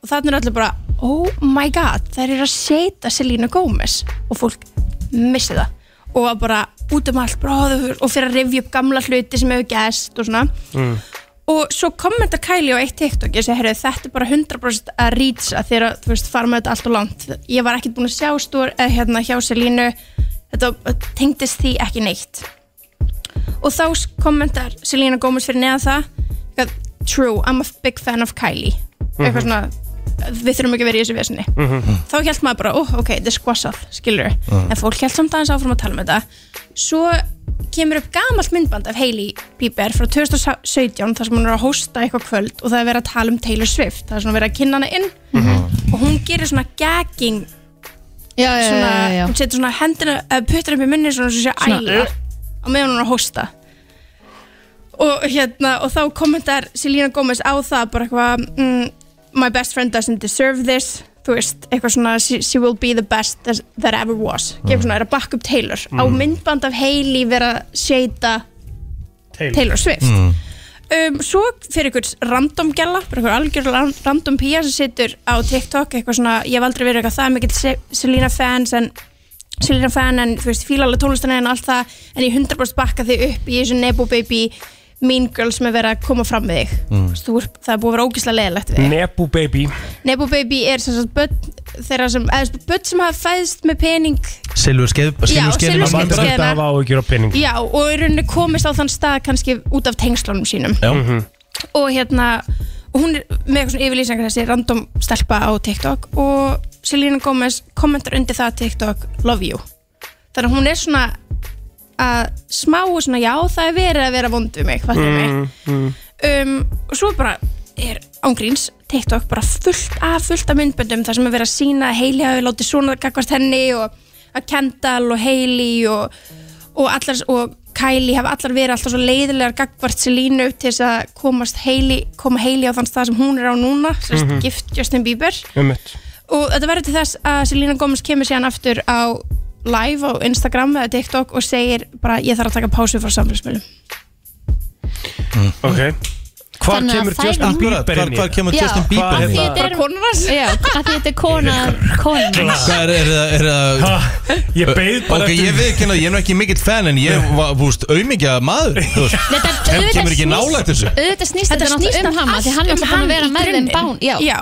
og þannig er allir bara oh my god, þær eru að setja Selena Gomez og fólk missi það og var bara út um allt bara, "Ó, þú- og fyrir að rifja upp gamla hluti sem hefur gæst og svona
Mm.
og svo kommentar Kylie á eitt TikTok ég segi, herru, þetta er bara 100% að rýtsa þegar að, þú veist, fara með þetta allt og langt ég var ekkert búin að sjá stór eða hérna hjá Selínu þetta tengdist því ekki neitt og þá s- kommentar Selína Gómez fyrir neðan það eitthvað, true, I'm a big fan of Kylie eitthvað
Mhm.
svona við þurfum ekki að vera í þessu vesinni
Mm.
þá held maður bara, oh, ok, þetta er skvassað, skilur
Mhm.
en fólk held samt aðeins áfram að tala um þetta svo kemur upp gamalt myndband af Hailey Bieber frá 2017 þar sem hún er að hosta eitthvað kvöld og það er verið að tala um Taylor Swift það er svona verið að kynna hana inn
Mhm.
og hún gerir svona gagging
já, já,
svona,
já, já.
hún setur svona hendina eða puttar upp í munni svona sem sé
Svona,
æla
uh.
á meðan hún er að hosta og hérna og þá kommentar Selena Gomez á það bara eitthvað mm, my best friend doesn't deserve this þú veist, eitthvað svona she, she will be the best that, that ever was gefur svona, er að bakka upp Taylor á
Mm.
myndband af Hailey vera að seita
Taylor,
Swift
Mm.
um, svo fyrir ykkur random gæla bara ykkur algjör ran- random pía sem situr á TikTok eitthvað svona, ég hef aldrei verið eitthvað það mikill Se- Selena fans en Selena fan en þú veist, fíla alveg tónlistina en allt það en ég 100% bakka þig upp í þessu Nebo Baby Mean Girls með verið að koma fram við þig
Mm.
Þú ert- það er búið að vera ógislega leðilegt við þig
Nebu baby
Nebo Baby er sem sagt börn þeirra sem, eða börn sem hafa fæðst með pening
Silvur skeið
Já,
skeiðina.
silfurskeiðina.
Vandrætt
skeiðina.
af áhugjur á pening
já, og í rauninni komist á þann stað kannski út af tengslunum sínum
Já
Mhm.
og hérna og hún er með eitthvað svona yfirlýsingar þessi random stelpa á TikTok og Selena Gomez kommentar undir það TikTok love you þannig að hún er svona að smá og svona já það er verið að vera vond við mig, fattu
Mm.
mig um, og svo bara er ángríns TikTok bara fullt af fullt af myndböndum þar sem er verið að sína Hailey hafi látið svona gagvart henni og að Kendall og Hailey og, og, allar, og Kylie hafa allar verið alltaf svo leiðilegar gagvart Selínu til þess að komast Hailey, koma Hailey á þann stað sem hún er á núna sem mm
Mhm.
gift Justin Bieber
Um mitt
og þetta verður til þess að Selena Gomez kemur síðan aftur á live á Instagram eða TikTok og segir bara ég þarf að taka pásu frá samfélagsmiðlum
Ok Hvar
Þannig að
kemur
þær-
Justin Bieber
Hvar-
inn í
hvar kemur
Já,
Justin Bieber
af
inn í
því
hérna.
þetta?
þetta er konan hans Já, af því þetta er konan konan hans.
Hvað er, er það, er það
Ég beið bara
Ok,
eftir-
ég veið ekki, ég er nú ekki mikill fan En ég var, þú veist, auðmikja maður Þú veist,
Þetta-
kem,
auðvitað
kemur ekki
snýst-
nálægt þessu
Auðvitað snýst
Þetta
þetta
snýst
náttúrulega
allt
um hana Því hann er
um
náttúrulega búin að
hann
vera
í
með þeim
grunninn.
bán Já,
Já.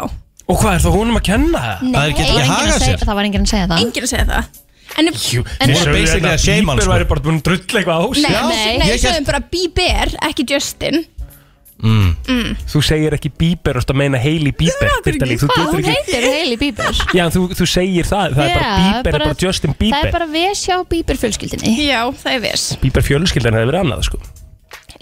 Og hvað er það honum að kenna það?
Það er
Það var
ekki ekki að
enginn
haga
að
sér
segja- það var enginn að segja það
Enginn að segja það En,
Jú,
En- Voru
sögðu
basically
hérna
að shame hann,
Bieber
sko.
væri bara búin að drull eitthvað á
Nei,
sig
já, nei, nei,
Oh, ég
við sögum bara Bieber, ekki Justin
mm.
mm.
Þú segir ekki Bieber, þú ert að meina Hailey Bieber Birta Líf, þú
Hvað,
getur
hún
ekki
heitir Hailey Bieber
Já, en þú, þú segir það, það er bara
Já,
Bieber, bara, bara Justin Bieber
Það er bara við sjá Bieber fjölskyldinni
Já, það er við
Bieber fjölskyldan hefði verið annað, sko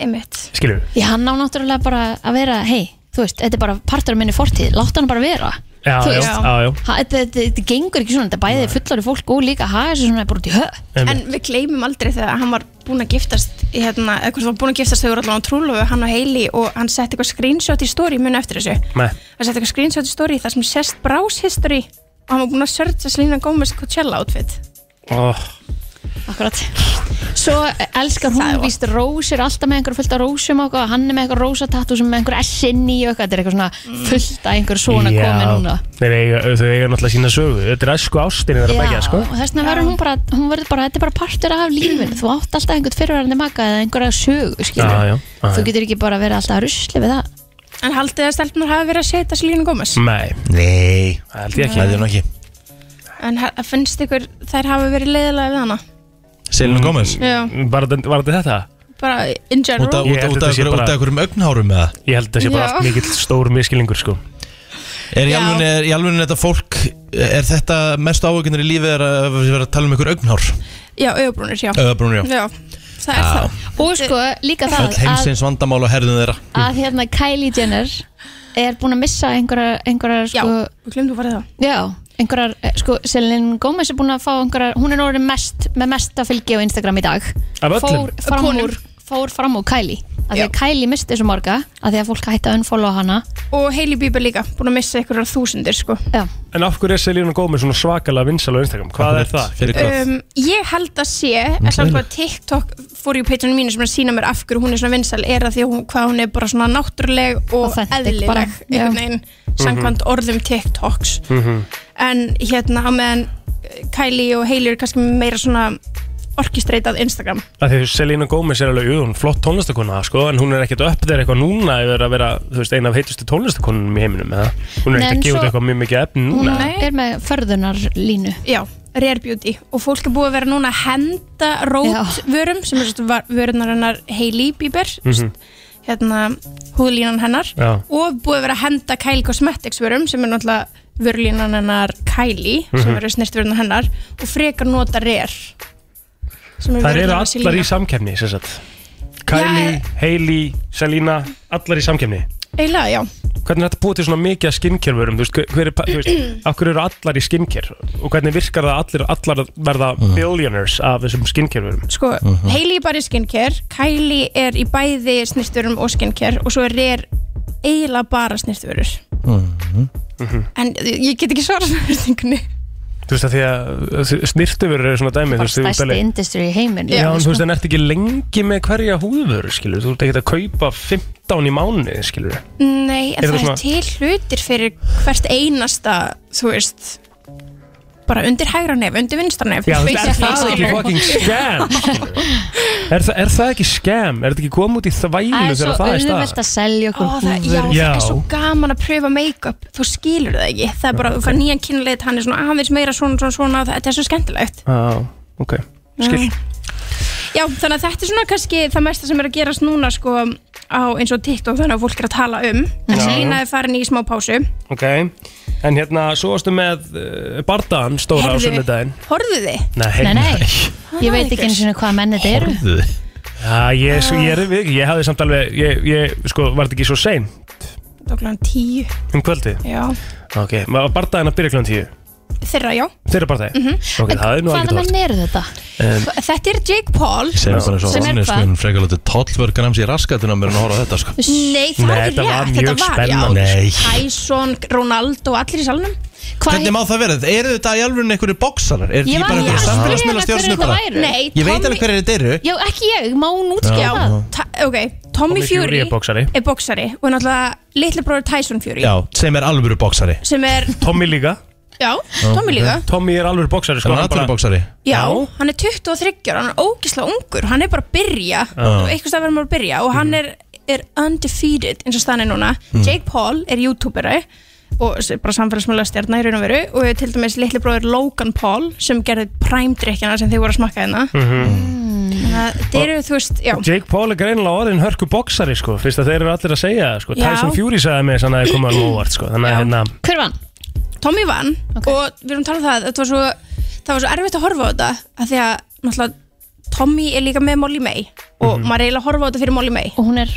Einmitt
Skilur við?
Því hann á náttúrulega bara að vera Hei, þú veist, þetta er bara partur af minni fortíð Láttu hann bara vera
Já,
Þú
já,
veist.
já, já
Ha, Þetta þetta- þetta gengur ekki svona, þetta er bæði fullari fólk og líka haga þessu svona bara út í höf
En við gleymum aldrei þegar hann var búinn að giftast í hérna, eða hvort það var búinn að giftast þegar allan á trúlofu, hann og Hailey og hann sett eitthvað screenshot í story muni eftir þessu
Nei.
hann sett eitthvað screenshot í story þar sem sest browse history og hann var búinn að searcha Selena Gomez Coachella outfit
oh.
Akkurat Svo elskar hún víst rósir alltaf með einhver fullt af rósum og eitthvað, hann er með einhver rósatattu sem er með einhver S inni og eitthvað, þetta er eitthvað svona fullt af einhver svona
Mm. Já.
komið núna
Þeir eiga, þau eiga náttúrulega sína sögu Þetta er æsku ástinni þeirra begja, sko
og þess vegna verður hún bara, hún verður bara, þetta er bara partur af lífinu þú átt alltaf einhvern fyrirverðandi maka eða einhverja sögu, skilur
Já, já, já,
þú
já.
getur ekki bara verið alltaf að rusli við það
En haldið þið að stelpunar hafi verið að setja Selena Gomez
Nei
Nei
Það held ég ekki
Það er nú ekki
En ha- finnst ykkur þær hafi verið leiðilega við hana?
Selina Gomez
Já.
Var þetta var þetta þetta?
Bara in
Út af
general
Ég held þetta sé bara-
einhverjum ögnhárum eða
Ég held að þetta sé bara
Já.
allt mikill stór miskilingur, sko
Er í
Já.
alveg, er, í alveg þetta fólk Er þetta mestu áhugunar í lífi Er að við verðum að tala um einhver ögnhár
Já, augabrúnir, já
Augabrúnir, já.
það er
Já.
það
og sko, líka
Öll
það að,
heimsins vandamál á herðum þeirra
að hérna Kylie Jenner er búin að missa einhverja, einhverja sko,
já, við glemdu að fara
það já, einhverjar, eh, sko, Selin Gómez er búin að fá einhverjar, hún er orðin mest með mesta fylgi á Instagram í dag
Af öllum?
fór fram
Konum.
úr, fór fram úr Kylie af því að Kylie misti þessu morga af því að fólk hætti að unfollow hana
og Hailey Bieber líka, búin að missa einhverjar þúsundir sko.
En af hverju er Selina Gómez svona svakalega vinsal á Instagram? Hvað er það?
um, ég held að sé að samt hvað TikTok fór í peitunum mínu sem er að sína mér af hverju hún er svona vinsal er að því að hún, hvað hún er bara svona náttúruleg og
Authentic bara,
eðlileg einhvern
já.
veginn samkvæmt orðum TikToks
Mhm.
en hérna á meðan eh, Kylie og Hailey eru kannski meira svona orkistreitað Instagram
að því að Selena Gomez er alveg jú, hún er flott tónlistakona sko, en hún er ekkert upp þegar eitthvað núna yfir að vera þú veist, eina af heitustu tónlistakonunum í heiminum eða? hún er
Nei, en
ekkert að gefa út
svo-
eitthvað mjög mikið efni
hún
núna
er með förðunarlínu
já, rare beauty og fólk er búið að vera núna að henda rót vörum sem er svona vörunar hennar Hailey Bieber
Mhm.
hérna húðlínan hennar
Já.
og búið að vera að henda Kylie Cosmetics vörum sem er náttúrulega vörlínan hennar Kylie sem
Mhm.
eru snert vörunar hennar og frekar nota Rare sem
það eru
vörurnar
allar í
Selena.
samkefni Kylie, Hailey, Selena allar í samkefni
eiginlega, já
hvernig er þetta búið til svona mikið af skinnkerfurum þú veist, hver- hver er, pa- þú veist, af hverju eru allar í skinnker og hvernig virkar það að allir, allar verða billionaires af þessum skinnkerfurum
sko,
Mhm.
Hailey er bara í skincare Kylie er í bæði snirtvurum og skincare og svo er Rare eiginlega bara snirtvörur en ég get ekki svarað spurningunni
Mhm. þú veist að því að snirtuverur eru svona dæmi
bara
þú veist, þú-
stærsti industry í heimin
Já, en þú veist, en ert ekki lengi með hverja húðvöru, skilur, þú ert ekki að kaupa 15 í mánuði, skilur
Nei, en
Er
það
það
er til hlutir fyrir hvert einasta, þú veist bara undir hægra nef, undir vinstra nef
Já, þú veist, er það ekki
Skilur.
fucking scam? Er, þa er það ekki scam? Er þetta ekki komið út í þvælu
Æ,
þegar
svo
það er
auðvelt
stað?
að selja okkur húfur Já,
Já.
það er svo gaman að pröfa make-up þú skilur það ekki, það er bara þú fær nýjan kynleit, hann er svona, "Ah, hann veist meira svona, svona, svona þetta er svo skemmtilegt
Já, ok, skil
Já, þannig að þetta er svona kannski það mesta sem er að gerast núna sko á eins og TikTok þannig að fólk er að tala um en
Já.
Selina er farin í smá pásu
Ok, en hérna, svo varstu með uh, bardaðan
um
stóra á
Heyrðu.
sunnudaginn
Horfðu þið?
Nei,
Nei, nei, ég veit ekki eins og hvað menn þetta eru
Já, ég, svo, ég, er, ég, ég hafði samt alveg, ég, ég sko, var þetta ekki svo sein
Það var kláðan tíu
um kvöldi?
Já,
Ok, var bardaðin að byrja kl. 10?
þeirra já
Þeirra bardaði?
Mhm.
Ok,
En
það er nú
Hvaða
ekkert
menn eru þetta?
Um,
Þetta er Jake Paul
Segðu bara svo
sem er
Hannes
hvað?
mun frekar látið 12 grams í raskatina mér en að horfa á þetta sko
Nei, það
Nei,
er
þetta
ekki
var
rétt
mjög spennandi. Nei.
Tyson, Ronaldo, allir í salnum
Hvernig má það vera? Eru þetta í alveg einhverju bóksarar? Er
Ég
þetta
var
bara
alveg
einhverju
að spyrja
samfélagsmiðla
hverju þetta
stjórnstjórnara?
væru. Nei,
Ég veit
Tommy-
alveg hverju þetta eru
Já, ekki ég, má hún
Já,
útskýra það
já.
Ta- Ok, Tommy
Tommy Fury
Fury
er boxari.
er boxari og er náttúrulega litli bróður Tyson Fury
Já, sem er alvöru bóksari
sem er,
Tommy líka Mhm.
já, Tommy líka
Tommy er alveg bóksari sko,
Hann er alvöru bóksari
Já, hann er 23 ára, hann er ógislega ungur hann er bara að byrja,
Já.
eitthvað stað verðum að byrja og hann er, er undefeated eins og staðan er núna,
Mm.
Jake Paul er youtuberi og s- bara samfélagsmála stjarnar í raun og veru og til dæmis litli bróður Logan Paul sem gerði præmdrykkjana sem þið voru að smakka hérna þannig að þetta eru þú veist, já
Mhm. Jake Paul er greinilega orðin hörku boksari sko, fyrst að þeir eru allir að segja það, sko.
Já.
Tyson Fury sagði mig þannig að það koma alveg óvart sko. þannig að hérna
Hver vann? Tommy vann og við erum talað um það þetta var svo, það var svo erfitt að horfa á þetta af því að náttúrulega Tommy er líka með Molly May og maður er eiginlega að horfa á þetta fyrir Molly May og hún er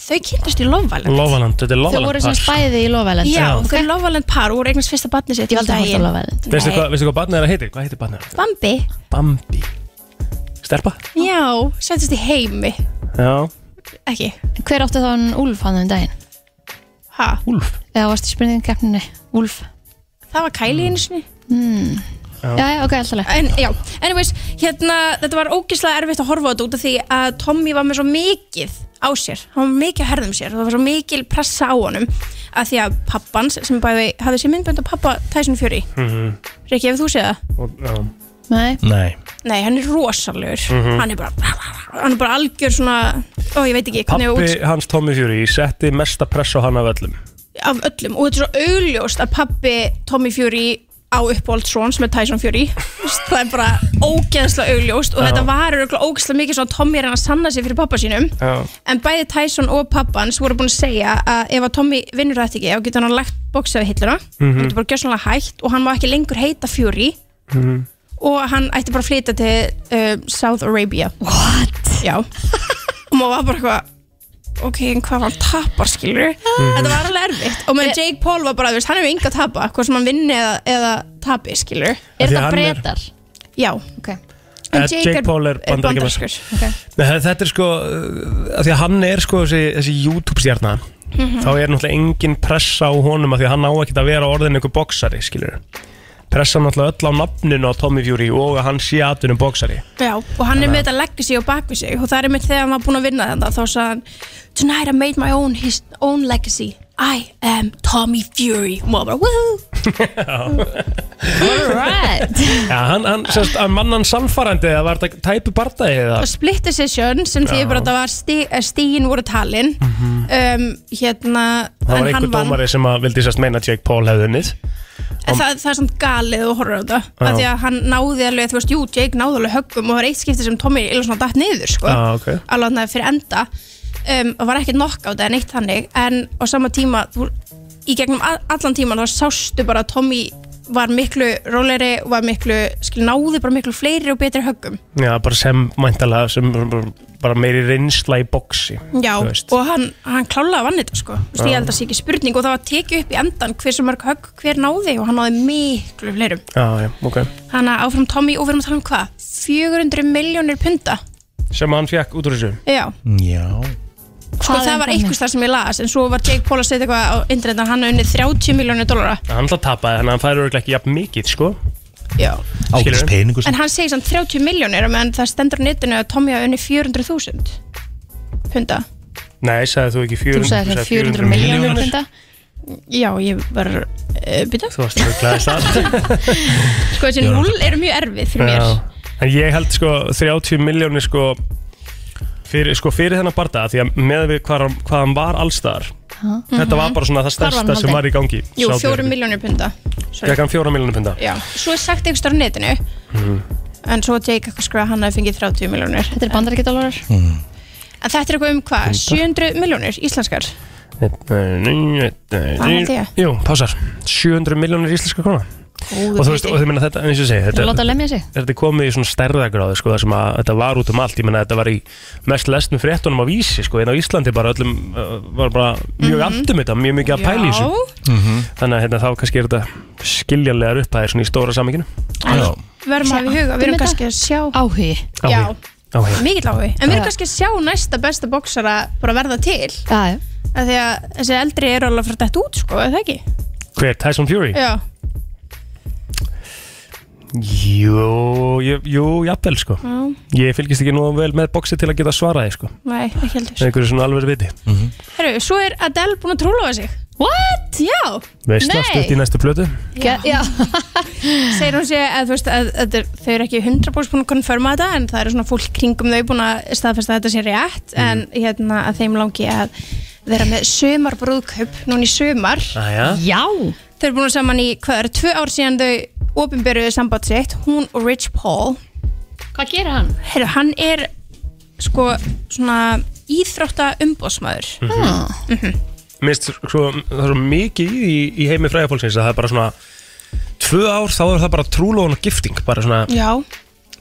þau kynntast í Love Island
Lovaland, þetta er
Þau
Lovaland
voru sem sagt bæði í Lovaland
já, þau er Love Island par og voru eignast fyrsta barni sitt um
Ég valdi að horfa á Love Island.
Veistu hvað, veistu hvað barnið er að heitir? Hvað heitir barnið?
Bambi,
Bambi Stelpa?
já, sendist í heimi
Já
ekki
Hver átti þá hann Úlf hann um daginn?
Ha?
Úlf?
Eða varstu í spurningkeppninni, Úlf
það var Kylie einu sinni
mm. Já, já, ok, alltaf
En, já, anyways, hérna, þetta var ógeðslega erfitt að horfa á þetta út af því að Tommy var með svo mikið á sér, hann var með mikið að herðum sér og það var svo mikil pressa á honum að því að pappans, sem bæði hafði sér myndbönd af pappa Tyson Fury
Mhm.
Rikki, hefur þú séð það?
Og- Já
Nei
Nei
Nei, hann er rosalegur
Mhm.
Hann er bara, hann er bara algjör svona ó, ég veit ekki hvernig
Pappi
út
hans Tommy Fury setti mesta press á hann af öllum
af öllum og þetta er svo augljóst að pappi Tommy Fury á uppáhaldsson sem er Tyson Fury Þú veist, það er bara ógeðslega augljóst og
Já.
þetta var örugglega ógeðslega mikið svo að Tommy er hann að sanna sig fyrir pappa sínum
Já
en bæði Tyson og pappans voru búin að segja að ef að Tommy vinnur þetta ekki þá getur hann lagt bóksaði hilluna
Mhm.
hann getur bara gjössanlega hægt og hann má ekki lengur heita Fury
Mhm.
og hann ætti bara að flytja til uh, South Arabia What? Já og maður var bara eitthvað ok, en hvað var hann tapar skilur þetta
Mhm.
var alveg erfitt og
Eh,
meðan Jake Paul var bara, þú veist, hann hefur enga að tapa hvað sem hann vinni eða, eða tapi skilur
Er Því þetta hann er- Bretar?
Já okay.
Eh, Jake Paul er Bandaríkjamaður.
okay.
Nei, það- þetta er sko uh, af því að hann er sko þessi, þessi YouTube stjarna
Mhm.
þá er náttúrulega engin pressa á honum af því að hann á ekkert að vera orðin einhver boksari skilur pressa náttúrulega öll á nafninu á Tommy Fury og að hann sé atvinnum boksari
Já, og hann er með þetta legacy og bak við sig og það er með þegar hann var búinn að vinna þetta þá sagði hann Tonight I made my own, his own legacy I am Tommy Fury og maður bara, woohoo Alright
Já, hann, hann, semst, að mann hann sannfærandi eða var þetta tæpu bardagi eða
Og split decision sem því
Já. Mhm.
bara að það var stí, stíin voru talin um, hérna
það
en
var
hann
einhver
vann.
dómari sem að vildi sérst meina að Jake Paul hefði unnið
En það, það er samt galið og horfður á þetta
Já.
af því að hann náði alveg, þú veist, jú, Jake náði alveg höggum og það var eitt skipti sem Tommy illa svona datt niður, sko
Já, Ah, ok.
alveg hann fyrir enda um, og var ekkert knockout eða neitt þannig en á sama tíma, þú, í gegnum a- allan tíman þá sástu bara að Tommy var miklu róleri og var miklu, skil, náði bara miklu fleiri og betri höggum
Já, bara sem mæntalega sem bara meiri reynsla í boksi
Já,
þú veist.
og hann, hann klálaði vann þetta sko Þú veist,
Já.
ég held að það sé ekki spurning og það var tekið upp í endan hversu mörg högg hver náði og hann náði miklu fleirum
Já, já, ok
Þannig að áfram Tommy og við erum að tala um hvað? 400 miljónir punta
sem hann fekk út úr þessu
Já,
Já
sko
Hvað er
það var
þannig?
eitthvað þar sem ég las en svo var Jake Paul að setja eitthvað á internetan hann hafði unnið 30 miljónir dólara
Hann ætla að tapa en hann færi örglega ekki jafn mikið sko
Já
Ákveðs peningur
en hann segir samt 30 miljónir meðan það stendur á netinu að Tommy hafði unnið 400.000 punta
Nei, sagði þú ekki 400
Þú sagði það 400 miljónir punda
Já, ég var uh, byrja
Þú varst rugglaðist að
Sko þessi
Ég var
0 eru mjög erfið fyrir mér
En ég held sko 30 miljónir sko fyrir, sko fyrir þennan barða því að með við hvað, hann- hvað hann var allstaðar
Ha?
þetta var
Mhm.
bara svona það
Hvar var hann
stærsta sem
haldinn?
var í gangi hérna.
Jú, 4 miljónir punda Sorry.
Gekk hann 4 miljónir punda
Já, svo er sagt eitthvað á netinu
Mhm.
En svo Jake eitthvað skrifa að hann hafi fengið 30 miljónir Þetta er bandarækjadólarar
Hmm.
En þetta er eitthvað um hvað? 700 miljónir íslenskar Hvað held ég?
Jú, pásar 700 miljónir íslenska króna
Góður
og þú veist,
hluti.
og þið meina þetta, eins og ég segi
Þetta
þetta,
er að láta lemja sig.
þetta er komið í svona stærðagráðu sko, þar sem að þetta var út um allt ég meina þetta var í mest lesnum fréttunum á vísi sko, en á Íslandi bara öllum uh, var bara mjög mm
Mhm.
-hmm. andum þetta, mjög mikið að pæla í þessu þannig að hérna, þá kannski er þetta skiljanlegar upphæðir svona í stóra sammynginu Já,
Verðum að hafa í huga, við erum kannski að sjá
Áhugi
Áhugi.
Já,
áhugavert.
mikill áhugi En við
Já.
erum kannski að sjá næsta besta boksara bara verða til
Já, já
Því að þessi eldri eru alveg að fara dætt út, sko, eða ekki?
hver, Tyson Fury?
Já,
Jú, jú, jú, jafnvel sko
Já.
Ég fylgist ekki nú vel með boxi til að geta svaraði sko
nei, ekki heldur
með einhverju svona alveg viti mm -hmm.
Herru, svo er Adele búin að trúlofa sig
What?
Já
Veist það, stutt í næstu plötu
Já, já. Segir hún sé að þú veist að, að þeir- þau eru ekki 100% búin að konfirma þetta en það eru svona fólk kringum þau búin að staðfesta að þetta sé rétt
Mhm.
en hérna að þeim langi að vera með sömar brúðkaup núna í sömar
Jæja.
Já
Þau eru búin saman í hvað eru tvö ár síðan þau ofinbyrjuðu samband sitt hún og Rich Paul
Hvað gerir hann?
Herru, hann er sko svona íþrótta umbóðsmaður
Mhm. Mist, svo, það er svo mikið í, í, í heimi fræða fólksins að það er bara svona tvö ár þá er það bara trúlóðan og gifting bara svona,
Já,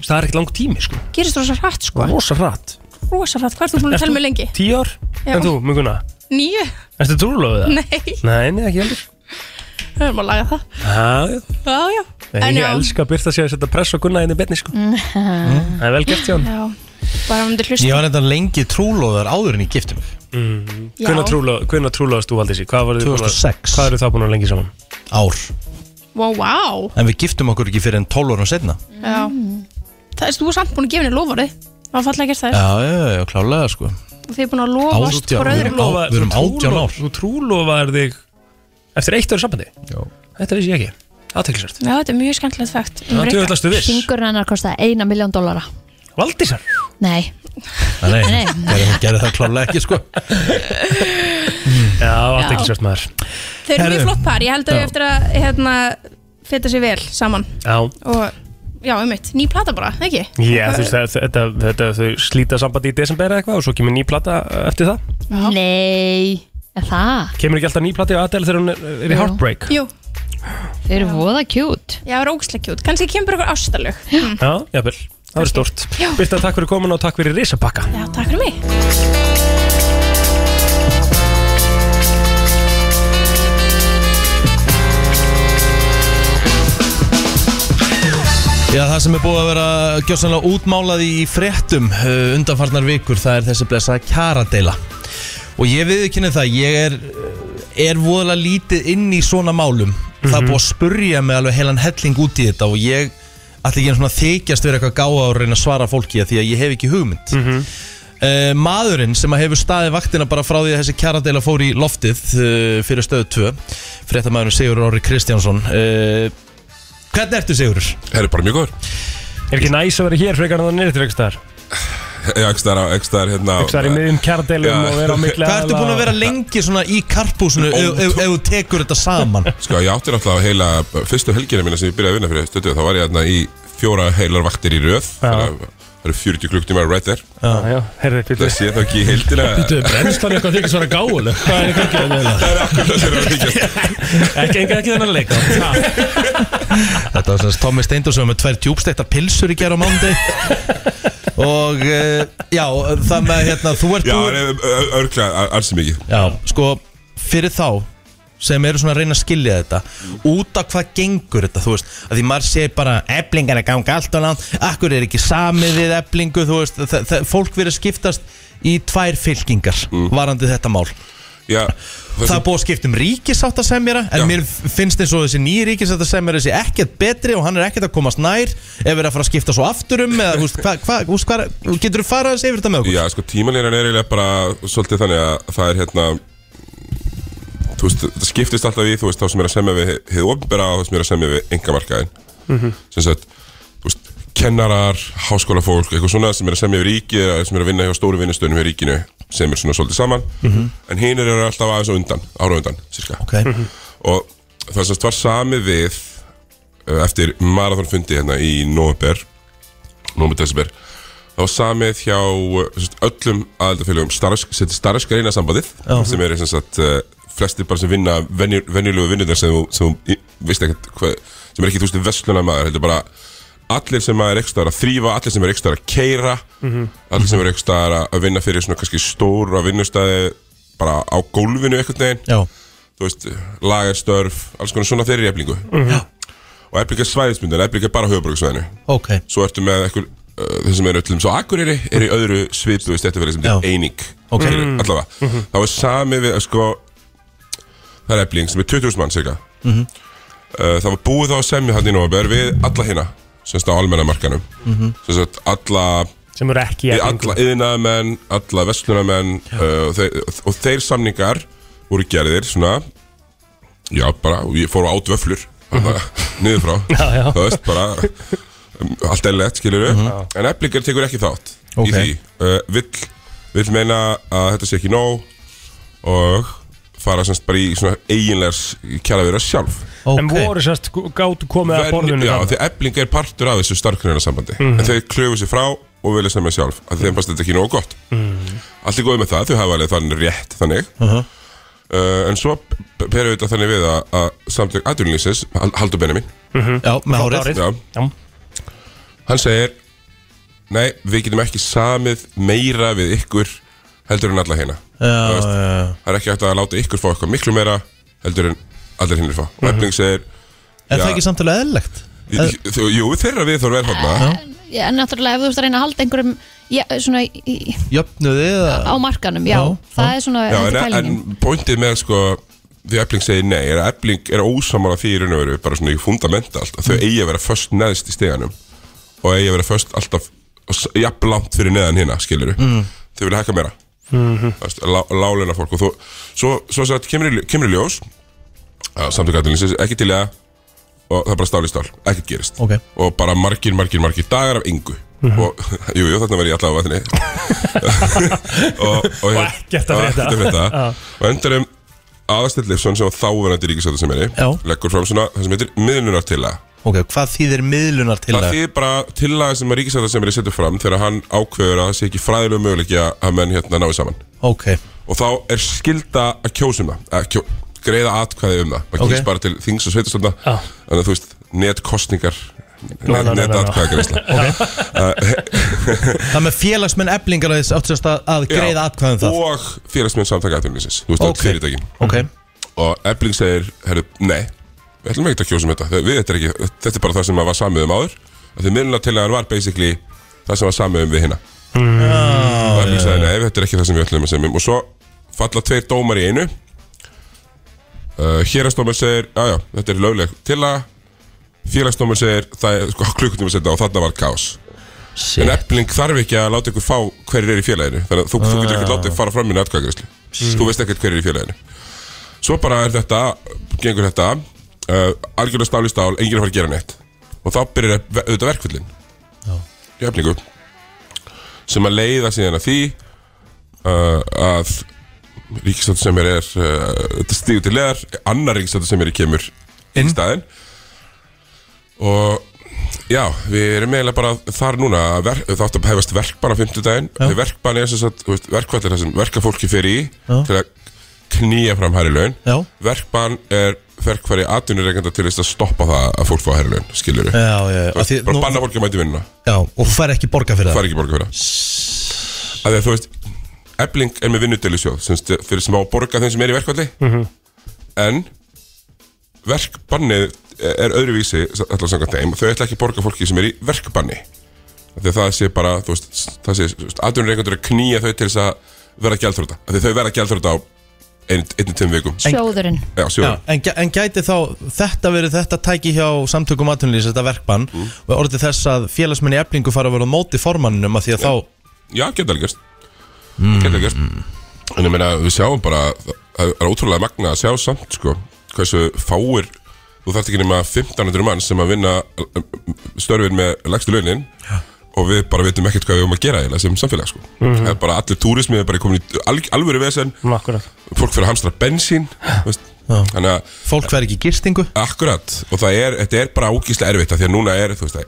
það er ekkert langt tími sko
gerist rosa hratt sko
rosa hratt
Rosa hratt, hvað ert þú búin að
Ert
tala
þú-
með lengi?
Tíu ár?
Já.
En þú, Muguna?
Nýju?
Ertu trúlóðið það?
Nei,
Nei, nei, ekki heldur
við erum að laga það
Já, já
Já, já
Nei, Ég elska að byrta sér að setja press og gunna inn í
Mm.
betni sko
Já,
Það er vel gert hjá hann
bara um þetta
Ég
hlusta
var enda lengi trúlóðar áður en ég gifti mig
mm.
Já.
Hvernig trúlóðast þú Valdísi? Hvað voruð þið búin að-
2006.
Hvað eru það búin að vera lengi saman?
Ár
Vá, vá
En við giftum okkur ekki fyrir en 12 árum setna
Já
Mm.
Það er þú er samt búin að gefa henni lofari Það var fallega gert þær
Já, já, já, klálega sko
Og þið er búin að lofast
Átján.
hvort öðrum
Á- við erum
Þú
18
trúlo-
ár.
Þú trúlóðar þig eftir eitt ára sambandi? Já Þetta vissi ég ekki Aðteklisvært
Já, þetta er mjög skemmtilegt fakt
Já, djöfullastu viss.
Hingurinn hennar kostaði eina miljón dólara
Valdísar?
Nei
Nei,
Nei.
gerði, hún gerði það klálega ekki sko Mm.
Já,
athyglisvert,
maður
Þau eru mjög
Herðu.
flott par Ég held að
Já.
við eftir að hérna, feta sér vel saman
Já
Og já, um mitt, ný plata bara, ekki?
Já, þú veist, það- þetta, þetta, þau slíta sambandi í desember eða eitthvað og svo kemur ný plata eh, eftir það.
Nei Er það?
Kemur ekki alltaf ný plata í Adele þegar hún er, er í
Jú.
Heartbreak?
Jú
Þau eru voða kjút
Já, það er ógæslega kjút Kanski kemur ykkur ástalög mm.
Já, jafnvel. Það verður stórt. Birta, takk fyrir komin og takk fyrir risapakka.
Já, takk fyrir mig
Já, það sem er búið að vera gjössanlega útmálað í fréttum uh, undanfarnar vikur, það er þessi blessa kjaradeila. Og ég viðkynni það, ég er, uh, er voðalega lítið inn í svona málum. Það er búið að spurja mig alveg heilan helling út í þetta og ég ætla ekki einu svona að þykjast vera eitthvað gáða og reyna að svara fólki að því að ég hef ekki hugmynd. Uh, maðurinn sem að hefur staðið vaktina bara frá því að þessi kjaradeila fór í loftið uh, fyrir stöðu 2 fréttamaðurinn Sigur Orri Kristjánsson uh, Hvernig ertu Sigur?
Það er bara mjög góður
Er ekki næs að vera hér frekar en það nýrið til ekki staðar?
Já, ekki staðar, ekki staðar hérna
Ekki staðar í miðjum kjardelum
Já.
og vera á mikla...
Hvað ertu búin að vera lengi svona í karpúsinu ef ef- ef þú tekur þetta saman?
Sko, ég átti náttúrulega heila fyrstu helgina mína sem ég byrjaði að vinna fyrir stötu Þá var ég hérna í fjóra heilar vaktir í röð Þannig að Það eru 40 klukktíma right there
Já, já, herrið, byrju.
Það sé þá ekki í heildina
Byrju, brennst hann eitthvað þykist vera gáuleg? Hvað er hérna ekki ekki þennan?
Það er akkur það sem er að þykjast
Ekki ekki ekki þennan leik. sko.
Þetta var svona Tommi Steindur sem var með tvær djúbstekta pilsur í gera á mándi Og uh, já, það með hérna, þú ert
Já,
búin-
það er örglega alls mikið
Já, sko, fyrir þá sem eru svona að reyna að skilja þetta út af hvað gengur þetta, þú veist að því maður sé bara, eblingar er að ganga allt og langt akkur er ekki samið við eblingu þú veist, þa- þa- fólk verið að skiptast í tvær fylkingar
Mm.
varandi þetta mál
Já,
Það er búið að skipta um ríkisátt að semjara en mér finnst eins og þessi nýji ríkisátt að semjara sé ekkert betri og hann er ekkert að komast nær ef er að fara að skipta svo aftur um eða, þú veist, hva, hva, hva, hva, getur þú farað að segja þetta með okkur?
Já, sko, tímalínan er eiginlega bara svolítið þannig að það er hérna þú veist, þetta skiptist alltaf í þú veist, þá sem er að semja við hið ofnbera og þá sem er að semja við engamarkaðin
Mhm.
sem sagt, þú veist, kennarar háskólafólk, eitthvað svona sem er að semja við ríki eða sem er að vinna hjá stóru vinnustöðunum hjá ríkinu sem er svona svolítið saman
Mhm.
en hinnir eru alltaf aðeins á undan, ára á undan cirka.
Ok. Mhm.
og það sem sagt var samið við eh, eftir marathonfundi hérna í november november desember þá var samið hjá eh, sem sagt, öllum aðaldafélögum starfskreina starfs sambandið
Já.
sem er sem sagt, eh, flestir bara sem vinna venju, venjulegu vinnundar sem þú- sem þú í- veist ekkert hvað, sem er ekki þú veist vestluna maður heldur bara allir sem er ekstra að þrýfa allir sem er ekstra að keira
Mhm.
allir sem er ekstra að vinna fyrir svona kannski stóra vinnustæði bara á gólfinu eitthvað neginn
Já.
þú veist, lagarstörf alls konar svona þeirri eflingu
Mhm.
Já.
og eflinga svæðismyndin, eflinga bara höfuborgsvæðinu
Ok.
svo ertu með ekkur uh, þeir sem eru öllum svo Akureyri eru í öðru svipu í stættufæri sem þetta er eining
Ok.
Skilur,
Mm.
allavega,
Mhm.
þá er sami við uh, sko, það er ebling sem er 20.000 mann cirka
Mhm.
uh, það var búið þá að semja hann í nóvabær við alla hina sem stá á almenna markanum
Mhm.
sem sagt alla
Sem eru ekki í
við
Eflingu.
alla yðnaðamenn, alla vestlunamenn uh, og, þeir, og þeir samningar voru gerðir svona já bara, og ég fór á át vöflur niður frá
Mhm. Já, já.
það veist bara um, allt er lett skilur við
Mhm.
en eflingar tekur ekki þátt
Ok.
í því uh, vill, vill meina að þetta sé ekki nóg og fara semst bara í svona eiginlegs kjæra sjálf
En voru sérst gáttu komið að
Vel-
borðinu
Já,
þarna?
því ebling er partur af þessu starkreina sambandi
Mhm.
En þau klöfu sér frá og vilja semja sjálf Af því þeim fannst þetta ekki nógu gott
Mhm.
Allt er góð með það, þau hafa alveg þannig rétt þannig
Mhm.
uh, En svo perum við þetta þannig við að, að samtök aðurlýsins Haldur Benjamin
Mhm. Já, með Halldór hárið.
Já.
hárið.
Hann segir Nei, við getum ekki samið meira við ykkur heldur en alla hérna
Já,
Þú veist,
já, já.
Það er ekki hægt að láta ykkur fá eitthvað miklu meira heldur en allir hinnir fá Og ebling segir
Mhm. Er
já,
það ekki samtalið eðlilegt?
Þau- Jú, þeirra við þarf verð
Já.
hátna
Já, en náttúrulega ef þú ert að reyna að halda einhverjum já, svona í, í,
Jöfnuði
á
eða
markanum, já, það er svona
Já,
þetta er
en,
pælingin.
en pointið með sko því Efling segir nei, er að Efling er ósamála því í raun og veru, bara svona í fundamentalt að þau
Mm.
eigi að vera föst neðst í steganum og eigi að vera föst alltaf jafn langt fyrir neðan hérna, skilur
Mhm.
Mm.
þau vilja hækka meira
Mhm.
láleina fólk og þú, svo, svo sagt, kemur, í- kemur í ljós að samtökatilinsis ekki til í að og það er bara stál í stál, ekkert gerist
Ok.
og bara margir, margir, margir dagar af yngu
Mhm.
og jú, jú, þarna verði ég allavega vatni og, og, hérna,
Og ekkert að
og
frétta.
ekkert að
Já.
frétta og endarum Aðarsteinn Leifsson sem var þáverandi ríkisættu sem er
Já.
leggur fram svona það sem heitir miðlunartillaga
Ok, hvað þýðir miðlunar til
það þýðir bara tillaga sem að ríkisættu sem er setur fram þegar hann ákveður að það sé ekki fræðilegu möguleiki að að menn hérna náðu saman
Ok,
og þá er skilda að kjósum það að kjó, greiða atkvæði um það maður
Ok.
okay. bara til þings og sveitastönda
Já.
þannig að þú veist, netkostningar
No, no, no, no, no.
netatkvæðagreisla
það með félagsmenn eblingar að þess áttu sérst að- að greiða atkvæðum það
og félagsmenn samtaka atvinnlýsins þú veist það
Ok.
okay. fyrirtækin
Ok.
og Ebling segir, herru, nei við ætlum ekki að kjósa um þetta Þe- við, þetta, er ekki, þetta er bara það sem var samið um áður og því miðlunartillagan var basically það sem var samið um við hérna
Mm.
Ah.
og Ebling segir, nei, þetta er ekki það sem við ætlum að semja um og svo falla tveir dómar í einu uh, hérastómar segir já, já, þetta er lögleg tillaga félagsdómar segir, það er sko, klukkutíma setna og þarna var kaos
Shit.
en Ebling þarf ekki að láta ykkur fá hverjir er í félaginu þannig að þú, þú getur ekki
Ah.
látið fara fram í nætkvæðagreyslu þú veist ekkert hverjir er í félaginu Svo bara er þetta, gengur þetta uh, algjörlega stál í stál, enginn er að fara að gera neitt og þá byrjar ve- auðvitað verkfyllin í efningu sem að leiða síðan að því uh, að ríkistöndu sem er, er uh, þetta stígur til leðar, annar ríkistöndu sem er kemur inn í staðinn og já, við erum eiginlega bara þar núna að ver, það átt að hefast verkbann á fimmtudaginn
Já.
Þau verkbann er sem sagt, þú veist, verkvall er það sem verkafólki fer í
Já.
til að knýja fram hærri laun
Já.
verkbann er verkfæri atvinnureikenda til þess að stoppa það að fólk fá hærri laun skilur
Já, já, já. Af því
bara
nú-
banna fólki að mæti vinnuna
Já, og þú fær ekki borga fyrir
það
það
fær ekki borga fyrir það að því að þú veist Ebling er með vinnudelisjóð sem st- fyrir sem á að borga þeim sem er í verkvalli
Mhm.
en verkbannið er öðruvísi allar samkvæmt þeim og þau ætla ekki að borga fólki sem er í verkbanni Af því að það sé bara þú veist, það sé atvinnureikundur að knýja þau til þess að verða gjaldþróta af því að þau verða gjaldþróta á ein- einni tveim vikum
Sjóðurinn.
já, sjóður
Já, en, gæ- en gæti þá þetta verið þetta tæki hjá samtökum atvinnlýs þetta verkbann
Mm.
og orðið þess að félagsmenni eblingu fara að vera á móti formanninum að því að þá
Já, geta alveg gerst mm. Geta alveg gerst En ég meina, við sjáum bara að það er ótrúlega magna að sjá samt sko, hversu fáir þú þarft ekki nema 1500 mann sem að vinna eh, störfin með lægstu launin og við bara veitum ekkert hvað við höfum að gera eiginlega sem samfélag sko.
Mhm.
það er bara allir túrismi er bara komin í al, alvöru vesen
Akkurat.
fólk fyrir að hamstra bensín þú veist. þannig að
fólk fer ekki gistingu
akkurat og það er, þetta er bara ógíslega erfitt af því að núna er þú veist það,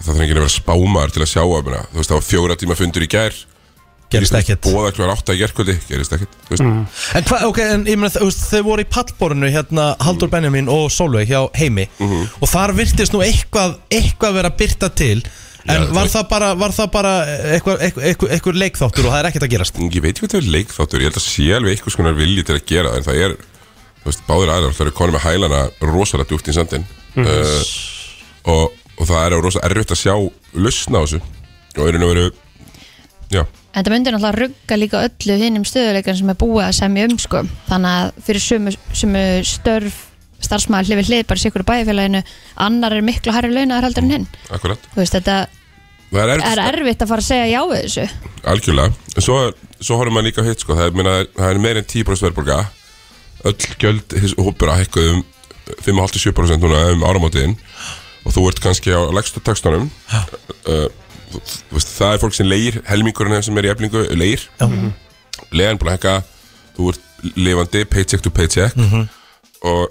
það þarf ekki að vera spámaður til að sjá að meina, þú veist það var fjóra tíma fundur í gær
Gerist ekkert.
bóða klár átta í gærkvöldi gerist ekkert þú veist.
Mm. En hvað, ok, en ég meina, þú veist, þau voru í pallborinu hérna
Mm.
Haldur Benjamin og Solveig hjá heimi
Mhm.
og þar virtist nú eitthvað, eitthvað vera byrta til en
Já,
var,
það-
það bara, var það bara eitthvað, eitthvað, eitthvað, eitthvað leikþáttur og það er ekkert að gerast
Mm, ég veit ekki hvað það er leikþáttur ég held að sé alveg eitthvað skonar vilji til að gera það, en það er, þú veist, báðir aðrar það eru konum með hælana rosalega djúpt í sandin
Mhm.
uh, og, og það er rosalega erfitt að sjá lausna á þessu og er nú veru já,
Þetta myndir náttúrulega rugga líka öllu hinnum stöðuleikan sem er búið að semja um sko. þannig að fyrir sumu, sumu störf starfsmaður hlifir hlið bara sikur bæfélaginu, annar er miklu hærri launar heldur en hinn.
akkurat
Þú veist, þetta
það er erfitt,
er erfitt að fara að segja já við þessu.
algjörlega en svo, svo horfum maður líka á hitt sko, það er, minna, það er meir en 10% verðbólga öll gjöld hins hópur að hækkuð um 5,5-7% núna um áramótiðin og þú ert kannski á lægstu takstunum uh, þú- þú veist, það er fólk sem leir helmingurinn sem er í eflingu leir
Mhm.
leiðan búin að hækka þú ert lifandi paycheck to paycheck
Mhm.
og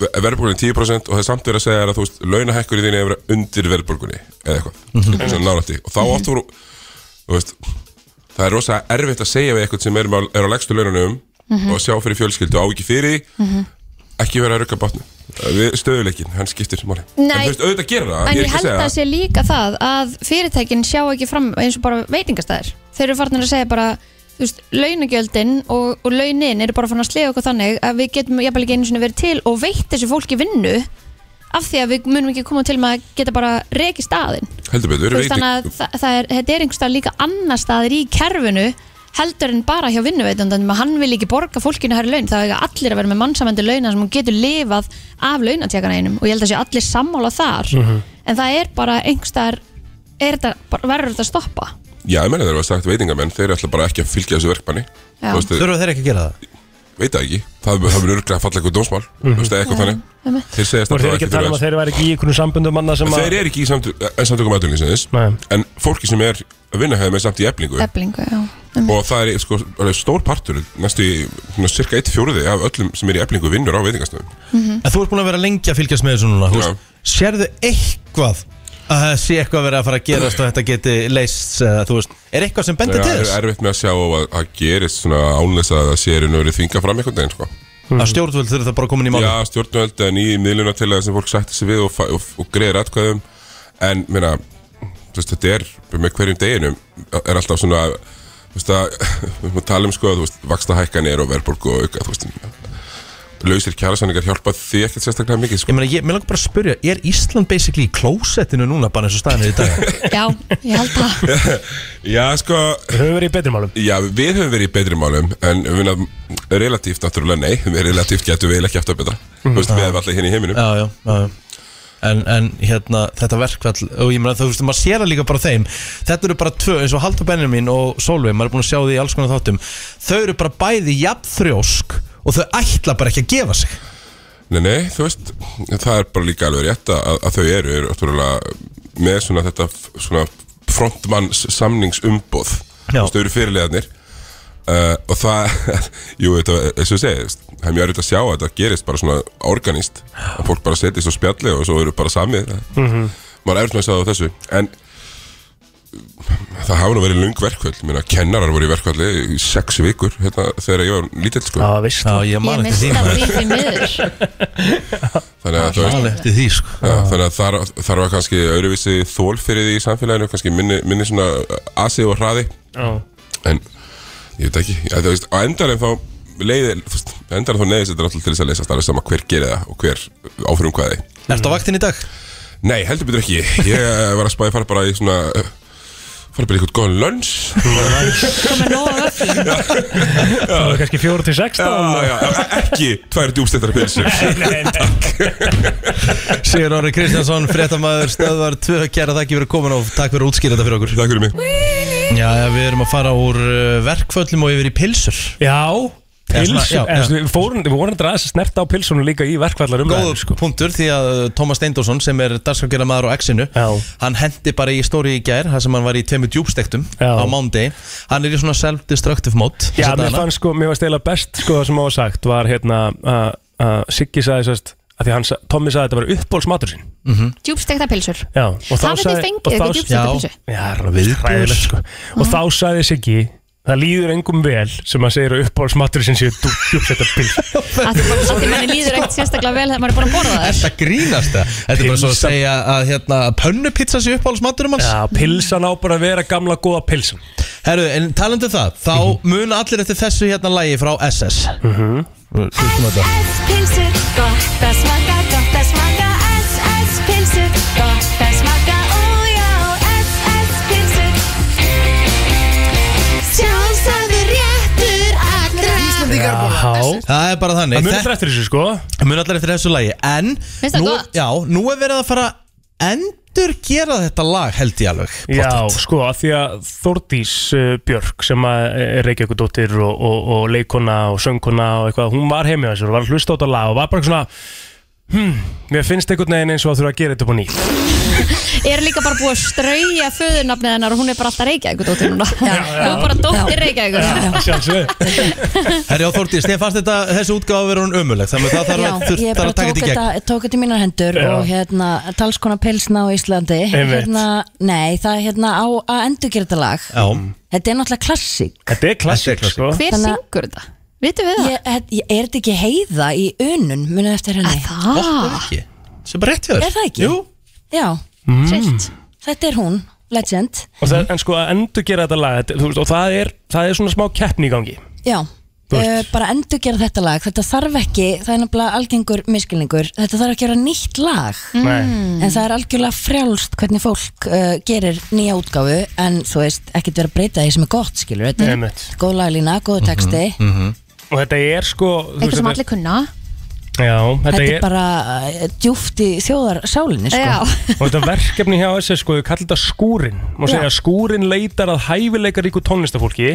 verðbólgunni 10% og það er samt verið að segja þér að þú veist launahækkunni þín er að vera undir verðbólgunni eða eitthvað, mm
Mhm.
-hmm. nálætti og þá oft voru þú veist, það er rosa erfitt að segja við eitthvað sem er, er á legstu laununum
Mhm.
og sjá fyrir fjölskyldu á ekki fyrir því, ekki vera að rugga bátnum Eh, við stöðuleikin, hann skiptir máli en
Nei.
þú veist, auðvitað gera það,
En
er
ég
ekki að
held að
segja
það sé líka það að fyrirtækin sjá ekki fram eins og bara veitingastæðir. Þeir eru farin að segja bara, þú veist, launagjöldin og, og launin eru bara farin að slega okkur þannig að við getum jafnvel ekki einu sinni verið til og veitt þessu fólki vinnu af því að við munum ekki koma til með að geta bara reki staðin.
heldur betur,
Þú veist,
veiting
þannig að það, það er, þetta er einhverstað líka annar staðir í kerfinu heldur en bara hjá vinnuveitandanum að hann vil ekki borga fólkinu hærri laun það er allir að vera með mannsamandi launa sem hún getur lifað af launatekana einum og ég held að sé allir sammála þar
Mhm.
en það er bara einhverstaðar er þetta, bara- verður þetta að stoppa
já, ég menna þeir eru að sagt veitingamenn, þeir ætla bara ekki að fylgja þessu verkmanni
Já.
Þú veist,
Þurfa þeir ekki að gera það?
veit það ekki, það það mun örglega að falla eitthvað dómsmál, þú veist, eða eitthvað
Já,
þannig
einmitt.
þeir segjast
Mhm. Voru
alltaf
þeir ekki að tala um að
þurfa
þeir væri ekki í einhvern sambundum manna sem að
þeir eru ekki í samtök- samtökum aðdölingisins en fólki sem er að vinna hefði með samt í eflingu
eblingu, já
og það er sko, alveg stór partur næstu í svona, cirka 1 fjóruði af öllum sem er í eflingu vinnur á veitingastöðum
En þú ert búin að vera lengi að fylgjast með þessu núna þú
Já.
veist. Sérðu eitthvað að það sé eitthvað verið að fara að gerast og þetta geti leist, eða, þú veist, er eitthvað sem bendir til
það er
þess?
erfitt með að sjá að, að gerist svona ánlegs að það sé í raun og verið þvinga fram einhvern veginn sko.
Að stjórnvöld þurfa það bara komin í máli?
já, stjórnvöld en í miðluna til að sem fólk sætti sig við og, fa- og, og greiðir atkvæðum en meina, þú veist, þetta er með hverjum deginum er alltaf svona þú veist að, við erum að tala um sko þú veist, vakstahækkanir og verðbólgu og auka þú veist, lausir kjærasanningar hjálpa því ekkert sérstaklega mikið sko.
Ég meina, ég, mér langar bara að spyrja, er Ísland basically í klósettinu núna bara eins og staðinu í dag?
já, ég held það
Já, sko Við
höfum verið í betri málum
Já, við höfum verið í betri málum En við erum relatíft, náttúrulega, nei Við relatíft getum við eiginlega ekki aftur betra Þú veist, við hefum alltaf hérna í heiminum
Ah. já, já, já, já. En, en hérna, þetta verkvall og ég meina, þú veist, maður sér það líka bara á þeim þetta eru bara tvö, eins og Haldur Benjamin og Solveig, maður er búin að sjá því í alls konar þáttum þau eru bara bæði jafnþrjósk og þau ætla bara ekki að gefa sig
Nei, nei, þú veist, það er bara líka alveg rétt að, að þau eru, eru náttúrulega með svona þetta f- svona frontmanns samningsumboð
Já.
Þú veist, þau eru fyrirlegarnir uh, og það, jú, þetta, eins og ég segi þú veist, það er mjög erfitt að sjá að þetta gerist bara svona organist, að fólk bara setjast og spjalli og svo eru bara samið
Mhm.
maður er erfitt með að segja það á þessu en það hafa nú verið lung verkvöld, minna, kennarar voru í verkvöldi í sex vikur, hérna, þegar ég var lítill, sko.
Já, veist Já,
ég
ég misti að því því miður
þannig að, þú
Man
veist,
eftir því, sko.
já, þannig að þar, þar var kannski öðruvísi þól fyrir því í samfélaginu kannski minni, minni svona asi og hraði
Já.
en ég veit ekki ja, þú veist, á endanum þá leiði endanum þá neyðist þetta náttúrulega til þess að leysast alveg sama hver gerir það og hver áfyrum hvaði
Mm.
Ertu á vaktin í dag?
Nei, heldur betur ekki Ég eh, var að spæði fara bara í svona eh, fara bara í eitthvað góðan lunch
komið nóg af öllum
Það var kannski 4 til 6
Já, já, ekki tvær djúbstettar pilsur
Sigur Orri Kristjánsson, fréttamaður stöðvar 2 kæra þakki fyrir komin og takk fyrir að útskýra þetta fyrir okkur
Takk fyrir mig
Já, já, við erum að fara úr uh, verkföllum og yfir í pilsur
Já pils
já,
en
já.
svona, Við fórum, við vorum þetta aðeins að snerta á pilsunum líka í verkvallar
Góður punktur því að uh, Tómas Steindorsson sem er dagskrafgjara maður á X-inu hann hendi bara í stóri í gær þar sem hann var í tveimur djúbstektum á mándegi hann er í svona self-destructive mode
Já, mér fannst sko, mér varst eiginlega best sko það sem á að sagt var hérna að að Siggi sagði sérst að því hann, sa- Tommi sagði að þetta var uppbólsmatur sinn
Djúbstekta pilsur
Já, og þá
Hafið þið
sagði
fengið ykkur djúpsteikta pilsu?
Já, já, það var hræðilegt sko Og þá sagði Siggi Það líður engum vel sem að segir að uppbólsmatur sinn séu djúbsetta pilsu
Af því af því manni líður ekkert sérstaklega vel þegar maður er búin að borða þær
Þetta grínast það Þetta er bara svo að segja að hérna, pönnupizza sé uppáhaldsmaturum hans
Já, pilsan á bara að vera gamla góða pilsan Mhm.
Herru, en talandi um það Þá muna allir eftir þessu hérna lægi frá SS Hlustum á þetta.
Pilsur, gott að smaka, gott að smaka SS pilsur, gott að smaka Ó já, SS pilsur Sjálfsagður réttur allra Íslandingar
Það er bara þannig
Það muna allir eftir þessu sko
Muna allir eftir þessu lægi En
Finnst það
nú,
gott?
já, nú er verið að fara að endur gera þetta lag held ég alveg
Já, sko, að því að Þórdís uh, Björk sem að eh, er Reykjavíkudóttir og, og, og leikona og söngkona og eitthvað, hún var heimja þessu og var að hlusta á þetta lag og var bara svona hmm, mér finnst einhvern veginn eins og að þurfa að gera þetta upp á nýtt
Er líka bara búið að strauja föðurnafnið hennar og hún er bara alltaf reykjægur dóttir núna Hún er bara dóttir reykjægur
Sjálfsög
Herri á Þórdís, þér fannst þetta þessu útgáfa verið hún ömuleg Þannig að það þarf að,
ég
þurft
bara
að
tók
taka þetta í gegn
þetta- tók þetta í mínar hendur
Já.
og hérna, talskona pilsna á Íslandi
Einmitt.
hérna, Nei, það er hérna á að endurgera þetta lag
Já.
Þetta er náttúrulega klassík
Þetta er klassik, sko
Hver syngur þetta? Vitum við það?
Ég, ég, er þetta ekki heiða í unun munið eftir henni?
Það?
ekki Sem bara rétt hjá þér.
Er það ekki?
Jú.
Já,
mm.
þetta er hún, legend
Og það, En sko, að endur gera þetta lag þetta, þú veist, og það er, það er svona smá keppni í gangi
Já, uh, bara endur gera þetta lag Þetta þarf ekki, það er náttúrulega algengur miskilningur, þetta þarf ekki að gera nýtt lag Mm.
Nei.
En það er algjörlega frjálst hvernig fólk uh, gerir nýja útgáfu En þú veist, ekkert vera að breyta því sem er gott, skilur Þetta er
Einmitt.
góð laglína, góð texti
Mhm,
Og þetta er sko þú
Eitthvað
veist,
sem
þetta
allir kunna
er- Já, þetta,
Þetta er
er
bara uh, djúft í þjóðar sálinni, sko
Já.
Og þetta verkefni hjá þessi sko, við kallum þetta skúrin Má
Já.
segja að skúrin leitar að hæfileikaríku tónlistafólki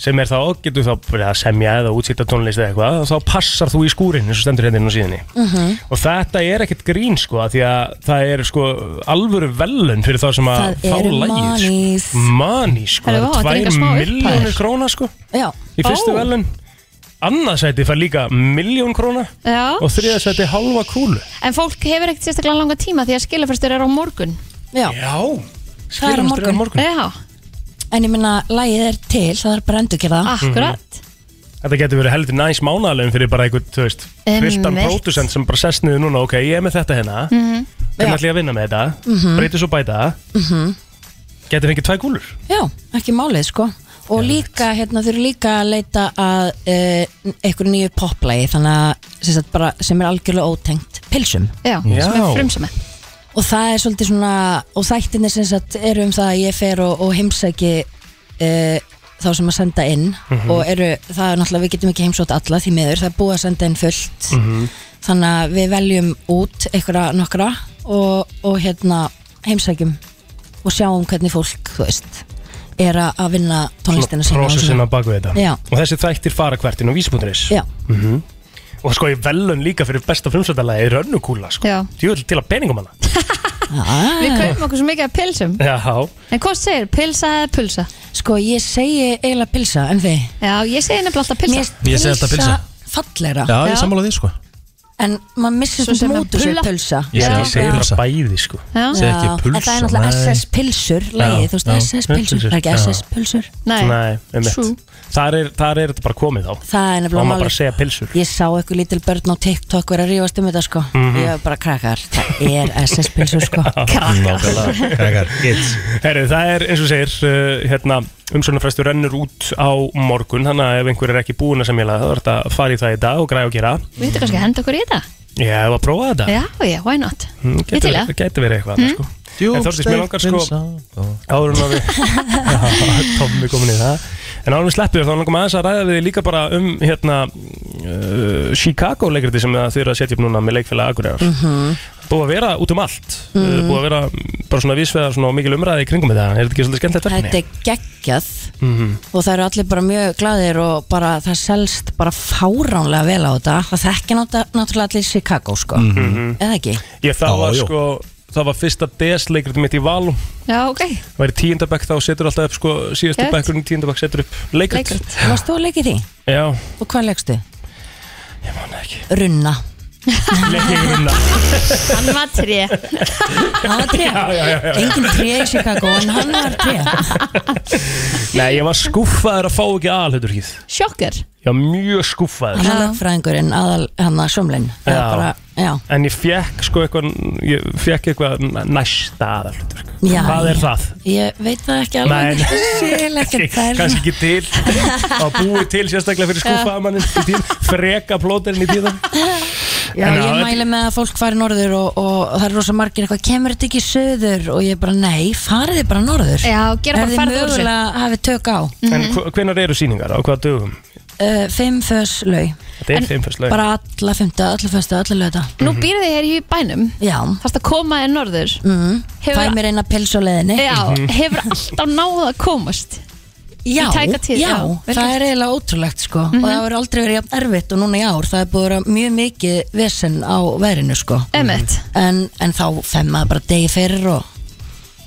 sem er þá, getur þá verið að semja eða útsýta tónlist eða eitthvað og þá passar þú í skúrin eins og stendur hérna inn á síðinni
Mhm.
og þetta er ekkert grín sko af því að það er sko alvöru velun fyrir þá sem að
Það eru manís.
manís sko,
Herra, vá, þetta er
tvær
engar smá upphæðir.
miljónir króna sko
Já.
í fyrstu velun annað sæti fær líka miljón króna
Já.
og þriða sæti halva kúlu
En fólk hefur ekkert sérstaklega langa tíma því að skilafyrstur er á morgun
Já,
Já.
það er á
Skilafrestur er á
morgun.
morgun.
Já.
En ég minna, lagið er til, það er bara að endurgera það
Akkúrat. Þetta getur verið heldur næs mánalegum fyrir bara einhvern, þú veist, viltan
Einmitt.
pródusent sem bara sest niður núna, ok, ég er með þetta hérna, mm
Mhm.
hvernig ætlum ég að vinna með þetta,
Mhm.
breytir svo bæta,
Mhm.
getur fengið tvær kúlur.
Já, ekki málið sko Og líka, hérna, þau eru líka að leita að uh, einhverju nýju poplægi þannig að sem, sagt, bara, sem er algjörlega ótengt pilsum
Já,
Já. sem er frumsemi.
Og það er svolítið svona og þættinni sem sagt eru um það að ég fer og, og heimsæki uh, þá sem að senda inn
Mhm.
og eru, það er náttúrulega, við getum ekki heimsótt alla því miður, það er búið að senda inn fullt
Mhm.
þannig að við veljum út einhverja nokkra og, og hérna heimsækjum og sjáum hvernig fólk, þú veist er að að vinna tónlistina sína og
Prósessin
svona.
að baka við þetta.
Já.
Og þessi þættir fara hvert inn á vísi.is.
Já.
Mhm. Og sko, ég velun líka fyrir besta frumsættalagi er önnukúla, sko.
Já.
Djúvill til að peningum hana. Ah.
Við kaupum okkur svo mikið af pilsum
Já.
En hvað segir, pilsa eða pulsa?
Sko, ég segi eiginlega pilsa, en þið?
Já, ég segi nefnilega alltaf pilsa
Ég segi alltaf pilsa.
fallegra
Já, ég sammála því sko
en maður missir
Svo sem
svona
að
mútu sér
pulla.
pulsa
Ég segi-
Ég segi bara bæði, sko.
Já.
Segi ekki
Já,
pulsa,
en það er náttúrulega
nei.
SS pilsur lagið,
Já,
þú veist
já.
SS pilsur,
Pilsur,
það er ekki
já.
SS pilsur
Nei, einmitt. Þar er, þar er þetta bara komið þá.
það er
Þá
nefnilega
má bara
málið.
segja pilsur.
ég sá eitthvað lítil börn á TikTok vera að rífast um þetta sko
Mhm.
ég var bara krakkar, það er SS pilsur sko
Nákvæmlega, krakkar, kids Herru, það er eins og segir uh, hérna, umsóknarfrestur rennur út á morgun þannig að ef einhver er ekki búin að semjala þá er þetta að fara í það í dag og græða og gera
Við höfum kannski að henda okkur í þetta
Ég hef að prófa þetta
Já, já, why not?
Mm,
Ég til
getur,
það.
getur verið eitthvað
Mm.
Hmm?
mm. sko.
Hmm?
En Þórdís, mér langar sko áður en að við Tommi komin í það En áður en við sleppum þér, þá langar maður aðeins að ræða við þig líka bara um hérna, uh, Chicago leikriti sem þið eru að setja upp núna með leikfélag Akureyrar
Mhm.
búið að vera út um allt mm.
Mhm.
búið að vera mm, bara svona vísveðar svona og mikil umræði í kringum þetta er þetta ekki svolítið skemmtilegt
Þetta
verkefni?
er geggjað
Mhm.
og það eru allir bara mjög glaðir og bara það selst bara fáránlega vel á þetta það þekki náttú- náttúrulega allir Chicago sko
Mhm.
eða ekki
Ég það
Já,
var
já.
sko, það var fyrsta DS-leikrit mitt í Valum
Já, ok,
Það var í tíundabæk þá setur alltaf upp sko síðastu
Gett.
bækurinn í tíundabæk setur upp leikrit
leikrit, varst þú að leika í því?
Já,
og hvað leikstu? Ég man ekki Runna
leikrit runna
hann var tré
Hann var tré?
Já, já, já, já.
Engin tré í Chicago en hann var tré
Nei, ég var skúffaður að fá ekki aðalhuturkið
Sjokker
Ég var mjög skúffaður
Hann er lögfræðingurinn aðal hann að sjómlein
Já.
bara, já.
En ég fekk sko eitthvað Ég fekk eitthvað næsta aðalhuturk
Já,
Hvað er
já.
það?
Ég veit það ekki
Nei,
alveg
nei.
Sér ekki þær
Kanski ekki til Að búið til sérstaklega fyrir skúffaður mannin Freka plóterinn í tíðan
Já,
En
ég
já,
mæli með að fólk fari norður og, og það er rosa margir eitthvað, kemur þetta ekki söður og ég bara, nei, farið þið bara norður
Já, gera bara
Ef þið
ferð úr þessu. Mhm.
mögulega hafið tök á
En hvenar eru sýningar? Á hvaða dögum?
uh, Fimm fös laug
Þetta er fimm Mhm. fyrst leik
Bara alla fymta, alla fösta, alla lögða
Nú býrðu þið hér í bænum
Já
Þarst að koma þér norður
mm.
Hefur-
Fæ mér eina pils á leðinni
Já,
Mhm.
hefur alltaf náða að komast
Já,
Í tæka tíð,
já,
já, vel
það
gert.
er eiginlega ótrúlegt sko
Mhm.
og það hefur aldrei verið jafn erfitt og núna í ár það er búið að vera mjög mikið vesen á verinu sko
Einmitt.
en, en þá fem maður bara degi fyrir og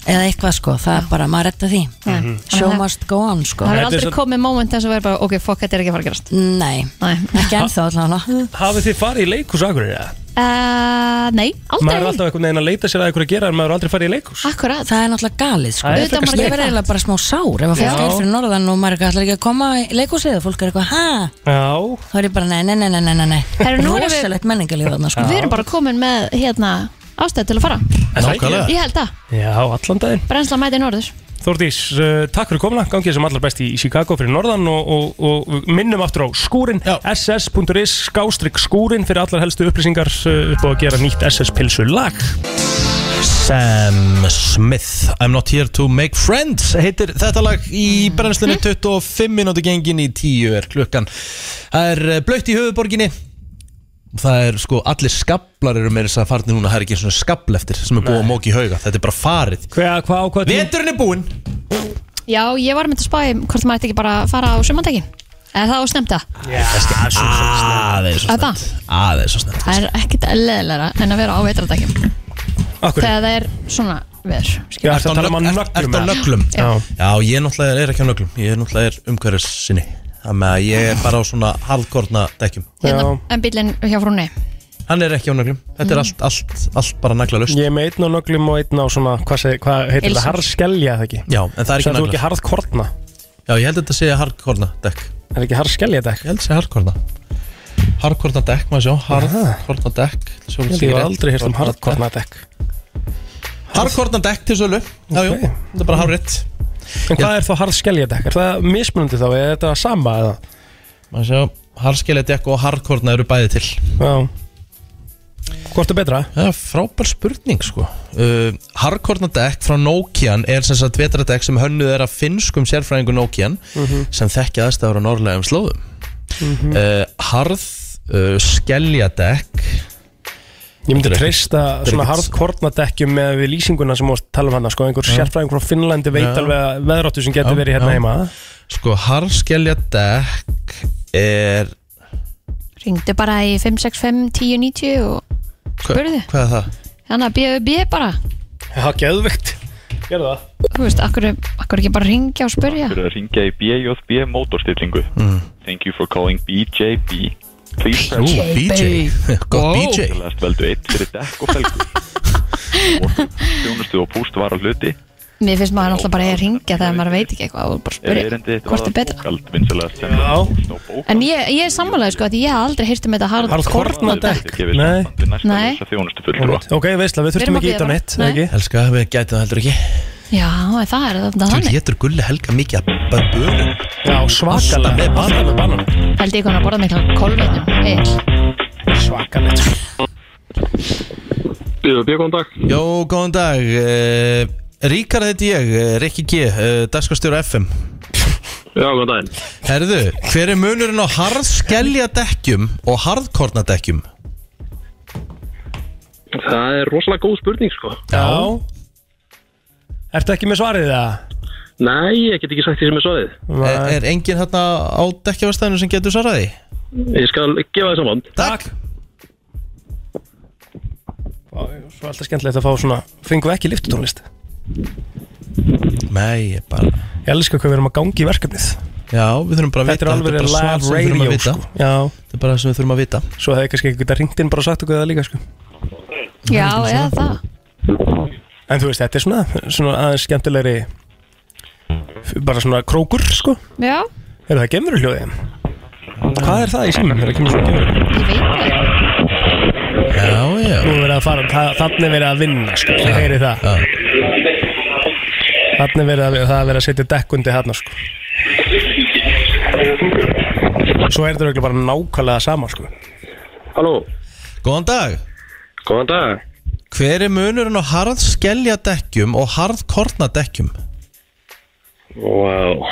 eða eitthvað sko, það er bara maður retta því
Mhm.
show must go on sko
Það hefur aldrei komið moment þess að vera bara Ok, fuck, þetta er ekki að fara að gerast
Nei, ekki ennþá allavega
Hafið þið farið í leikhús akkurir eða?
uh, Nei,
Maður er
aldrei
alltaf einhvern veginn að leita sér að einhverju að gera en maður er aldrei farið í leikhús
Akkurat
Það er náttúrulega galið sko
Það er
Ég
frekar
verði
sniðugt.
eiginlega bara smá sár ef að fólk
Já.
er fyrir norðan og maður er eitthvað, ætlar ekki að koma í leikhúsið og fólk er eitthvað, hæ?
Já
Þá er ég bara, nei, nei, nei, nei, nei, nei, nei
Herru, nú erum við-
Rosalegt menningalíf þarna sko
Við erum bara komin með hérna ástæð til að fara
það ekki? Nákvæmlega.
Ég held að,
Já, allan daginn
brennsla mæti norður
Þórdís, uh, takk fyrir komuna, gangið sem allar best í í Chicago fyrir norðan og, og, og við minnum aftur á skúrin ss.is skástrygg skúrin fyrir allar helstu upplýsingar uh, upp á að gera nýtt SS-pilsu lag
Sam Smith I'm not here to make friends heitir þetta lag í brennslunni
Hmm?
25 minúti gengin í 10 er klukkan það er blöytt í höfuborginni það er sko allir skablar eru með þess að farni núna það er ekki svona skabl eftir sem er búið að móki í hauga þetta er bara farið
hvað, hvað, hvað
veturinn er búinn
Já, ég var með að spá í hvort maður ætti ekki bara að fara á sumandegi Eða það á snemta
Já, aðeins
og
Þetta,
snemmt aðeins og snemmt
það er ekkit leðilega en að vera á veitradegi
Akkur
Þegar það er svona veður
Já, ertu að tala um að
Er
nöglum
það
eða?
nöglum?
Já.
Já, ég náttúrulega er ekki á nöglum Ég er náttúrulega er umhverfis sinni Þannig að ég er bara á svona halvkortna dekkjum
hérna, En bílinn hjá frúnni
Hann er ekki á nöglum Þetta er
Mm.
allt, allt, allt bara naglalust
Ég er með einn á nöglum og einn á svona, hvað, seg, hvað heitir
Ilsum.
þetta, harðskelja eða ekki?
Já, en það er ekki
Sagðir þú
naglar.
ekki harðkortna?
Já, ég held að þetta sé harkortna dekk
Er ekki harðskelja dekk?
Ég held að sé harkortna Harkortna dekk, maður sjá Harkortna dekk Sjá
Ég
hvort
held ég
er
hef
rétt.
aldrei hýrt um harðkortna dekk
Harkortna dekk til sölu Já, jú, þetta er bara harriðt
En hvað er þá harðskelja dekk? Er það mismunandi þá, eða er þetta sama eða?
Maður sjá, harðskelja dekk og harkortna eru bæði til
Já Hvort er betra?
Það er frábær spurning sko uh, Harkortna dekk frá Nokian er sem sagt vetradekk sem hönnuð er af finnskum sérfræðingu Nokian
Mhm.
sem þekkja aðstæður á norðlegum slóðum uh, Harð uh, skeljadekk
Ég myndi treysta
Þetta er
svona
ekkert-
harðkornadekkjum með við lýsinguna sem ást tala um hana sko, einhver
Já.
sérfræðingur frá Finnlandi veit
Já.
alveg að veðráttu sem getur
Já,
verið hérna
já.
heima
Sko harðskeljadekk er
Ringdu bara í 565 1090 og Hérna,
hva,
Spurðu.
Hvað er það?
þannig að bjöðu bjöðu bara
Já, geðvögt Gerðu það
Þú veist, akkur, akkur ekki bara ringja og spurja
fyrir að ringja í BJB mótorstillingu
mm.
Thank you for calling BJB Please press
Ú, BJ. Gott BJ.
Last veldu 1 fyrir dekk og felgur Motor, Þjónustu og púst var á hluti
Mér finnst maður náttúrulega bara að ringja þegar maður veit ekki eitthvað og bara
Er
spurja
erindi þitt
hvort er betra.
Kald vinsalast sem Já
En ég, ég er sammálaði sko að ég hef aldrei heyrt um þetta harð
dekk Nei
Nei,
Þjónustu fulltrúa
Ok, veistla,
Við erum
við þurftum
að
ekki ít á
bíða.
neitt eða
Nei.
ekki?
Elska, við gætum það heldur ekki
já, það er þetta
Þú
þannig
getur Gulli Helga mikið að bönnum
Já, svakalega
með banan
með banan
Held ég konar að borða mikla kolvetnum Egil,
Svakalegt
Bíðu, bíðu, góðan dag Jó, góðan dag uh, Ríkar heiti ég, uh, Rikki G uh, Dagskastjóra FM
Já, góðan daginn
Herðu, hver er munurinn á harðskelja dekkjum og harðkorna dekkjum?
Það er rosalega góð spurning sko
Já Ertu ekki með svarið það?
Nei, ég get ekki sagt því sem er svoðið
Er, er enginn hérna á dekkjavastæðinu sem getur svaraði?
Ég skal gefa það saman
Takk
Svo alltaf skemmtilegt að fá svona Fengum við ekki liftutónlist
Nei, ég bara
Ég elska hvað við erum að gangi í verkefnið
Já, við þurfum bara að
Þetta er
vita
alveg
bara svar
live
sem við þurfum að
radio
vita.
sko. Já
Þetta er bara það sem við þurfum að vita
Svo hefði kannski eitthvað ringt inn bara og sagt okkur það líka sko.
Já, eða það
En þú veist, þetta er svona, svona aðeins skemmtilegri Bara svona krókur sko.
Já,
Er það gemur hljóðið? Hvað er það í símum? Er það kemur svona gemur?
Já, já
Nú er verið að fara, það, þannig verið að vinna sko, ég heyri það Þannig verið að, það er verið að setja dekk undir þarna sko Svo er þetta auðvitað bara nákvæmlega sama sko
Halló
Góðan dag
Góðan dag
Hver er munurinn á harðskeljadekkjum og harðkornadekkjum?
Wow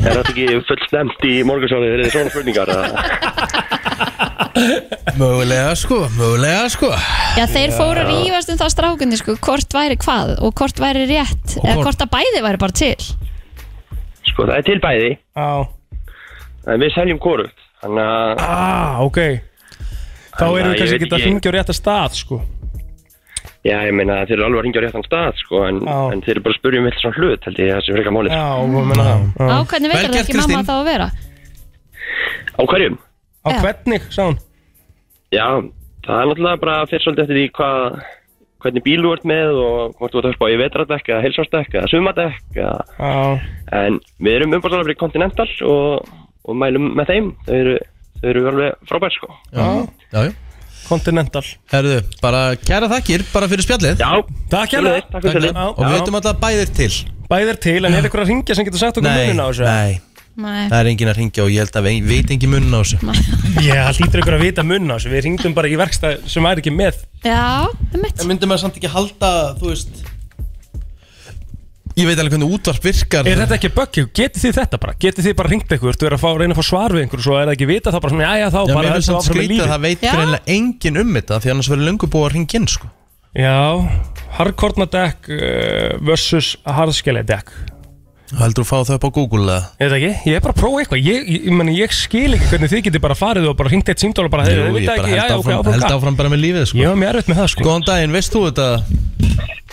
Er þetta ekki full stemt í morgunsjónið þegar þið svona spurningar?
Mögulega sko, mögulega sko
já þeir fóru að rífast um það strákunni sko, hvort væri hvað og hvort væri rétt eða
hvort-
hvort að bæði væri bara til
Sko það er til bæði
Já
En við seljum korugt Þannig að
Ah, ok Þá erum
Þannig að ég
við kannski
veit
ekki að
ekki-
hringja á rétta stað sko
Já, ég meina þeir eru alveg að ringja á réttan stað sko, en, en þeir eru bara að spurja um eitthvað svona hlut held ég það sem freka málið sko.
Já, og menna það
Á hvernig veitur það ekki mamma þá að vera?
Á hverjum?
Á hvernig, sá hún
Já, það er náttúrulega bara fyrir svolítið eftir því hvað hvernig bíl þú ert með og hvort þú ert að spá í vetradekk eða heilsvarsdekk eða sumadekk eða...
Já,
en við erum umbúrstálega fyrir Continental og, og mælum með þeim þau eru, þau eru alveg frábær sko
Já, já, já
Continental
Herðu, bara kæra þakkir, bara fyrir spjallið
Já,
Takk hérna
Og við veitum alltaf bæðir til
Bæðir til, en er eitthvað að ringja sem getur sagt okkur
Nei,
munina á þessu?
nei,
Nei.
það er enginn að ringja og ég held að við veit enginn munna á þessu
Já, það lítur ykkur að vita munna á þessu Við ringdum bara í verkstæð sem væri ekki með
Já, um mitt
En myndi maður samt ekki halda, þú veist Ég veit alveg hvernig útvarp virkar
Er þetta ekki böggjú? Getið þið þetta bara? Getið þið bara ringt ykkur? Þú er að fá, reyna að fá svar við ykkur Svo er það ekki vitað þá bara svona Jæja þá
Já, mér
bara heldur
finnst samt
áfram með
skrítið
lífið.
að það veit greinlega enginn um þetta Því annars verður löngu búið að ringja inn, sko
Já, harkornadekk uh, versus harðskeledekk
Heldur þú að fá það upp á Google eða?
Ég veit ekki, ég er bara að prófa eitthvað Ég, ég, ég, meni, ég skil ekki hvernig þið getið bara farið og bara ringt eitt símtól og bara
Jú,
heyrðu, þið
ég
vitað
bara
ekki,
held
jæja, ok,
áfram,
áfram
held
gakk.
áfram bara með lífið sko. Ég
var mér erfitt með það sko
Góðan daginn, veist þú þetta?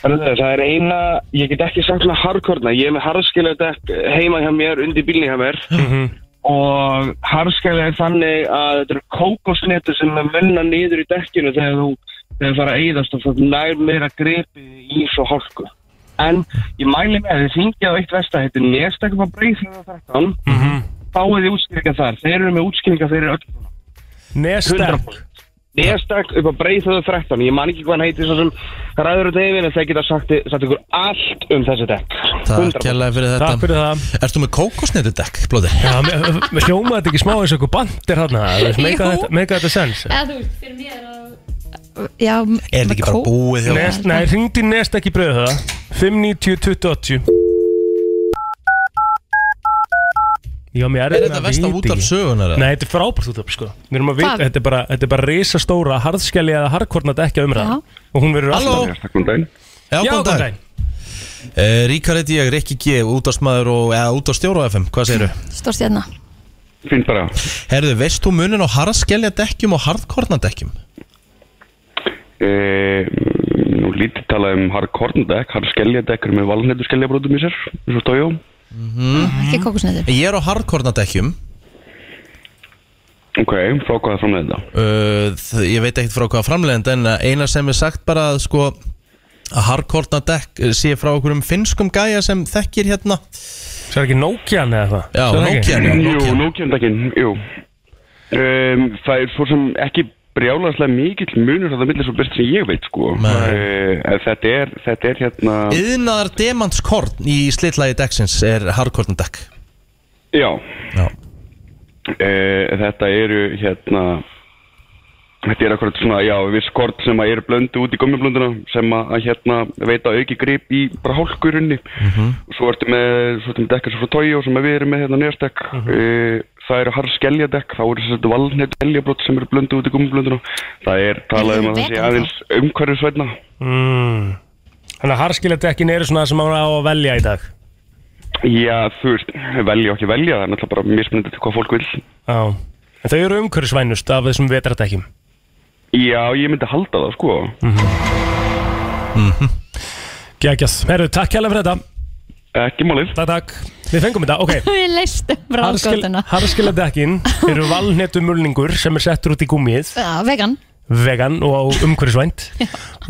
Herðu, það er eina, ég get ekki sagt svona harkorna, ég er með harðskiljöðdekk heima hjá mér, undir bílni hjá mér
Mhm.
og harðskiljöð er þannig að þetta eru kókosnetur sem er munna niður í dekkinu þegar þú þegar það er að eyðast og það nær meira grepi í svo hálku. En ég mæli með að þið syngja á eitt vestahætti Nestakum að breyða þetta fáið þið útskýringa þar, þeir eru með útskýringa fyrir öll
Nestak
Nestak upp á Breiðhöðu 13 Ég man ekki hvað hann heitir svo sem ræður út yfir en þeir geta sagt, sagt ykkur allt um þessi dekk
Takk kærlega fyrir þetta
Takk fyrir það
Ertu með kókosnetudekk, blóði?
Já, mér- mér hljómaði þetta ekki smá eins og eitthvað bandir þarna þú veist, make
Jú.
that- Make þetta sense
Eða þú veist, fyrir mér að Já,
Er þetta ekki bara búið hjá
Nest, Nei, hringdi nest ekki bröðu það 590 2080 Já, mér er
Er þetta versta útvarp sögunar, eða?
Nei, þetta er frábært útvarp sko Við erum að vita,
Hvað?
þetta er bara, þetta er bara risastóra harðskjali eða harkornat ekki umræða Og hún verður
Halló.
alltaf
Já,
Já,
góðan
góðan
dag Eh, Ríkar heiti ég, Rikki G, útastmaður og eða útastjóra á FM, hvað segirðu?
Stórst hérna
Finn bara
Herðu, veist þú munin á harðskelja dekkjum og harðkornadekkjum?
e, Nú lítið talað um harkorndekk, hardskeljadekk með valnættu skeljabrótum í sér eins og stójó
Ekki kókusneitur
Ég er á harðkornadekkjum
Ok, frá hvað er framlega þetta?
uh, þ- Ég veit ekkert frá hvaða framlegend en uh, eina sem er sagt bara að sko að harðkornadekk eh, sé frá okkur um finnskum gæja sem þekkir hérna
Svo er ekki Nokian eða það?
Já,
Svo er það ekki?
Nokian, já,
Jú, Nokian-dekkin, jú um, Það er svo sem ekki brjálaðslega mikill munur að það millir svo byrst sem ég veit sko uh, þetta, er, þetta er hérna
Yðnaðar demantskorn í slitlægi dekksins er harðkornadekk
Já,
Já.
E,
Eh, Þetta eru hérna Þetta er akkurat svona, já, viss kort sem að eru blöndu út í gummiblönduna sem að að, hérna veita auki grip í bara hálkurunni mm -hmm. Svo ertu með, svo ertu með dekkar svo frá tói og sem að við erum með hérna nýrstekk mm
E, það eru harðskeljadekk, þá eru svolítið valnett eljabrott sem eru blöndu út í gummiblönduna. Það er talað um að það sé aðeins umhverfisvætna.
mm. Þannig að harskiladekkin eru svona það sem maður á að velja í dag
Já, þú veist, velja og ekki velja, það er náttúrulega bara mismunandi til hvað fólk vil.
Já En þau eru umhverfisvænust af þessum vetradekkjum
Já, ég myndi halda það, sko.
Gægjast Herru, takk hérlega fyrir þetta
Ekki málið
Takk, takk Við fengum þetta, ok
Við leistum frá skotuna
Harskiladekkin eru valnetu mulningur sem er settur út í gúmið
Já, vegan
vegan og umhverfisvænt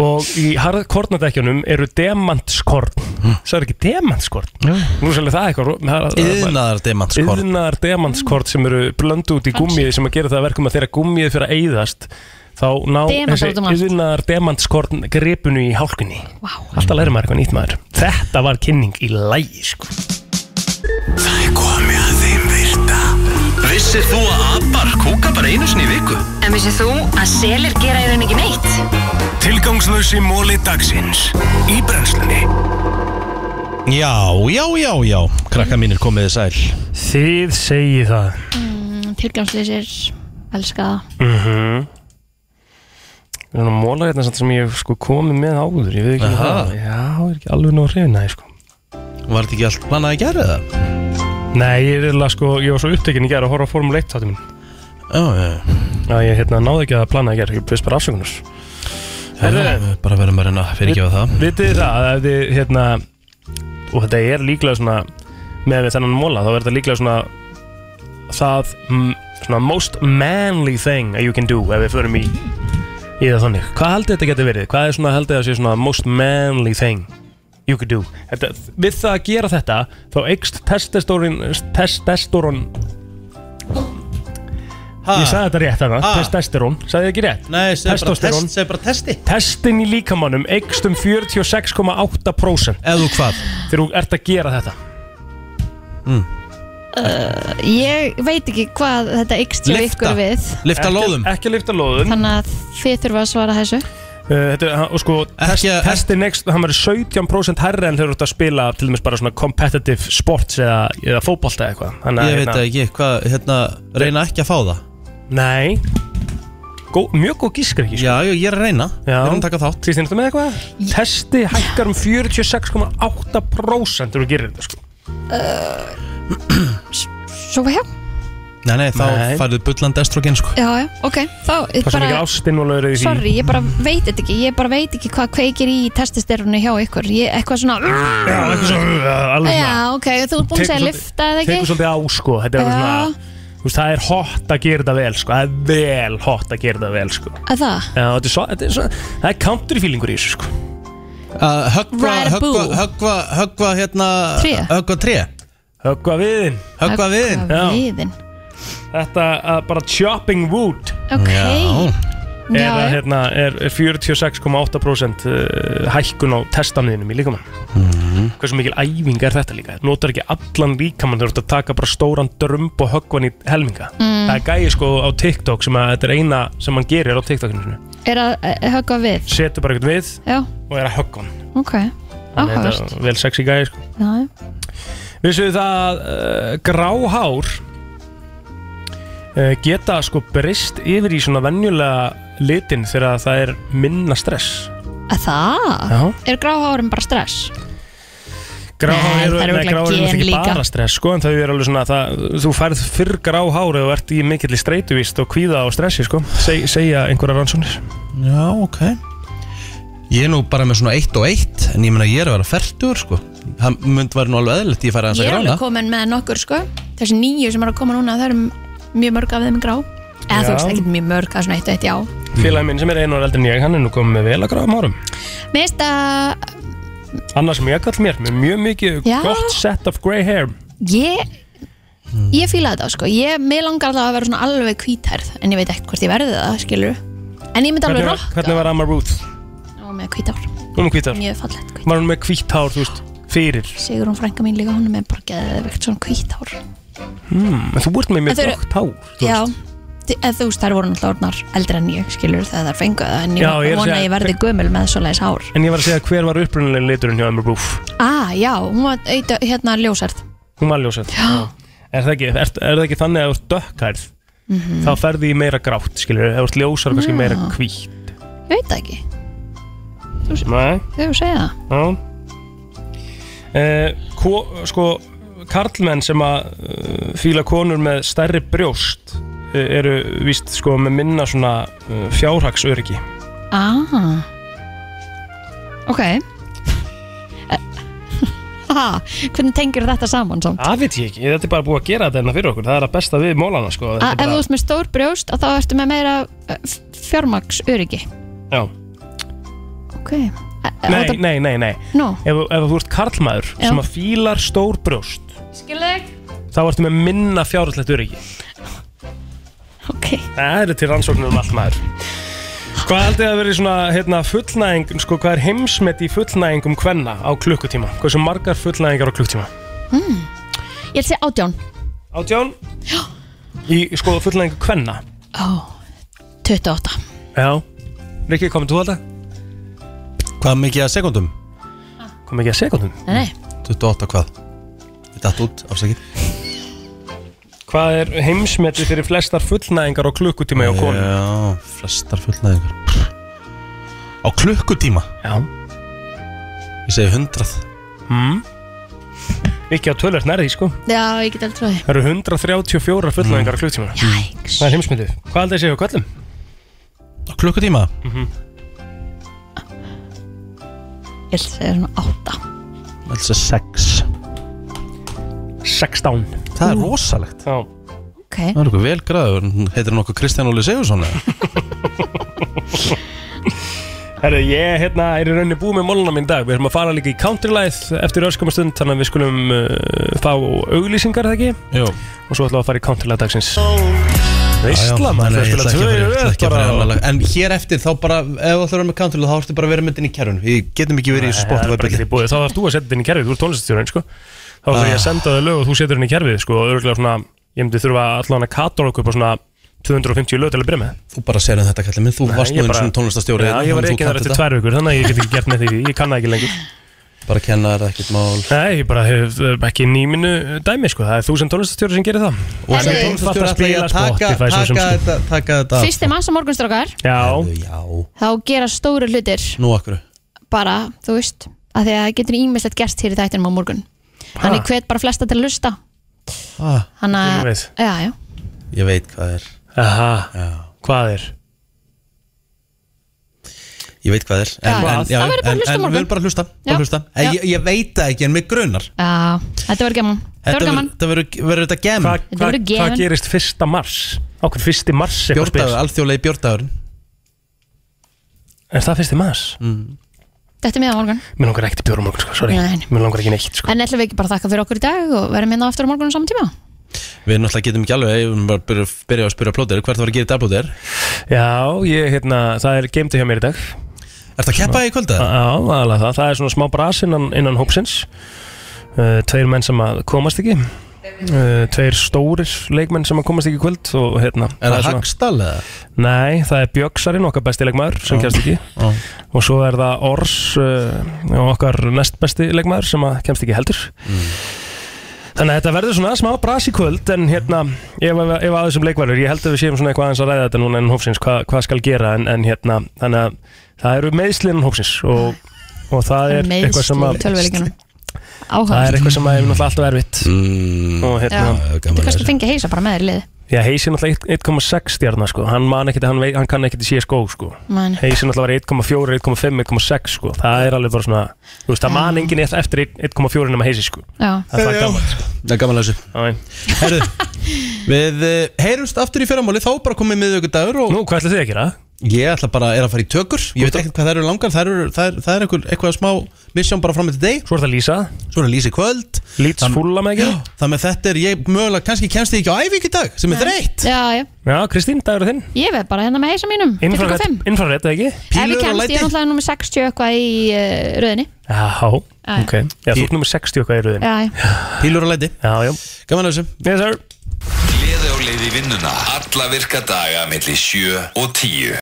og í harðkornadekkjunum eru demantskorn
Mm.
það er ekki demantskorn nú sérlega það eitthvað ro- það- það-
Iðnaðar demantskorn.
iðnaðar demantskorn sem eru blöndu út í gummið sem að gera það að verkum að þegar gummið fyrir að eyðast þá ná
Demantar
þessi
út um allt.
iðnaðar demantskorn gripunu í hálkunni wow. alltaf læri maður eitthvað nýtt maður þetta var kynning í lægi sko.
Það er komið að þeim virta Vissir þú að abar kúka bara einu sinni í viku?
En vissið þú að selir gera í raun ekki neitt?
Tilgangslösi móli dagsins Í brennslunni
Já, já, já, já Krakka mínir komið þið sæl
Þið segi það
mm, Tilgangslýsir, elska það
Mhm. Við erum að móla hérna samt sem ég hef sko komið með áður Ég veit ekki
Aha.
hvað Já, ég er ekki alveg nóg hrifin að ég sko
Var þetta ekki allt mannað að gera það?
Nei, ég er eða sko, ég var svo upptekinn í gerð að horfa á Formule 1 þáttum minn
Já, já
Já, ég hérna náði ekki að plana í gerð, ég byrst bara afsökunars
Herðu Bara verðum að reyna að fyrirgefa það
Vitið þið það, að ef þið hérna Og þetta er líklega svona Með við þennan móla, þá er þetta líklega svona Það, mm, svona most manly thing that you can do Ef við förum í, í það þannig Hvað haldið þetta geti verið? Hvað er svona, haldið það sé svona most manly thing you could do? Þetta, við það að gera þetta, þá eykst testosteron Testosteron Ég sagði þetta rétt þarna,
Ha?
testosteron Sagði ég ekki rétt?
Ah. Nei, segðu bara
Testosterón.
test- segðu bara testi.
Testin í líkamannum eykst um 46,8%
Eða þú hvað?
Þegar þú ert að gera þetta
uh, Ég veit ekki hvað þetta ykst hjá ykkur við
Ekki- Ekki lifta lóðum
Þannig að þið þurfa að svara þessu
Uh, þetta, er- hann- og sko, test, testin next, hann verður 17% herri en þeir eru að spila til dæmis bara svona competitive sports eða, eða fótbolta eða eitthvað Þannig að, hérna-
Ég veit það ekki, hvað, hérna, reyna ekki að fá það
Nei Gó, Mjög góð gískar ekki
Já, já, ég er að reyna Við erum að taka þátt
Kristín, ertu með eitthvað? Testi hækkar um 46,8% þegar þú gerir þetta sko
Svo hjá,
Nei, nei, þá
Nei.
færðu bullan estrogen, sko
já, já, ok Þá, ég
Hvað sem ekki
bara,
ástinn og lögur í því
sorry, ég bara veit þetta ekki Ég bara veit ekki hvað kveikir í testisterunni hjá ykkur ég, Eitthvað svona
Já, eitthvað svona, alveg svona
Já, ok, þú ert búin að segja
Tekur
lifta eða
Tekur
ekki
svolítið á sko Þetta
Já.
er eitthvað svona Þú veist, það er hot að gera þetta vel sko Það er vel hot að gera þetta vel sko Já,
Að það,
þetta er svo, þetta er svo Það er country feelingur í þessu sko
Að höggva,
Ride a
höggva,
bull.
höggva, höggva, hérna
Tré.
Höggva tré
Höggva viðin
Höggva viðin
Já.
viðin
Þetta að bara chopping wood
Ok
Er,
Já,
að,
já.
hérna, er er 46,8% uh, hækkun á testanniðinum í líkamann Hversu mikil æfing er þetta líka Notar ekki allan líkamann Þú ert að taka bara stóran drömb og höggvan í helminga
Mm.
Það er gæi sko á TikTok sem að þetta er eina sem hann gerir á TikTokinu sinu
er að eh, höggva við
Setur bara eitthvað við
Já,
og er að höggva hann
ok,
Þannig að
áhörst
þetta er Vel sexy gæi sko
Já, já
Vissuðu það að uh, gráhár uh, geta sko breyst yfir í svona venjulega litin þegar það er minna stress
Að það?
Já.
Er gráhárum bara stress? Nei,
Gráhár
það
eru,
eru
nei,
örugglega
gráhár eru
gen
ekki
líka.
bara stress sko, en þau eru alveg svona að það, þú færð fyrr gráhár ef þú ert í mikill streituvist og kvíða og stressi sko, Seg, segja einhverja rannsónir
Já, ok Ég er nú bara með svona eitt og eitt En ég meina ég er að vera fertur, sko Það mynd var nú alveg eðlilegt Ég færi aðeins
Ég
að
er
grána
alveg komin með nokkur sko Þessi nýju sem eru að koma núna Það eru mjög mörg af þeim grá Eða þú
Já.
veist ekki mjög mörg Það er svona eitt og eitt já
Félagi minn sem er einu og eldri en ég, hann er nú komið með vel að gráðum árum
Mér finnst að
annars sem ég kall mér, með mjög mikið
Já.
gott set of grey hair
ég Ég fíla þetta sko Ég, mér langar alltaf að vera svona alveg hvíthærð En ég veit ekkert hvort ég verði það skilur En ég myndi alveg
Hvernig var,
rokk
hvernig var Amma Ruth?
Og með hvítár
Hún er hvítar
Mjög fallegt
Var hún með hvítt hár, þú veist, fyrir
Sigur hún frænka mín líka Hún er með bara geðvegt svona hvítár
Hmm, en þú ert með
En
mjög
þau eru-
grátt hár þú
Já
veist.
Þi- eða Þú veist, þær voru náttúrulega orðnar eldri en ég skilur þegar þær fengu það en ég
Já, ég er að
vona að
segja-
ég verði gömul með svoleiðis hár
En ég var að segja hver var upprunnilega liturinn hjá Emma Roof
Ah, já, hún var eitthvað, hérna ljósært
Hún var ljósett er það ekki, er, er það ekki þannig að ef þú ert dökkhærð
Mhm.
Mm. þá ferði í meira grátt skilur ef þú ert ljósar kannski meira
Já.
hvítt
Veit það ekki,
Nei,
þau segja það
já eh, ko, sko karlmenn sem að uh, fíla konur með stærri brjóst eh, eru víst sko með minna svona uh, fjárhagsöryggi
Ah Ok Ha, hvernig tengir þetta saman samt?
það veit ég ekki, þetta er bara búið að gera þetta hérna fyrir okkur það er að besta við mólana sko
Að Ah, ef þú ert með stór brjóst að þá ertu með meira eh, fjármaks öryggi
Já.
Ok Ef
Nei,
þetta-
nei, nei, nei
Nú.
ef, ef þú ert karlmaður
Já.
sem að fílar stór brjóst
Skilveg
þá ertu með minna fjárhaldslegt öryggi
Ok
Það eru til rannsóknir um allt maður Hvað heldur þið að verið svona hérna, fullnæðing, sko, hvað er heimsmet í fullnæðingum hvenna á klukkutíma? Hversu margar fullnæðingar á klukkutíma?
hmm. Ég ætla að segja átján
Átján? Í sko fullnæðingu hvenna?
Ó, 28
Já Rikki, komið þú alltaf?
Hvað mikið að sekundum?
Hvað mikið að sekundum?
Nei, nei
28 hvað? Við datt út, afsakið
Hvað er heimsmeti fyrir flestar fullnæðingar á klukkutíma hjá konu?
Já, flestar fullnæðingar Á klukkutíma?
Já
Ég segi 100
Mm. Rikki á tölvert nærði, sko
Já, ég get aldrei trúið
Það eru 134 fullnæðingar á klukkutíma
Jæks
Það er heimsmetið Hvað heldur þið að segja á kvöllum?
Á klukkutíma?
Ég ætla að segja svona átta
Elsa 6
16
Það er rosalegt
Já
Ok
Það er okkur vel græður, heitir hann okkur Kristján Óli Sigursson eða?
Herru, ég hérna, er í rauninni búið með móluna mín í dag Við erum að fara líka í countrylæð eftir öskama stund Þannig að við skulum uh, fá auglýsingar, er það ekki?
Jú
Og svo ætlum við að fara í countrylæð dagsins Veistla, maður,
Þannig
það
að ég ætla
spila tvö í
ekki að fara- ég ætla
röð
ekki að fara í
bara.
annað lag. En hér eftir þá bara, ef þú ætlar að vera með country þá ertu bara að vera myndin í kerfun Við getum ekki verið í
Nei,
þessu
það er
sportu
bara ekki í búið. Þá þarfst þú að setja þetta inn í kerfið, þú ert tónliststjórinn sko. Þá þarf ég að
Ah.
senda þau lög og þú setur henni í kerfið sko, og örgulega svona, ég myndi þurfa allan að katóra okkur på svona 250 lög til að byrja með
Þú bara segir um þetta kallið minn, þú varst nú einu svona tónlistastjóri hérna
Já, ég var ekki þar eftir tvær vikur, þannig að ég get ekki gert með því Ég kann það ekki lengur
Bara kenna þér ekkert mál
Nei, ég bara hef eh, ekki nýminu dæmi sko. Það er þú sem tónlistastjóri sem gerir það
Og sem tónlistastjóri ætla ég að taka,
Spotify,
taka,
svo sem, sko.
þetta, taka þetta af.
Fyrsti massa morgunstrákar
Já,
já
Þá gera stóru hlutir
Nú akkur
bara, þú veist að því að það getur ímislegt gerst hér í þættinum á morgun Þannig hvet bara flesta til að lusta
ah,
Þannig
Ég
að,
veit.
já, já
Ég veit hvað er
Aha, hvað er?
Ég veit hvað er en,
Hvað?
en, já,
Það verður bara að
en,
hlusta á
en,
morgun.
við verðum bara að hlusta,
Já.
bara hlusta. En,
Já.
ég, ég veit það ekki en mig grunar
Já, þetta verður gaman Þetta verður gaman
Þetta verður verður þetta gem
Hva,
Þetta
hva,
verður
hvað
gefin.
gerist fyrsta mars? Ákveð fyrsti mars eitthvað spyr
Bjórdagur, alþjóðlegi bjórdagur
Er það fyrsti mars? Mm.
Þetta er miðan morgun
Mér langar ekkert í bjórum okkur, sko, sorry
Nei, nei.
Mér langar ekki neitt, sko
En ætlum við ekki bara að þakka fyrir okkur í dag og verðum hérna aftur á morgun á saman tíma
Við náttúrulega getum ekki alveg, við erum bara að byrja, byrja að spyrja plóter, hvert var að gera í dag plóter?
Já, ég, hérna, það er geimdi hjá mér í dag
Ertu að keppa í kvölda?
Já, aðalega það, það er svona smá bras innan, innan hópsins uh, Tveir menn sem að komast ekki uh, Tveir stórir leikmenn sem að komast ekki í kvöld og, hérna,
Er það
svona-
Hagsdal eða?
Nei, það er Björksarinn, okkar besti leikmaður sem
Já.
kemst ekki
Já.
og svo er það Ors uh, okkar næst besti leikmaður sem að kemst ekki heldur Þannig að þetta verður svona smá bras í kvöld en hérna, ef, ef, ef að þessum leikvarur ég held að við séum svona eitthvað aðeins að ræða þetta núna en hópsins, hvað, hvað skal gera en, en hérna, þannig að það eru meiðslinn hópsins og, og það er eitthvað sem að
tölvelikinu
það er
Áhugað
eitthvað sem að er náttúrulega alltaf erfitt mm, og
Já, Þetta er
hérna,
kannski fengið að heisa bara með þér í liði
Já, Heisi er náttúrulega 1,6 stjarnar sko, hann man ekkert, hann, veit- hann kann ekkert í CSGO sko
Man.
Heisi er náttúrulega var 1,4, 1,5, 1,6 sko, það er alveg bara svona, þú veist, það man enginn eftir 1,4 nema Heisi sko
Já.
Það er það gaman sko
Það er gaman að þessu Herðu, við eh, heyrumst aftur í fyrramáli, þá er bara komið miðvikudagur og
Nú, hvað ætlið þið að gera?
Ég ætla bara, er að fara í tökur Ég veit ekkert hvað það eru langar, það, eru, það, er, það er eitthvað, eitthvað smá misjón bara fram með today
Svo er það lýsa
Svo er það lýsa í kvöld
Lýts fúlla með ekki
Þannig að þetta er, ég mögulega, kannski kemst ég ekki á æfing í dag, sem er þreytt
Já, já,
Já, Kristín, dagur þinn
ég veð bara hérna með heisa mínum til klukkan
Infrared,
fimm.
infrared eða ekki?
Ef ég kemst, ég er náttúrulega nummer 60 eitthvað í uh, röðinni
Já,
Já, já.
ok Já, þú ert nummer 60 eitthvað í röðin
Já, já
Pílur og læti
Já, já
Gaman að þessu
Yes, sir
Gleði á leið í vinnuna Alla virka daga melli 7 og 10